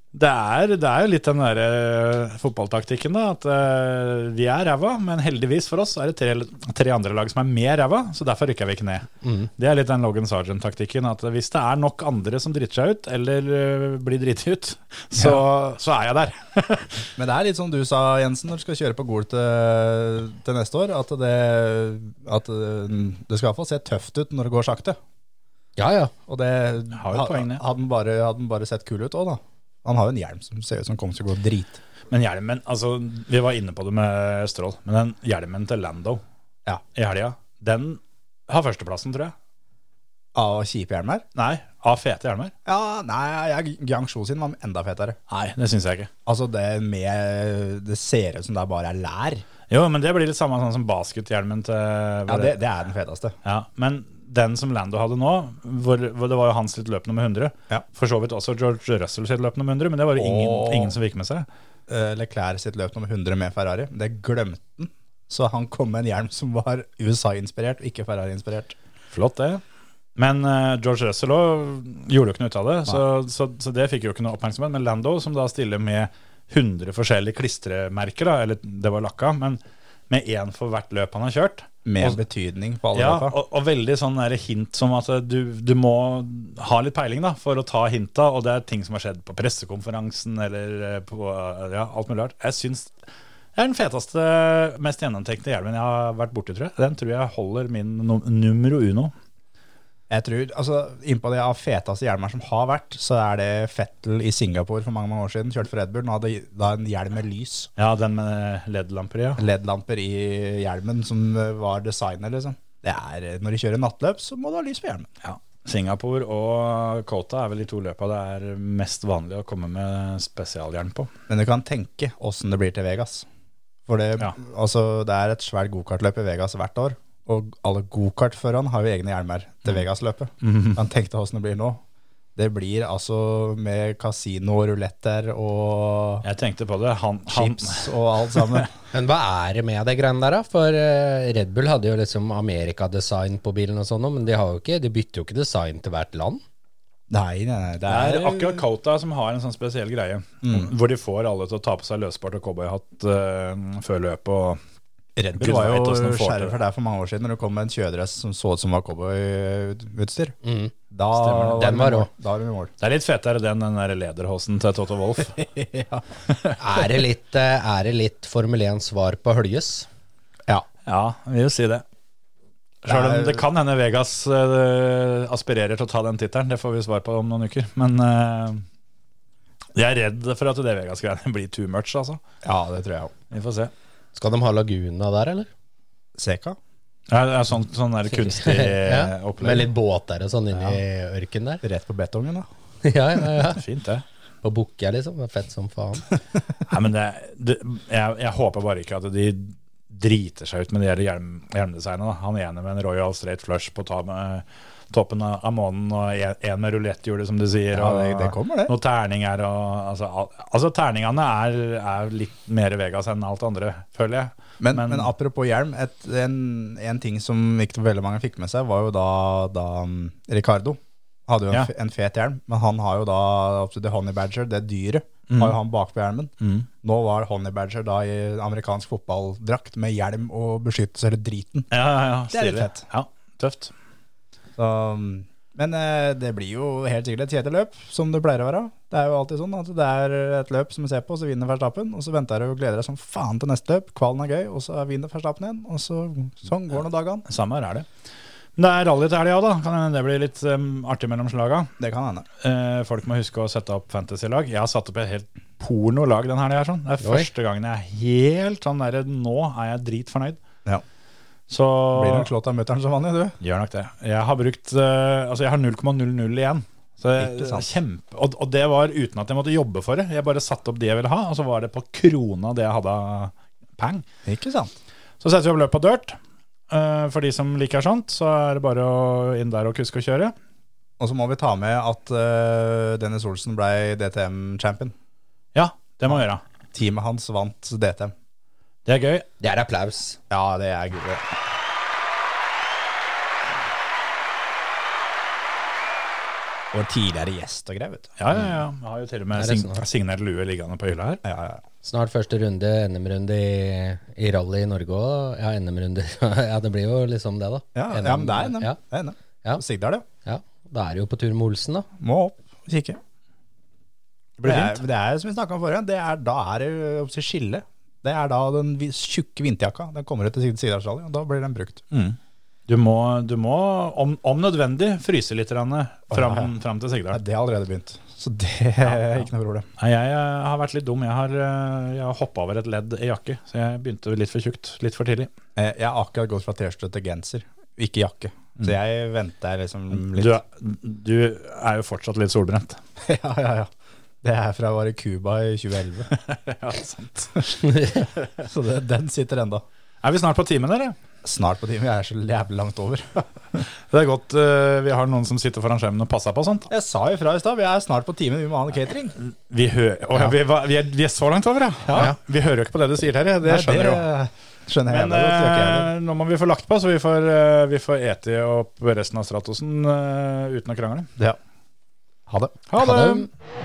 [SPEAKER 4] <laughs>
[SPEAKER 3] Det er, det er jo litt den derre fotballtaktikken, da. At eh, vi er ræva, men heldigvis for oss så er det tre, tre andre lag som er mer ræva, så derfor rykker vi ikke ned.
[SPEAKER 5] Mm.
[SPEAKER 3] Det er litt den Logan Sargent-taktikken. At hvis det er nok andre som driter seg ut, eller eh, blir driti ut, <laughs> så, så er jeg der. <laughs>
[SPEAKER 5] Men det er litt som du sa, Jensen, når du skal kjøre på Gol til, til neste år, at det, at eh, det skal i hvert fall se tøft ut når det går sakte.
[SPEAKER 4] Ja, ja.
[SPEAKER 5] Og det
[SPEAKER 3] Har jo et poeng, det.
[SPEAKER 5] hadde han bare, hadde han bare sett kul ut òg, da. Han har jo en hjelm som ser ut som kommer til å gå drit.
[SPEAKER 3] Men hjelmen, altså Vi var inne på det med Strål, men den hjelmen til Lando
[SPEAKER 5] Ja.
[SPEAKER 3] i helga, den har førsteplassen, tror jeg.
[SPEAKER 5] Av kjipe hjelmer?
[SPEAKER 3] Nei, av fete hjelmer.
[SPEAKER 5] Ja, nei, jeg, Gang Sho sin var enda fetere.
[SPEAKER 3] Nei, det syns jeg ikke.
[SPEAKER 5] Altså, det med Det ser ut som det bare er lær.
[SPEAKER 3] Jo, men det blir litt samme sånn som baskethjelmen til
[SPEAKER 5] Ja, det, det er den feteste.
[SPEAKER 3] Ja, men den som Lando hadde nå, hvor, hvor det var jo hans litt løp nummer 100.
[SPEAKER 5] Ja.
[SPEAKER 3] For så vidt også George Russell sitt løp nummer 100, men det var jo
[SPEAKER 5] Åh.
[SPEAKER 3] ingen, ingen som fikk med seg.
[SPEAKER 5] eh, Leclerc sitt løp nummer 100 med Ferrari. Det glemte han. Så han kom med en hjelm som var <laughs> USA-inspirert, og ikke Ferrari-inspirert.
[SPEAKER 3] Flott, det. Men eh, George Russell også gjorde jo ikke noe ut av det, så, så, så det fikk jo ikke noe oppmerksomhet. Men Lando, som da stiller med 100 forskjellige klistremerker, da, eller det var lakka, men med én for hvert løp han har kjørt.
[SPEAKER 5] Med
[SPEAKER 3] Og-
[SPEAKER 5] betydning på alle
[SPEAKER 3] Ja,
[SPEAKER 5] løpa.
[SPEAKER 3] og, og veldig sånn der hint som at du, du må ha litt peiling da, for å ta hinta, og det er ting som har skjedd på pressekonferansen eller eh, på ja, alt mulig rart. Jeg syns det er den feteste, mest gjennomtenkte hjelmen jeg har vært borti, tror jeg. Den tror jeg holder min num numero uno.
[SPEAKER 5] Jeg tror, altså, Innpå det av feteste hjelmer som har vært, så er det Fettel i Singapore for mange mange år siden. Kjørte for Red Bull. Han hadde da en hjelm med lys.
[SPEAKER 3] Ja, den med LED-lamper, ja.
[SPEAKER 5] LED-lamper i hjelmen som eh, var designet, liksom. Det er, eh, når de kjører nattløp, så må du ha lys på hjelmen.
[SPEAKER 3] ja. Singapore og Kota er vel de to løpa det er mest vanlig å komme med spesialhjelm på.
[SPEAKER 5] Men du kan tenke åssen det blir til Vegas. For det,
[SPEAKER 3] Ja.
[SPEAKER 5] altså, det er et svært gokartløp i Vegas hvert år. Og alle gokartførerne har jo egne hjelmer til Vegas-løpet. Men tenk deg åssen det blir nå. Det blir altså med kasino, ruletter og
[SPEAKER 3] Jeg tenkte på det. Han, han,
[SPEAKER 5] chips og alt sammen.
[SPEAKER 4] Men hva er det med det greiene der, da? For eh, Red Bull hadde jo liksom Amerika-design på bilen og sånn, men de, har jo ikke, de bytter jo ikke design til hvert land.
[SPEAKER 5] nei, nei, nei. Det
[SPEAKER 3] Det
[SPEAKER 5] er,
[SPEAKER 3] er Mm. akkurat Kota som har en sånn spesiell greie. Hvor de får alle til å ta på seg løsbart og cowboyhatt eh, før løpet. Og
[SPEAKER 5] Red
[SPEAKER 3] Bull
[SPEAKER 5] Bull var
[SPEAKER 3] vet
[SPEAKER 5] jo
[SPEAKER 3] hvordan de får til
[SPEAKER 5] skjærer
[SPEAKER 3] det.
[SPEAKER 5] for deg for mange år siden Når det kom med en kjøredress som så ut som var cowboyutstyr.
[SPEAKER 4] Mm.
[SPEAKER 5] Da
[SPEAKER 3] Stemmer
[SPEAKER 4] det. Den var
[SPEAKER 5] vi i
[SPEAKER 4] rå.
[SPEAKER 5] mål. Da var vi i mål.
[SPEAKER 3] Det er litt fetere den enn den der lederhosen til Toto Wolff. <laughs>
[SPEAKER 4] Er det litt, eh, er det litt Formel 1-svar på Høljes?
[SPEAKER 5] Ja.
[SPEAKER 3] ja, vi vil si det. Selv om det kan hende Vegas eh, aspirerer til å ta den tittelen, det får vi svar på om noen uker. Men eh, jeg er redd for at det Vegas-greiene blir too much, altså.
[SPEAKER 5] ja, det tror jeg òg.
[SPEAKER 3] Vi får se.
[SPEAKER 4] Skal de ha Laguna der, eller?
[SPEAKER 5] Seka?
[SPEAKER 3] Ja, det er sånn, sånn der
[SPEAKER 4] <laughs>
[SPEAKER 3] kunstig <laughs> eh,
[SPEAKER 4] Med
[SPEAKER 3] opplegg.
[SPEAKER 4] litt båter og sånn inni ørkenen der? <laughs>
[SPEAKER 5] Rett på betongen, da.
[SPEAKER 4] ja, ja, ja.
[SPEAKER 3] Fint, det.
[SPEAKER 4] På Bukka, liksom. Det er Fett som faen.
[SPEAKER 3] Nei, men det, det jeg, jeg håper bare ikke at de driter seg ut med de her hjelm, hjelmdesignene. da. Han ene med en Royal Straight Flush på ta med toppen av av månen, og en- en med ruletthjulet, som du sier.
[SPEAKER 5] Ja,
[SPEAKER 3] og
[SPEAKER 5] det, det kommer, det.
[SPEAKER 3] Noen terninger og altså, al- altså, terningene er, er litt mer Vegas enn alt andre, føler jeg.
[SPEAKER 5] Men,
[SPEAKER 3] Men-
[SPEAKER 5] men, apropos hjelm, et, en, en ting som ikke veldig mange fikk med seg, var jo da, da mm, Ricardo hadde jo en,
[SPEAKER 3] Ja.
[SPEAKER 5] f- en fet hjelm, men han har jo da opp til The Honey Badger, det dyret,
[SPEAKER 3] Mm.
[SPEAKER 5] har jo han bakpå hjelmen. Nå var Honey Badger da i amerikansk fotballdrakt med hjelm og beskyttelse, eller driten.
[SPEAKER 3] Ja, ja, ja,
[SPEAKER 5] Det er litt
[SPEAKER 3] stilig.
[SPEAKER 5] fett.
[SPEAKER 3] Ja, tøft.
[SPEAKER 5] Så, mm, men eh, det blir jo helt sikkert et kjedelig løp, som det pleier å være. Det er jo alltid sånn at det er et løp som du ser på, så vinner Verstappen, og så venter du og gleder deg som faen til neste løp. Kvalen er gøy, og så vinner Verstappen igjen, og så sånn går nå dagene.
[SPEAKER 3] Samme her er det. Men det er rally til helga, da. Kan hende det blir litt um, artig mellom slaga.
[SPEAKER 5] Det kan hende.
[SPEAKER 3] Eh, folk må huske å sette opp fantasy-lag. Jeg har satt opp et helt pornolag den helga. her, Sånn. Det er
[SPEAKER 4] Oi.
[SPEAKER 3] første gangen jeg er helt sånn derre Nå er jeg dritfornøyd.
[SPEAKER 5] Ja.
[SPEAKER 3] Så
[SPEAKER 5] Blir nok slått av mutter'n som vanlig, du.
[SPEAKER 3] gjør nok det. Jeg har brukt eh, Altså, jeg har 0,00 igjen. Så
[SPEAKER 5] Ikke
[SPEAKER 3] jeg,
[SPEAKER 5] sant.
[SPEAKER 3] kjempe, og, og det var uten at jeg måtte jobbe for det. Jeg bare satte opp det jeg ville ha, og så var det på krona det jeg hadde av peng.
[SPEAKER 5] Ikke sant?
[SPEAKER 3] Så setter vi opp løp på dirt. Eh, for de som liker sånt, så er det bare å inn der og kuske og kjøre.
[SPEAKER 5] Og så må vi ta med at eh, Dennis Olsen ble DTM-champion.
[SPEAKER 3] Ja, det må vi gjøre.
[SPEAKER 5] Teamet hans vant DTM.
[SPEAKER 3] Det er gøy.
[SPEAKER 4] Det er applaus.
[SPEAKER 5] Ja, det er gullet. Vår tidligere gjest og greier, vet du.
[SPEAKER 3] Ja, ja, ja. Jeg har jo til og med
[SPEAKER 4] Er det
[SPEAKER 3] sign
[SPEAKER 4] sånn?
[SPEAKER 3] signert lue liggende på hylla her.
[SPEAKER 5] Ja, ja, ja.
[SPEAKER 4] Snart første runde, NM-runde i, i rally i Norge òg. Ja, NM-runde <laughs> Ja, det blir jo liksom det, da.
[SPEAKER 5] Ja, ja, men det er NM.
[SPEAKER 4] Ja,
[SPEAKER 5] Det er NM.
[SPEAKER 4] Ja.
[SPEAKER 5] Sigdal, ja.
[SPEAKER 4] ja. Da er det jo på tur med Olsen, da.
[SPEAKER 5] Må opp og kikke.
[SPEAKER 3] Det
[SPEAKER 5] Det
[SPEAKER 3] blir
[SPEAKER 5] er,
[SPEAKER 3] fint.
[SPEAKER 5] det er som vi snakka om forrige gang, det er, da er det jo opp til skille. Det er da den vi- tjukke vinterjakka Den kommer ut til Sigdalsrally, og da blir den brukt.
[SPEAKER 3] Mm. Du må, du må om, om nødvendig, fryse litt grann fram,
[SPEAKER 5] ja, ja.
[SPEAKER 3] fram til
[SPEAKER 5] Nei,
[SPEAKER 3] Sigdal.
[SPEAKER 5] det har allerede begynt, så det er ikke noe problem.
[SPEAKER 3] Nei, Jeg eh, har vært litt dum. Jeg har, eh, jeg har hoppa over et ledd i jakke, så jeg begynte litt for tjukt. Litt for tidlig.
[SPEAKER 5] Eh, Jeg har akkurat gått fra T-skjorte til genser, ikke jakke. Så jeg venter liksom litt.
[SPEAKER 3] Du, er- du er jo fortsatt litt solbrent.
[SPEAKER 5] <laughs> ja, ja, ja. Det er fra å være i Cuba i 2011,
[SPEAKER 3] <laughs>
[SPEAKER 5] <laughs>
[SPEAKER 3] ja, sant.
[SPEAKER 5] så det, den sitter enda.
[SPEAKER 3] Er vi snart på timen, eller?
[SPEAKER 5] Snart på timen, jeg er så jævlig langt <laughs> over.
[SPEAKER 3] Det er godt eh, vi har noen som sitter foran skjermen og passer på og sånt.
[SPEAKER 5] Jeg sa jo fra i stad, vi er snart på timen, vi må ha en catering.
[SPEAKER 3] Vi, hø Å, ja, vi, var- vi, er, vi er så langt over, ja.
[SPEAKER 5] Ja.
[SPEAKER 3] Vi hører jo ikke på det du sier, Terje. Det
[SPEAKER 5] Nei,
[SPEAKER 3] skjønner jeg jo.
[SPEAKER 5] skjønner jeg
[SPEAKER 3] Men
[SPEAKER 5] jævla godt, det er ikke jeg
[SPEAKER 3] eh, nå må vi få lagt på, så vi får, eh, vi får ete opp resten av Stratosen eh, uten å krangle.
[SPEAKER 5] heller. Ja. Ha det.
[SPEAKER 3] Ha det!
[SPEAKER 4] Ha det.